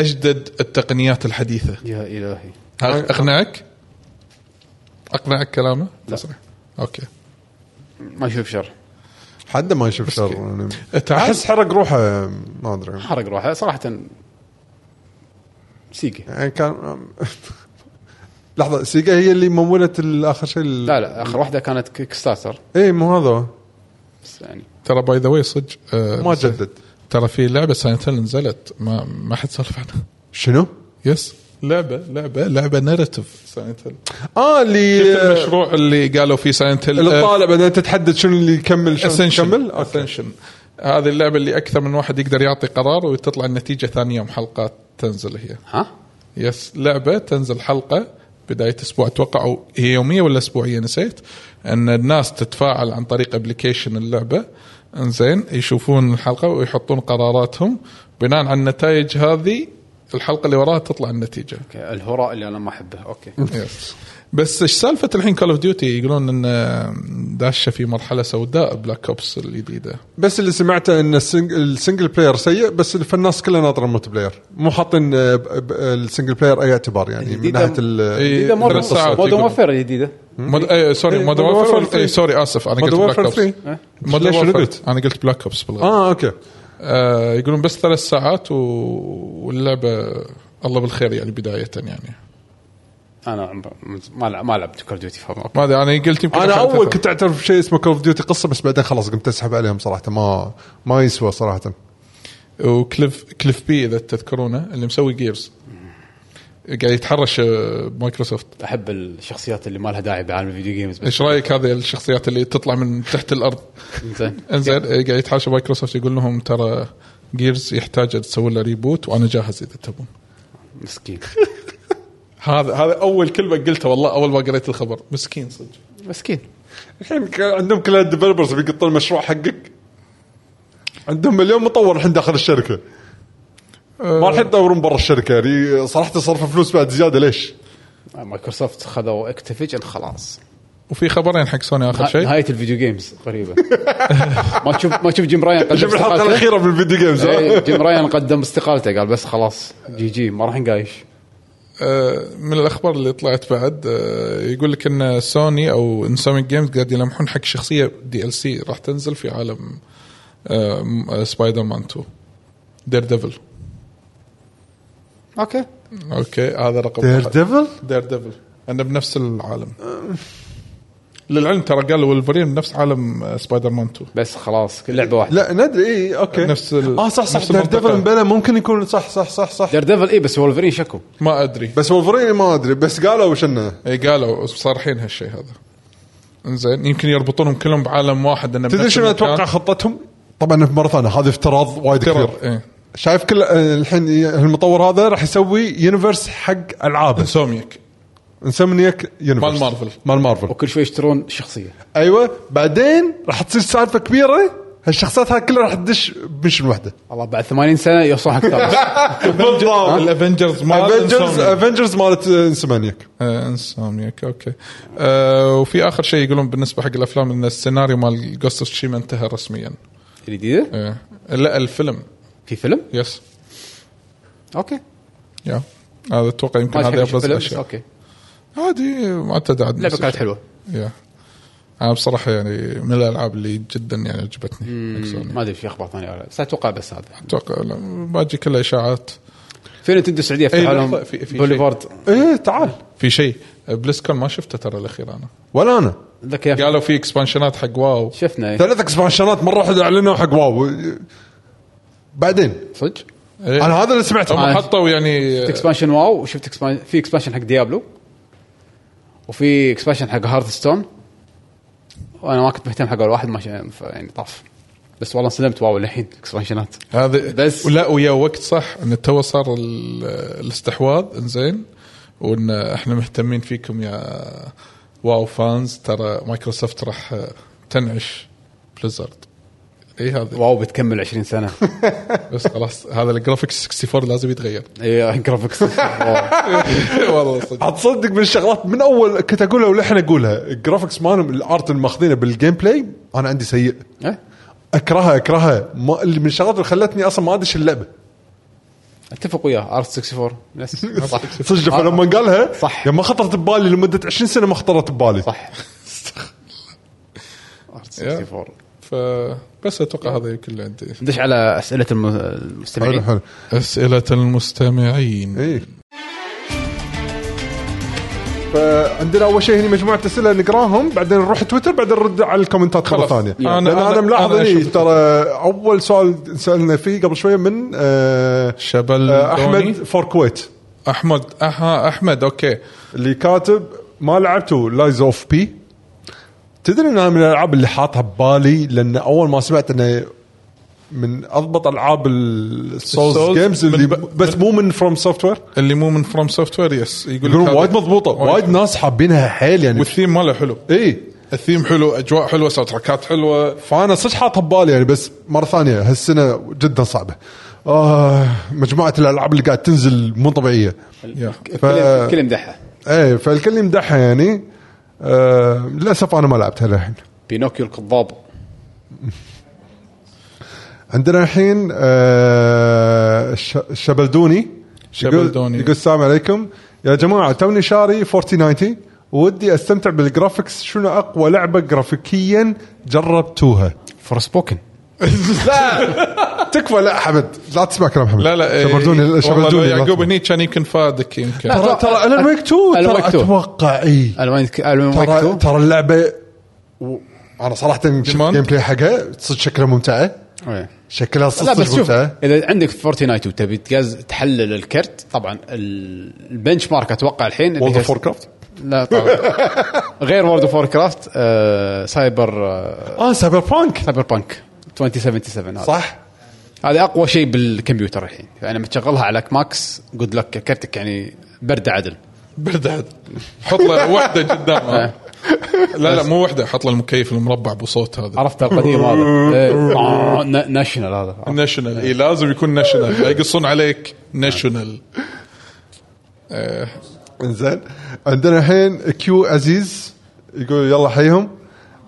Speaker 2: اجدد التقنيات الحديثه
Speaker 1: يا الهي
Speaker 2: هل اقنعك؟ اقنعك كلامه؟
Speaker 1: لا.
Speaker 2: تصريح. اوكي
Speaker 1: ما يشوف شر
Speaker 3: حد ما يشوف شر يعني
Speaker 2: تعال.
Speaker 3: احس حرق روحه ما ادري
Speaker 1: حرق روحه صراحه سيجا
Speaker 3: يعني كان [LAUGHS] لحظه سيجا هي اللي مولت الاخر شيء
Speaker 1: لا لا اخر واحده كانت كيك ستارتر
Speaker 3: اي مو هذا
Speaker 1: بس يعني
Speaker 2: ترى باي ذا واي صدق آه،
Speaker 3: ما جدد
Speaker 2: ترى في لعبه ساينت هيل نزلت ما ما حد سولف عنها
Speaker 3: شنو؟
Speaker 2: يس لعبه لعبه لعبه ناريتيف ساينت هيل
Speaker 3: اه اللي آه،
Speaker 2: شفت المشروع اللي قالوا فيه آه، ساينت هيل
Speaker 3: اللي طالع بعدين تتحدد شنو اللي يكمل شنو
Speaker 2: اسنشن
Speaker 3: يكمل
Speaker 2: اسنشن هذه اللعبه اللي اكثر من واحد يقدر يعطي قرار وتطلع النتيجه ثاني يوم حلقات تنزل هي
Speaker 1: ها
Speaker 2: يس لعبه تنزل حلقه بدايه اسبوع اتوقع او هي يوميه ولا اسبوعيه نسيت ان الناس تتفاعل عن طريق ابلكيشن اللعبه انزين يشوفون الحلقه ويحطون قراراتهم بناء على النتائج هذه الحلقه اللي وراها تطلع النتيجه
Speaker 1: أوكي، الهراء اللي انا ما احبه اوكي
Speaker 2: يس. بس ايش سالفه الحين كول اوف ديوتي يقولون ان آه، داشه في مرحله سوداء بلاك اوبس الجديده
Speaker 3: بس اللي سمعته ان السنج- السنجل بلاير سيء بس فالناس كلها ناطره الملتي بلاير مو حاطين آه، ب- ب- السنجل بلاير اي اعتبار يعني من
Speaker 1: الجديدة-
Speaker 3: ناحيه ال-
Speaker 2: إيه،
Speaker 1: جديدة مودرن
Speaker 2: ثلاث ساعات
Speaker 1: مودرن
Speaker 2: يقولون.
Speaker 1: وفير الجديده
Speaker 2: مود... آه سوري
Speaker 3: إيه،
Speaker 2: مودرن
Speaker 3: Modern Warfare
Speaker 2: وورفير
Speaker 3: 3.
Speaker 2: آه سوري اسف انا قلت
Speaker 3: Modern
Speaker 2: بلاك
Speaker 3: Warfare
Speaker 2: اوبس
Speaker 3: 3.
Speaker 2: مودرن
Speaker 3: ليش شنو
Speaker 2: وورفير
Speaker 3: قلت؟
Speaker 2: انا قلت بلاك اوبس بالغلط
Speaker 3: اه اوكي
Speaker 2: آه يقولون بس ثلاث ساعات و... واللعبه الله بالخير يعني بدايه يعني
Speaker 1: انا عمر- ما لع- ما لعبت كول ديوتي فما
Speaker 2: ما ادري انا قلت يمكن
Speaker 3: انا
Speaker 2: عشان
Speaker 3: اول
Speaker 2: تفهم.
Speaker 3: كنت اعترف شيء اسمه كول اوف ديوتي قصه بس بعدين خلاص قمت اسحب عليهم صراحه ما ما يسوى صراحه
Speaker 2: وكليف كليف بي اذا تذكرونه اللي مسوي جيرز قاعد يتحرش آه، بمايكروسوفت
Speaker 1: احب الشخصيات اللي ما لها داعي بعالم الفيديو جيمز بس
Speaker 2: ايش رايك هذه الشخصيات اللي تطلع من تحت الارض
Speaker 1: زين
Speaker 2: انزين آه، قاعد يتحاشى مايكروسوفت يقول لهم ترى جيرز يحتاج تسوي له ريبوت وانا جاهز اذا تبون
Speaker 1: مسكين
Speaker 2: هذا هذا اول كلمه قلتها والله اول ما قريت الخبر مسكين صدق
Speaker 1: مسكين
Speaker 3: الحين ك- عندهم كل الديفلوبرز بيقطون المشروع حقك عندهم مليون مطور الحين داخل الشركه ما راح يدورون برا الشركه يعني صراحه صرف فلوس بعد زياده ليش؟
Speaker 1: مايكروسوفت خذوا اكتيفيجن خلاص
Speaker 2: وفي خبرين حق سوني اخر شيء
Speaker 1: نهايه الفيديو جيمز قريبه ما تشوف ما تشوف جيم راين قدم
Speaker 3: شوف الحلقه
Speaker 1: استقالته؟
Speaker 3: الاخيره بالفيديو جيمز
Speaker 1: إيه، جيم راين قدم استقالته قال بس خلاص جي جي ما راح نقايش
Speaker 2: آه، من الاخبار اللي طلعت بعد آه، يقول لك ان سوني او انسوميك جيمز قاعد يلمحون حق شخصيه دي ال سي راح تنزل في عالم آه، م- آه، سبايدر مان 2 دير ديفل
Speaker 1: اوكي
Speaker 2: اوكي هذا رقم
Speaker 3: دير ديفل
Speaker 2: دير ديفل انا بنفس العالم للعلم ترى قال ولفرين نفس عالم آه، سبايدر مان 2
Speaker 1: بس خلاص كل لعبه واحده
Speaker 3: لا ندري اي اوكي
Speaker 2: نفس ال-
Speaker 3: اه صح صح
Speaker 2: نفس
Speaker 3: دير ديفل
Speaker 2: المنطقة.
Speaker 3: مبلا ممكن يكون صح صح صح صح
Speaker 1: دير ديفل اي إيه، بس وولفرين شكو
Speaker 2: ما ادري
Speaker 3: بس وولفرين ما ادري بس قالوا شنه
Speaker 2: اي قالوا صارحين هالشيء هذا انزين يمكن يربطونهم كلهم بعالم واحد انه
Speaker 3: تدري
Speaker 2: بنفس
Speaker 3: شنو
Speaker 2: المكان.
Speaker 3: اتوقع خطتهم؟ طبعا مره ثانيه هذا افتراض وايد كبير
Speaker 2: ترى ايه
Speaker 3: شايف كل آه، الحين المطور هذا راح يسوي يونيفرس حق العابه
Speaker 2: انسوميك
Speaker 3: انسمنيك يونيفرس
Speaker 2: مال مارفل.
Speaker 3: مال مارفل
Speaker 1: وكل شوي يشترون شخصيه
Speaker 3: ايوه بعدين راح تصير سالفه كبيره هالشخصيات هاي كلها راح تدش بمشن وحده
Speaker 1: الله بعد 80 سنه يوصلون حق ثالث
Speaker 2: [LAUGHS]
Speaker 3: بالضبط
Speaker 2: الافنجرز مال
Speaker 3: افنجرز
Speaker 2: انسومياك
Speaker 3: افنجرز مالت انسمنيك
Speaker 2: آه، انسومياك اوكي آه، وفي اخر شيء يقولون بالنسبه حق الافلام ان السيناريو مال جوست اوف شيما انتهى رسميا
Speaker 1: الجديده
Speaker 2: آه، لا الفيلم
Speaker 1: في فيلم
Speaker 2: يس
Speaker 1: اوكي
Speaker 2: يا هذا اتوقع يمكن
Speaker 1: ما
Speaker 2: طيب، هذا
Speaker 1: أدري حق
Speaker 2: ابرز
Speaker 1: الفيلم بس
Speaker 2: الاشياء
Speaker 1: اوكي
Speaker 2: عادي معتاد عاد
Speaker 1: اللعبه كانت حلوه
Speaker 2: يا انا بصراحه يعني من الالعاب اللي جدا يعني عجبتني أكثر.
Speaker 1: ما ادري في اخبار ثانيه ولا لا. بس اتوقع بس هذا
Speaker 2: اتوقع لا، باقي كلها اشاعات
Speaker 1: في نتندو السعوديه
Speaker 2: أي
Speaker 1: فتحوا لهم
Speaker 2: لحظة، إيه، في- في شيء.
Speaker 1: بوليفارد
Speaker 3: ايه تعال
Speaker 2: في شيء بلسكون ما شفته ترى الاخير انا
Speaker 3: ولا انا
Speaker 1: ذاك يا أخي.
Speaker 2: قالوا في اكسبانشنات حق واو
Speaker 1: شفنا إيه.
Speaker 3: ثلاث اكسبانشنات مره واحده اعلنوا حق واو بعدين
Speaker 1: صدق
Speaker 2: إيه.
Speaker 3: انا هذا اللي سمعته
Speaker 1: آه.
Speaker 2: هم حطوا يعني
Speaker 1: اكسبانشن واو وشفت اكسبانشن في اكسبانشن حق ديابلو وفي اكسبانشن حق هارث ستون وانا ما كنت مهتم حق اول واحد ما ش- ف- يعني طاف بس والله سلمت واو للحين اكسبانشنات
Speaker 2: هذا
Speaker 1: بس-
Speaker 2: بس ولا ويا وقت صح ان تو صار ال- الاستحواذ انزين وان احنا مهتمين فيكم يا واو فانز ترى مايكروسوفت راح تنعش بليزرد اي هذا
Speaker 1: واو بتكمل 20 [LAUGHS] سنه
Speaker 2: بس خلاص هذا الجرافيكس 64 لازم يتغير
Speaker 1: ايه جرافيكس
Speaker 2: [LAUGHS] والله صدق
Speaker 3: هتصدق من الشغلات من اول كنت اقولها وللحين اقولها الجرافكس مالهم الارت اللي ماخذينه بالجيم بلاي انا عندي سيء
Speaker 1: إيه.
Speaker 3: اكرهها اكرهها ما اللي من الشغلات اللي خلتني اصلا ما ادش اللعبه
Speaker 1: اتفق وياه ارت 64
Speaker 3: [LAUGHS]
Speaker 1: بس صح
Speaker 3: صدق فلما قالها
Speaker 1: صح.
Speaker 3: يعني ما خطرت ببالي لمده 20 سنه ما خطرت ببالي [LAUGHS]
Speaker 1: صح ارت 64
Speaker 2: فبس اتوقع هذا يمكن اللي عندي
Speaker 1: ندش على اسئله الم-
Speaker 3: حلو
Speaker 1: المستمعين
Speaker 3: حلو إيه.
Speaker 2: اسئله المستمعين
Speaker 3: اي فعندنا اول شيء هنا مجموعه اسئله نقراهم بعدين نروح تويتر بعدين نرد على الكومنتات مره
Speaker 2: خلاص.
Speaker 3: ثانيه
Speaker 2: أنا-
Speaker 3: لان انا
Speaker 2: أنا-
Speaker 3: ملاحظ
Speaker 2: أنا
Speaker 3: هني
Speaker 2: شفت-
Speaker 3: ترى اول سؤال سالنا فيه قبل شويه من آه،
Speaker 2: شبل
Speaker 3: آه،
Speaker 2: دوني.
Speaker 3: احمد فور كويت
Speaker 2: احمد اها احمد اوكي
Speaker 3: اللي كاتب ما لعبته لايز اوف بي تدري انها من الالعاب اللي حاطها ببالي لان اول ما سمعت انه من اضبط العاب السولز
Speaker 2: Souls
Speaker 3: جيمز اللي
Speaker 2: من ب-
Speaker 3: بس مو من فروم سوفت وير
Speaker 2: اللي مو من فروم سوفت وير يس يقول
Speaker 3: يقولون
Speaker 2: لك هذا-
Speaker 3: وايد مضبوطه وايد ناس حابينها حيل يعني إيه.
Speaker 2: والثيم ماله حلو
Speaker 3: اي
Speaker 2: الثيم حلو اجواء حلوه ساوند تراكات حلوه
Speaker 3: فانا صدق حاطها ببالي يعني بس مره ثانيه هالسنه جدا صعبه آه مجموعه الالعاب اللي قاعد تنزل مو طبيعيه
Speaker 2: يا.
Speaker 3: ف...
Speaker 1: كل مدحه
Speaker 3: ايه فالكل يمدحها يعني آه للاسف انا ما لعبتها للحين
Speaker 1: بينوكيو القضاب
Speaker 3: عندنا الحين آه الش- الشبلدوني
Speaker 2: شبلدوني.
Speaker 3: يقول, يقول السلام عليكم يا جماعه توني شاري 4090 ودي استمتع بالجرافكس شنو اقوى لعبه جرافيكيا
Speaker 2: [LAUGHS]
Speaker 3: جربتوها؟
Speaker 1: فور سبوكن
Speaker 3: تكفى لا حمد لا تسمع كلام حمد
Speaker 2: لا لا إيه،
Speaker 3: شبلدوني
Speaker 2: والله لو
Speaker 3: شبلدوني لا
Speaker 2: يعقوب
Speaker 3: تسمع.
Speaker 2: هني كان يمكن فادك يمكن
Speaker 1: لا.
Speaker 3: ترى ترى الون ويك 2
Speaker 1: Alan
Speaker 3: ترى
Speaker 1: Wake 2.
Speaker 3: اتوقع اي ترى
Speaker 1: الوان
Speaker 3: ترى اللعبه و... انا صراحه شفت
Speaker 2: Demand.
Speaker 3: جيم بلاي حقها صدق شكلها ممتعه شكلها
Speaker 1: لا
Speaker 3: صدق
Speaker 1: بس
Speaker 3: صدق
Speaker 1: شوف
Speaker 3: ممتعه
Speaker 1: اذا عندك فورتنايت وتبي تجاز تحلل الكرت طبعا ال- البنش مارك اتوقع الحين اللي
Speaker 3: وولد
Speaker 1: هي-
Speaker 3: اوف كرافت
Speaker 1: لا
Speaker 3: [LAUGHS]
Speaker 1: طبعا غير وورد اوف كرافت آه سايبر آه
Speaker 3: اه سايبر بانك
Speaker 1: سايبر بانك 2077 هذا
Speaker 3: صح
Speaker 1: هذه اقوى شيء بالكمبيوتر الحين يعني متشغلها على ماكس جود لك كرتك يعني برد عدل
Speaker 2: برد عاد حط له وحده قدامه لا لا مو وحده حط له المكيف المربع بصوت هذا
Speaker 1: عرفت القديم هذا [LAUGHS] إيه، آه، نا- ناشونال هذا
Speaker 2: ناشونال اي آه. إيه، لازم يكون
Speaker 3: [LAUGHS]
Speaker 2: ناشونال لا يقصون عليك ناشونال
Speaker 3: إيه، انزين عندنا الحين كيو عزيز يقول يلا حيهم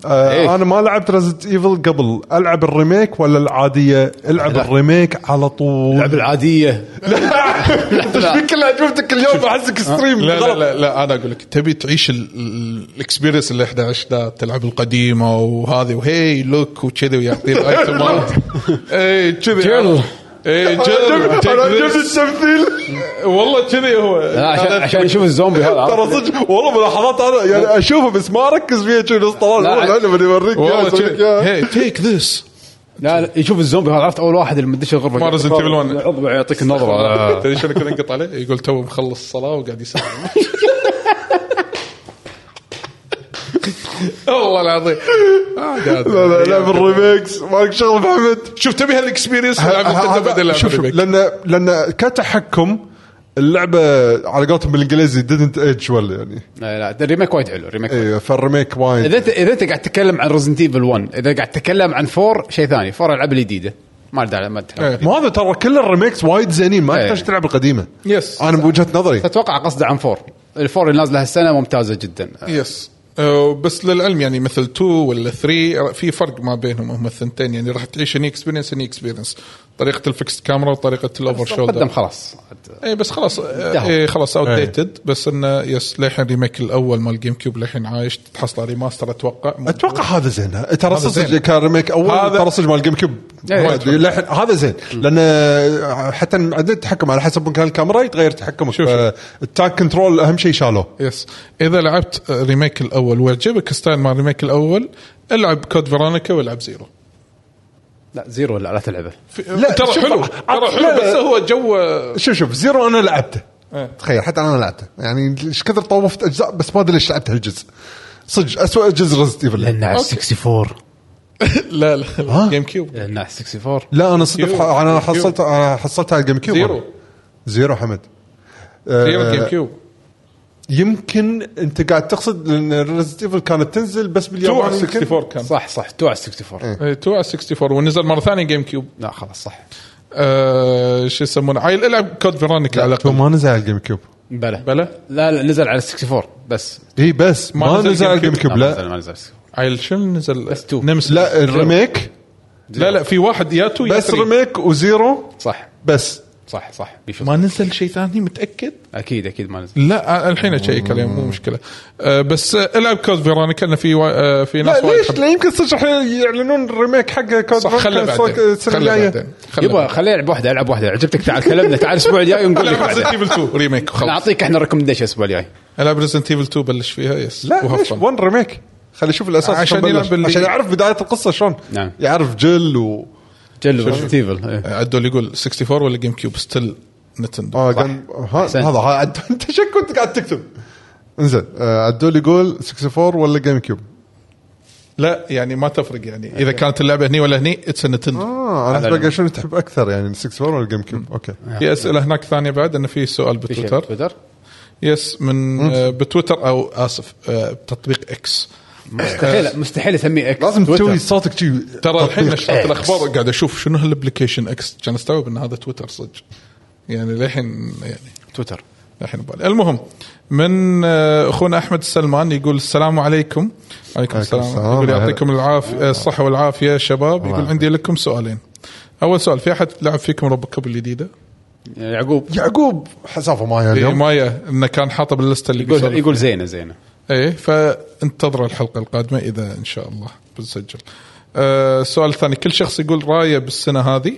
Speaker 3: آه
Speaker 1: إيه.
Speaker 3: انا ما لعبت ريزنت ايفل قبل العب الريميك ولا العاديه العب
Speaker 1: لا.
Speaker 3: الريميك على طول [LAUGHS]
Speaker 1: اللعبه العاديه
Speaker 3: في كل اجوبتك اليوم احسك ستريم
Speaker 2: آه. لا لا
Speaker 3: غلط.
Speaker 2: لا, لا انا اقول لك تبي تعيش الاكسبيرينس اللي 11 ده تلعب
Speaker 3: [LAUGHS]
Speaker 2: [LAUGHS] القديمه وهذه وهي لوك وكذي ويعطي الايتمات اي إيه، كذي
Speaker 1: Girl.
Speaker 3: [LAUGHS]
Speaker 2: إيه، جرب
Speaker 3: انا عجبني
Speaker 2: تجلس.
Speaker 3: التمثيل
Speaker 2: والله كذي هو
Speaker 1: لا، عشان عشان نشوف الزومبي هذا عرفت؟
Speaker 3: ترى صدق والله ملاحظات انا يعني اشوفه بس ما اركز فيها شي نص طوال
Speaker 1: لا،
Speaker 3: والله انا بدي اوريك إياه،
Speaker 2: والله
Speaker 3: أسوي لك إياه.
Speaker 2: [LAUGHS] كذي تيك ذس
Speaker 1: [LAUGHS] لا لا يشوف الزومبي هذا عرفت اول واحد اللي مدش الغرفه
Speaker 2: ما Resident Evil 1.
Speaker 1: عضبه يعطيك [LAUGHS] النظره
Speaker 2: [LAUGHS] تدري شنو كذا انقطع عليه يقول تو مخلص الصلاه وقاعد
Speaker 1: [LAUGHS]
Speaker 2: يسلم [LAUGHS] والله العظيم آه، قاعد.
Speaker 3: لا لا لا بالريميكس مالك شغل محمد
Speaker 2: شوف تبي هالاكسبيرينس العب انت
Speaker 3: هذا-
Speaker 2: بدل العب
Speaker 3: شوف شوف
Speaker 2: ريميك.
Speaker 3: لان لان كتحكم اللعبه على قولتهم بالانجليزي didn't age well يعني
Speaker 1: لا لا الريميك وايد حلو الريميك
Speaker 3: ايوه فالريميك وايد
Speaker 1: اذا انت اذا انت قاعد تتكلم عن ريزنت ايفل 1 اذا قاعد تتكلم عن 4 شيء ثاني 4 العاب الجديده ما له داعي ما تحرق.
Speaker 2: إيه.
Speaker 3: ما هذا ترى كل الريميكس وايد زينين ما
Speaker 1: إيه.
Speaker 3: تحتاج تلعب القديمه
Speaker 2: يس
Speaker 3: انا بوجهه نظري
Speaker 1: اتوقع قصده عن 4 الفور اللي نازله هالسنه ممتازه جدا
Speaker 2: يس آه، بس للعلم يعني مثل 2 ولا 3 في فرق ما بينهم هم الثنتين يعني راح تعيش اني اكسبيرينس اني اكسبيرينس طريقه الفكس كاميرا وطريقه الاوفر
Speaker 1: قدم
Speaker 2: شولدر
Speaker 1: خلاص
Speaker 2: اي إيه، بس خلاص
Speaker 1: انتهوا.
Speaker 2: اي خلاص اوت ديتد بس انه يس للحين ريميك الاول مال جيم كيوب للحين عايش تحصله ريماستر اتوقع
Speaker 3: اتوقع هذا زين ترى
Speaker 2: هذا
Speaker 3: صدق
Speaker 2: زين.
Speaker 3: كان ريميك اول
Speaker 2: هذا-
Speaker 3: ترى صدق مال جيم كيوب
Speaker 1: إيه.
Speaker 3: وايد. للحين هذا زين لان حتى عندنا التحكم على حسب مكان الكاميرا يتغير تحكمك
Speaker 2: شوف شوف.
Speaker 3: التاك كنترول اهم شيء شالوه
Speaker 2: يس اذا لعبت ريميك الاول ويعجبك ستايل مال ريميك الاول العب كود فيرونيكا والعب زيرو
Speaker 1: لا زيرو لا لا تلعبه
Speaker 2: لا ترى
Speaker 3: شوف،
Speaker 2: حلو
Speaker 3: عط-
Speaker 2: ترى
Speaker 3: لا،
Speaker 2: حلو
Speaker 3: لا.
Speaker 2: بس هو جو آه،
Speaker 3: شوف شوف زيرو انا لعبته
Speaker 2: إيه.
Speaker 3: تخيل حتى انا لعبته يعني ايش كثر طوفت اجزاء بس ما ادري ليش لعبت هالجزء صدق اسوء جزء رزت ايفل
Speaker 1: على
Speaker 2: أوكي.
Speaker 1: 64
Speaker 2: لا لا, لا
Speaker 3: آه.
Speaker 2: جيم كيوب
Speaker 1: لان على 64
Speaker 3: لا انا صدق ح-
Speaker 2: زيرو.
Speaker 3: انا حصلت انا حصلتها على الجيم كيوب
Speaker 2: زيرو
Speaker 3: زيرو حمد
Speaker 2: زيرو
Speaker 3: آه،
Speaker 2: جيم كيوب
Speaker 3: يمكن انت قاعد تقصد لان ريزنت ايفل كانت تنزل بس
Speaker 2: 2
Speaker 3: باليابان
Speaker 2: على
Speaker 3: يمكن.
Speaker 2: 64 كان
Speaker 1: صح صح تو على 64
Speaker 2: إيه، 2 على 64 ونزل مره ثانيه جيم كيوب
Speaker 1: لا خلاص صح
Speaker 2: آه، شو يسمونه عيل العب كود فيرونيكا على
Speaker 3: تو
Speaker 2: الاقل
Speaker 3: ما نزل على الجيم كيوب
Speaker 1: بلى
Speaker 2: بلا
Speaker 1: لا لا نزل على 64 بس
Speaker 3: اي بس
Speaker 2: ما
Speaker 3: ما,
Speaker 2: نزل
Speaker 3: نزل على
Speaker 2: جيم
Speaker 3: الجيم كيوب
Speaker 1: ما نزل
Speaker 3: لا
Speaker 1: ما نزل على 64.
Speaker 2: عيل شنو نزل
Speaker 1: بس two.
Speaker 2: نمس
Speaker 3: لا الريميك
Speaker 2: لا لا في واحد يا تو يا
Speaker 3: بس
Speaker 2: 3.
Speaker 3: ريميك وزيرو
Speaker 1: صح
Speaker 3: بس
Speaker 1: صح صح بيشوف
Speaker 2: ما نزل شيء ثاني متاكد
Speaker 1: اكيد اكيد ما نزل
Speaker 2: لا أنا الحين اشيك عليه مو مشكله آه، بس آه، العب كود فيرونيكا انه في وا- آه، في
Speaker 3: لا
Speaker 2: ناس وايد
Speaker 3: ليش
Speaker 2: حب-
Speaker 3: لا يمكن صدق الحين يعلنون الريميك حقه كود
Speaker 2: صح خله بعدين
Speaker 3: السنه
Speaker 2: خله
Speaker 3: الجايه
Speaker 2: بعدين خله
Speaker 1: يبا
Speaker 2: بعدين.
Speaker 1: خليه يلعب واحده العب واحده عجبتك تعال كلمنا تعال الاسبوع الجاي ونقول لك
Speaker 2: العب
Speaker 1: بعدين.
Speaker 2: [LAUGHS] ريزنت ايفل 2 ريميك وخلاص
Speaker 1: نعطيك احنا ريكومنديشن الاسبوع الجاي
Speaker 2: العب ريزنت ايفل 2 بلش فيها يس
Speaker 3: لا
Speaker 2: وهاف fun.
Speaker 3: ليش ون ريميك خلي يشوف الاساس
Speaker 2: عشان
Speaker 3: شلون
Speaker 2: يلعب
Speaker 3: بلش.
Speaker 2: باللي-
Speaker 3: عشان يعرف بدايه القصه شلون
Speaker 1: نعم.
Speaker 3: يعرف جل و
Speaker 1: جلو إيه. ريزنت ايفل
Speaker 2: آه، عدول يقول 64 ولا جيم كيوب ستيل نتندو
Speaker 3: اه قام- ها-
Speaker 1: أحسنت.
Speaker 3: هذا ها- أنت- [LAUGHS] انت شو كنت قاعد تكتب انزين آه، عدول يقول 64 ولا جيم كيوب
Speaker 2: لا يعني ما تفرق يعني اذا كانت اللعبه هني ولا هني اتس نتندو
Speaker 3: اه
Speaker 1: هذا
Speaker 3: انا
Speaker 1: اللي-
Speaker 3: بقى شنو تحب اكثر يعني 64 ولا جيم كيوب اوكي
Speaker 2: في اسئله هناك ثانيه بعد انه في سؤال بتويتر
Speaker 1: تويتر
Speaker 2: يس من آه، بتويتر او اسف آه، بتطبيق اكس
Speaker 1: مستحيل مستحيل اسميه اكس
Speaker 3: لازم
Speaker 1: تويتر.
Speaker 3: تسوي صوتك شي
Speaker 2: ترى الحين نشرت
Speaker 1: إكس.
Speaker 2: الاخبار قاعد اشوف شنو هالابلكيشن اكس كان استوعب ان هذا تويتر صدق يعني للحين يعني
Speaker 1: تويتر
Speaker 2: الحين ببالي المهم من آه، اخونا احمد السلمان يقول السلام عليكم عليكم السلام
Speaker 3: السلام.
Speaker 2: يقول يعطيكم العافيه الصحه والعافيه شباب يقول عندي لكم سؤالين اول سؤال في احد لعب فيكم روبو كاب الجديده؟
Speaker 1: يعقوب
Speaker 3: يعقوب يعني. حسافه معي
Speaker 2: إيه،
Speaker 3: اليوم
Speaker 2: مايا انه كان حاطه باللسته اللي
Speaker 1: يقول
Speaker 2: بيسولف
Speaker 1: يقول زينه زينه
Speaker 2: ايه فانتظروا الحلقه القادمه اذا ان شاء الله بنسجل. آه، السؤال الثاني كل شخص يقول رايه بالسنه هذه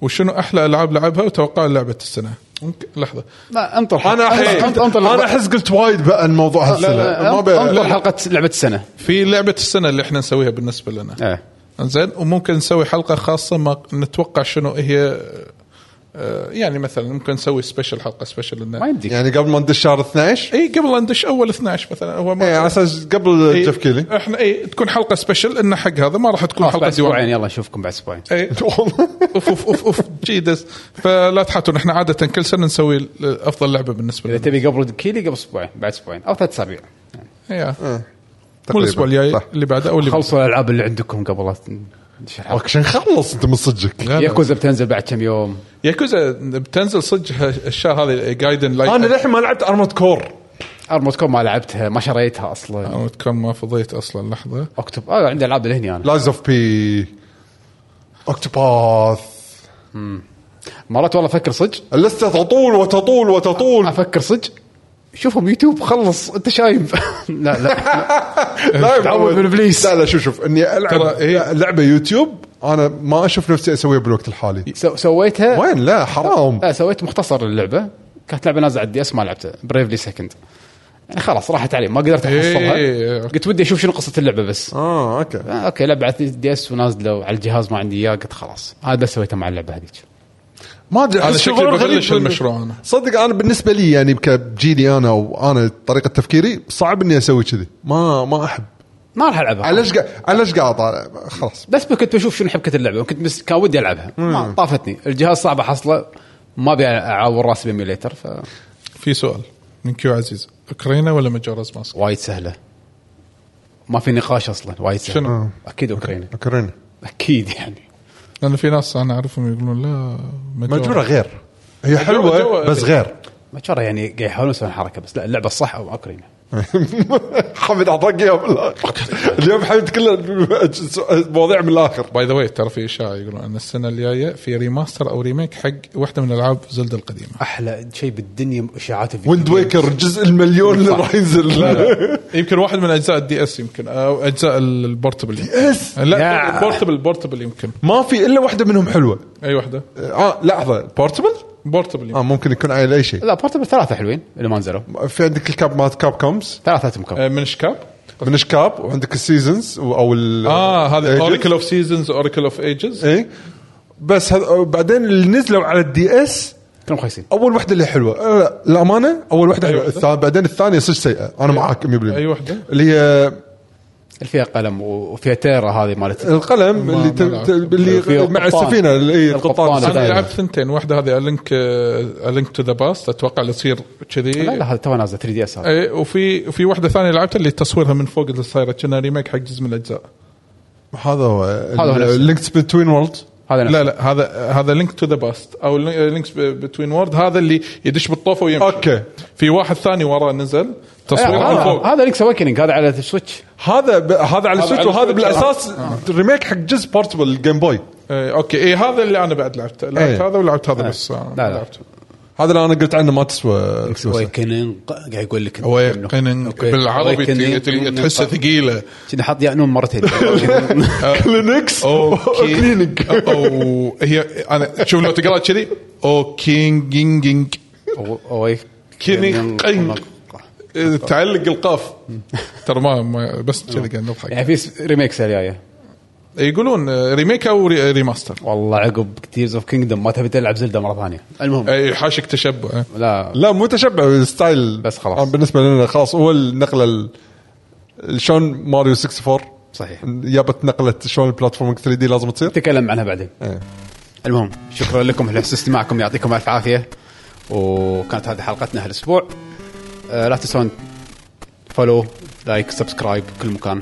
Speaker 2: وشنو احلى العاب لعبها وتوقع لعبه السنه؟ ممكن لحظه
Speaker 1: لا انطر
Speaker 3: انا احس
Speaker 1: انطر-
Speaker 3: قلت-
Speaker 1: انطر
Speaker 3: انا احس قلت وايد بقى الموضوع هالسنه ما
Speaker 1: انطر انطر
Speaker 3: بقى-
Speaker 1: حلقه لعبه السنه
Speaker 2: في لعبه السنه اللي احنا نسويها بالنسبه لنا.
Speaker 1: ايه
Speaker 2: زين وممكن نسوي حلقه خاصه ما نتوقع شنو هي آه، يعني مثلا ممكن نسوي سبيشل حلقه سبيشل
Speaker 1: ما
Speaker 2: لنا
Speaker 1: يمديك
Speaker 3: يعني قبل ما ندش شهر 12
Speaker 2: اي قبل لا ندش اول 12 مثلا هو
Speaker 3: إيه، على
Speaker 2: ما
Speaker 3: اساس قبل
Speaker 2: إيه،
Speaker 3: جيف كيلي [LAUGHS]
Speaker 2: احنا اي تكون حلقه سبيشل انه حق هذا ما راح تكون
Speaker 1: خلاص بعد
Speaker 2: حلقه
Speaker 1: اسبوعين
Speaker 2: ديوان
Speaker 1: يلا نشوفكم بعد اسبوعين
Speaker 2: إيه. اوف اوف اوف اوف جيدس فلا تحاتون احنا عاده كل سنه نسوي ال- افضل لعبه بالنسبه
Speaker 1: اذا
Speaker 2: لنا
Speaker 1: تبي قبل كيلي قبل اسبوعين بعد اسبوعين او ثلاث اسابيع
Speaker 2: إيه. مو الاسبوع الجاي اللي بعده او اللي بعده
Speaker 1: خلصوا الالعاب اللي عندكم قبل لا تندش الحلقة.
Speaker 3: اوكي شن خلص انت من صدقك
Speaker 2: لا، لا.
Speaker 1: ياكوزا بتنزل بعد كم يوم
Speaker 2: ياكوزا بتنزل صدق ه- الشهر هذه جايدن لايت
Speaker 3: انا للحين ما لعبت ارمود كور
Speaker 1: ارمود كوم ما لعبتها ما شريتها اصلا
Speaker 2: أنا كم ما فضيت اصلا لحظه
Speaker 1: اكتب اه عندي العاب لهني انا
Speaker 3: لايز اوف بي اوكتوباث
Speaker 1: مرات والله افكر صدق
Speaker 3: اللسته تطول
Speaker 1: [LAUGHS]
Speaker 3: وتطول وتطول
Speaker 1: افكر صدق شوفهم يوتيوب خلص انت شايب [LAUGHS] لا لا
Speaker 3: لا يا
Speaker 1: تعود
Speaker 3: محمد.
Speaker 1: من إبليس.
Speaker 3: لا لا شوف شوف اني العب
Speaker 2: ترى إيه.
Speaker 3: لعبه يوتيوب انا ما اشوف نفسي اسويها بالوقت الحالي
Speaker 1: سو- سويتها
Speaker 3: وين لا حرام
Speaker 1: لا آه، سويت مختصر للعبه كانت لعبه نازله على الدي اس ما لعبتها بريفلي سكند يعني خلاص راحت علي ما قدرت
Speaker 2: إيه.
Speaker 1: احصلها قلت ودي اشوف شنو قصه اللعبه بس
Speaker 3: اه اوكي
Speaker 1: آه، اوكي لعبه على الدي اس ونازله وعلى الجهاز ما عندي اياه قلت خلاص هذا سويته مع اللعبه هذيك
Speaker 3: ما ادري
Speaker 2: أنا
Speaker 3: أحس
Speaker 2: شكلي
Speaker 3: شعور غريب
Speaker 2: ببلش
Speaker 3: من-
Speaker 2: المشروع أنا.
Speaker 3: صدق انا بالنسبه لي يعني كجيلي انا وانا طريقه تفكيري صعب اني اسوي كذي ما ما احب
Speaker 1: ما راح العبها
Speaker 3: علاش قاعد علاش قاعد اطالع خلاص
Speaker 1: بس كنت بشوف شنو حبكه اللعبه كنت بس كان ودي العبها ما طافتني الجهاز صعب احصله ما ابي اعور راسي بميليتر فوايد
Speaker 2: في سؤال من كيو عزيز اوكرانيا ولا مجرز ماسك؟
Speaker 1: سهله ما في نقاش اصلا وايد سهله
Speaker 2: شنو؟
Speaker 1: شنو؟ اكيد اوكرانيا
Speaker 3: اوكرانيا
Speaker 1: اكيد يعني
Speaker 2: لان في ناس انا اعرفهم يقولون لا
Speaker 3: مجبوره غير هي
Speaker 2: جوا-
Speaker 3: حلوه بس غير
Speaker 1: ما ترى يعني قاعد يحاولون يسوون حركه بس لا اللعبه الصح او اوكرانيا
Speaker 3: [LAUGHS] حمد اعطاك اياها من الاخر اليوم حمد كله مواضيع من الاخر
Speaker 2: باي ذا واي ترى في اشاعه يقولون ان السنه الجايه في ريماستر او ريميك حق واحده من العاب زلدة
Speaker 1: [LAUGHS]
Speaker 2: القديمه
Speaker 1: احلى شيء بالدنيا اشاعات الفيديو
Speaker 3: ويند ويكر الجزء المليون اللي راح ينزل
Speaker 2: يمكن واحد من اجزاء الدي اس يمكن او اجزاء ال- البورتبل يمكن.
Speaker 3: اس
Speaker 2: لا
Speaker 1: يا.
Speaker 2: البورتبل البورتبل يمكن
Speaker 3: ما في الا واحده منهم حلوه
Speaker 2: اي واحده
Speaker 3: اه لحظه بورتبل
Speaker 2: بورتبل
Speaker 1: آه.
Speaker 2: يمكن.
Speaker 3: اه ممكن يكون على اي شيء
Speaker 1: لا بورتبل ثلاثه حلوين اللي ما نزلوا
Speaker 3: في عندك الكاب مات كاب كومز
Speaker 1: ثلاثتهم كم
Speaker 2: آه، من شكاب
Speaker 3: من شكاب وعندك السيزونز او ال
Speaker 2: اه هذا
Speaker 3: Ages.
Speaker 2: اوركل اوف سيزونز اوركل اوف ايجز
Speaker 3: اي بس هذ... آه، بعدين اللي نزلوا على الدي اس
Speaker 1: كلهم خايسين
Speaker 3: اول واحده اللي حلوه آه، لا الامانه اول واحده حلوه
Speaker 2: واحدة؟ أيوه.
Speaker 3: الثانية بعدين الثانيه صدق سيئه انا معاك 100%
Speaker 2: أي واحدة؟
Speaker 3: اللي هي
Speaker 1: اللي فيها قلم و- وفيها تيرا هذه مالت
Speaker 3: القلم
Speaker 2: ما-
Speaker 3: اللي
Speaker 2: ما
Speaker 3: ت...
Speaker 2: لعبت.
Speaker 3: ت... اللي
Speaker 1: في
Speaker 3: مع
Speaker 1: القبطان.
Speaker 3: السفينه اللي إيه، القبطان
Speaker 1: القبطان.
Speaker 2: انا
Speaker 1: صدق.
Speaker 3: السفينة.
Speaker 2: لعبت ثنتين واحده هذه آه، الينك الينك تو ذا باست اتوقع اللي تصير
Speaker 1: لا
Speaker 2: كذي
Speaker 1: لا هذا تو نازله 3 دي اس هذا
Speaker 2: اي إيه، وفي وفي واحده ثانيه لعبتها اللي تصويرها من فوق اللي صايره كانها ريميك حق جزء من الاجزاء
Speaker 3: هذا هو
Speaker 1: هو نفسه.
Speaker 3: لينكس بتوين وورلد
Speaker 1: هذا
Speaker 2: لا
Speaker 1: نفسه.
Speaker 2: لا هذا هذا لينك تو ذا باست او لينكس بتوين وورد هذا اللي يدش بالطوفه ويمشي
Speaker 3: أوكي.
Speaker 2: في واحد ثاني وراه نزل
Speaker 1: إيه،
Speaker 2: تصوير من
Speaker 1: هذا-
Speaker 2: فوق
Speaker 1: هذا لينكس اوكيننج هذا على السويتش
Speaker 3: هذا ب... هذا على السويتش
Speaker 2: على
Speaker 3: وهذا
Speaker 2: السويتش.
Speaker 3: بالاساس ريميك حق جزء بورتبل الجيم بوي
Speaker 2: إيه، اوكي اي هذا اللي انا بعد لعبته لعبت
Speaker 3: إيه.
Speaker 2: هذا ولعبت هذا بس آه،
Speaker 1: لا، لا.
Speaker 2: لعبته
Speaker 3: هذا اللي انا قلت عنه ما تسوى [LAUGHS] فلوسه
Speaker 1: اوكيننج قاعد يقول لك
Speaker 2: اويكننج بالعربي ت- ت- تحسها ثقيله
Speaker 1: كنا حاط يا نون
Speaker 2: [LAUGHS]
Speaker 1: مرتين
Speaker 3: كلينكس وكلينك
Speaker 2: او هي انا شوف لو تقرا كذي اوكينجينج كينينج. إيه، تعلق القاف ترى ما ما- بس كذي قاعد نضحك
Speaker 1: يعني في س- ريميكس جايه
Speaker 2: يقولون آه، ريميك او ري- ريماستر
Speaker 1: والله عقب تيرز اوف كينجدم ما تبي تلعب زلده مره ثانيه المهم
Speaker 2: اي حاشك تشبع
Speaker 1: لا
Speaker 3: لا مو تشبع ستايل
Speaker 1: بس خلاص.
Speaker 3: أنا بالنسبه لنا خلاص هو النقله ال- شلون ماريو 64
Speaker 1: صحيح
Speaker 3: جابت نقله شلون البلاتفورمينج 3 دي لازم تصير
Speaker 1: نتكلم عنها بعدين
Speaker 3: إيه.
Speaker 1: المهم شكرا لكم على حسن استماعكم يعطيكم الف عافيه وكانت هذه حلقتنا هالاسبوع آه، لا تنسون فولو لايك سبسكرايب كل مكان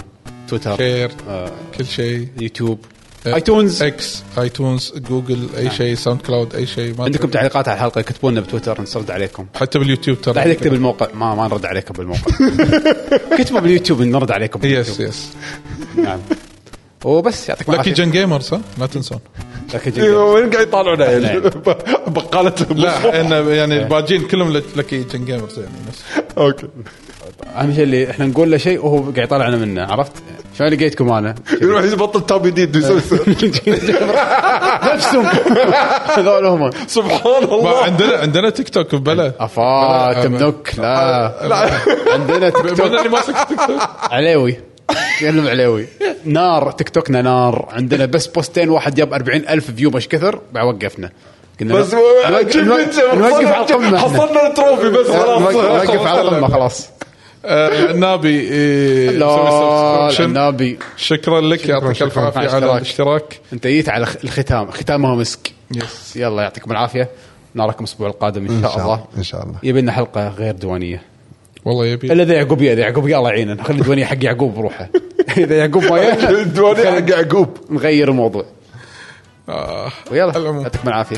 Speaker 1: تويتر
Speaker 2: شير
Speaker 1: آه،
Speaker 2: كل شيء آه،
Speaker 1: يوتيوب
Speaker 2: إيه.
Speaker 1: ايتونز
Speaker 2: اكس ايتونز جوجل اي شيء ساوند كلاود اي شيء ما
Speaker 1: نعم. عندكم
Speaker 2: أدري.
Speaker 1: تعليقات على الحلقه كتبوا لنا بتويتر نسرد عليكم
Speaker 2: حتى باليوتيوب
Speaker 1: بعد
Speaker 2: ترى
Speaker 1: اكتب الموقع ما ما نرد عليكم بالموقع كتبوا باليوتيوب نرد عليكم
Speaker 2: يس
Speaker 1: باليوتيوب.
Speaker 2: يس
Speaker 1: نعم وبس يعطيكم
Speaker 2: لكي
Speaker 1: العافيه
Speaker 2: جن جيمرز ها لا تنسون
Speaker 1: لكي
Speaker 3: إيه،
Speaker 1: جن
Speaker 3: وين قاعد يطالعون
Speaker 1: إيه.
Speaker 3: عيل؟ بقالتهم
Speaker 2: لا انا يعني
Speaker 1: [LAUGHS]
Speaker 2: الباجين كلهم لكي جن جيمرز يعني نفس
Speaker 3: اوكي
Speaker 1: اهم شيء اللي احنا نقول له شيء وهو قاعد يطلعنا منه عرفت؟ شلون لقيتكم انا؟
Speaker 3: يروح يبطل تاب جديد يسوي-
Speaker 1: [LAUGHS] نفسهم هذول هم
Speaker 3: سبحان
Speaker 2: ما
Speaker 3: [LAUGHS] الله
Speaker 2: عندنا عندنا تيك
Speaker 1: [LAUGHS]
Speaker 2: توك بلا
Speaker 1: افا تمنوك لا عندنا تيك
Speaker 2: انا
Speaker 1: توك
Speaker 2: اللي ماسك تيك توك
Speaker 1: عليوي كلم عليوي نار تيك توكنا نار عندنا بس بوستين واحد جاب 40 الف فيو مش كثر بعد وقفنا قلنا
Speaker 3: بس
Speaker 1: نوقف-
Speaker 3: جيب- جيب-
Speaker 1: نوقف على القمه احنا.
Speaker 3: حصلنا التروفي بس خلاص
Speaker 1: نوقف على القمه خلاص
Speaker 2: آه، النابي إيه، سوي
Speaker 1: لا
Speaker 2: subscription.
Speaker 1: النبي
Speaker 2: شكرا لك يعطيك الف
Speaker 1: شكراً.
Speaker 2: عافيه
Speaker 1: مع
Speaker 2: على
Speaker 1: الاشتراك.
Speaker 2: الاشتراك
Speaker 1: انت جيت على خ- الختام ختامها مسك
Speaker 2: يس.
Speaker 1: يلا يعطيكم العافيه نراكم الاسبوع القادم ان
Speaker 3: إن
Speaker 1: شاء
Speaker 3: شاء
Speaker 1: الله
Speaker 3: الله. إن شاء الله.
Speaker 1: يبي لنا حلقه غير ديوانيه
Speaker 2: والله يبي
Speaker 1: الا اذا يعقوب يا إذا يعقوب يا الله يعينه خلي الديوانيه حق يعقوب بروحه [LAUGHS] اذا يعقوب ما
Speaker 3: [LAUGHS]
Speaker 1: يا
Speaker 3: الدواني حق يعقوب
Speaker 1: نغير الموضوع
Speaker 2: آه،
Speaker 1: ويلا
Speaker 2: العموم.
Speaker 1: يعطيكم العافيه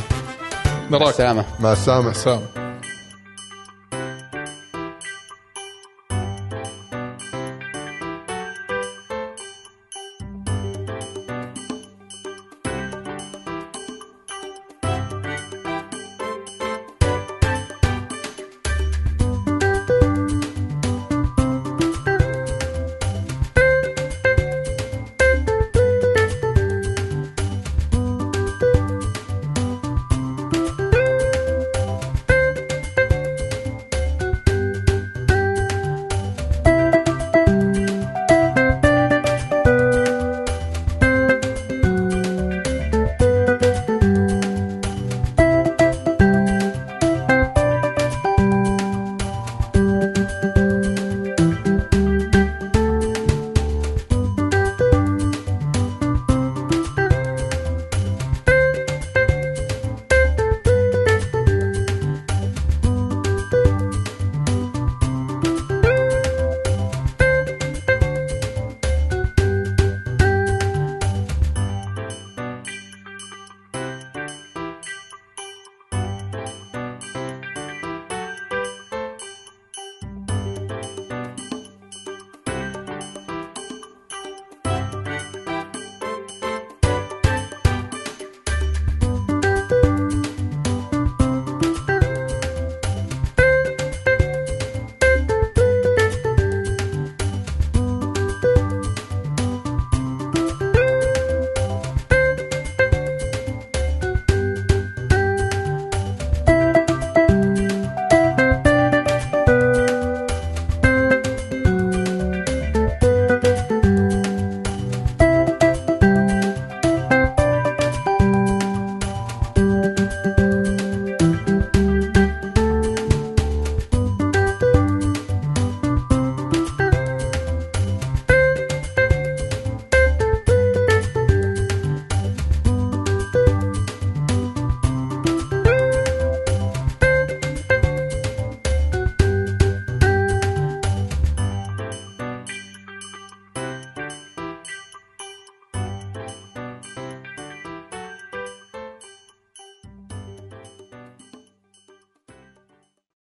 Speaker 1: مع
Speaker 2: آه، نراك
Speaker 1: السلامه
Speaker 3: مع السلامه
Speaker 2: سلام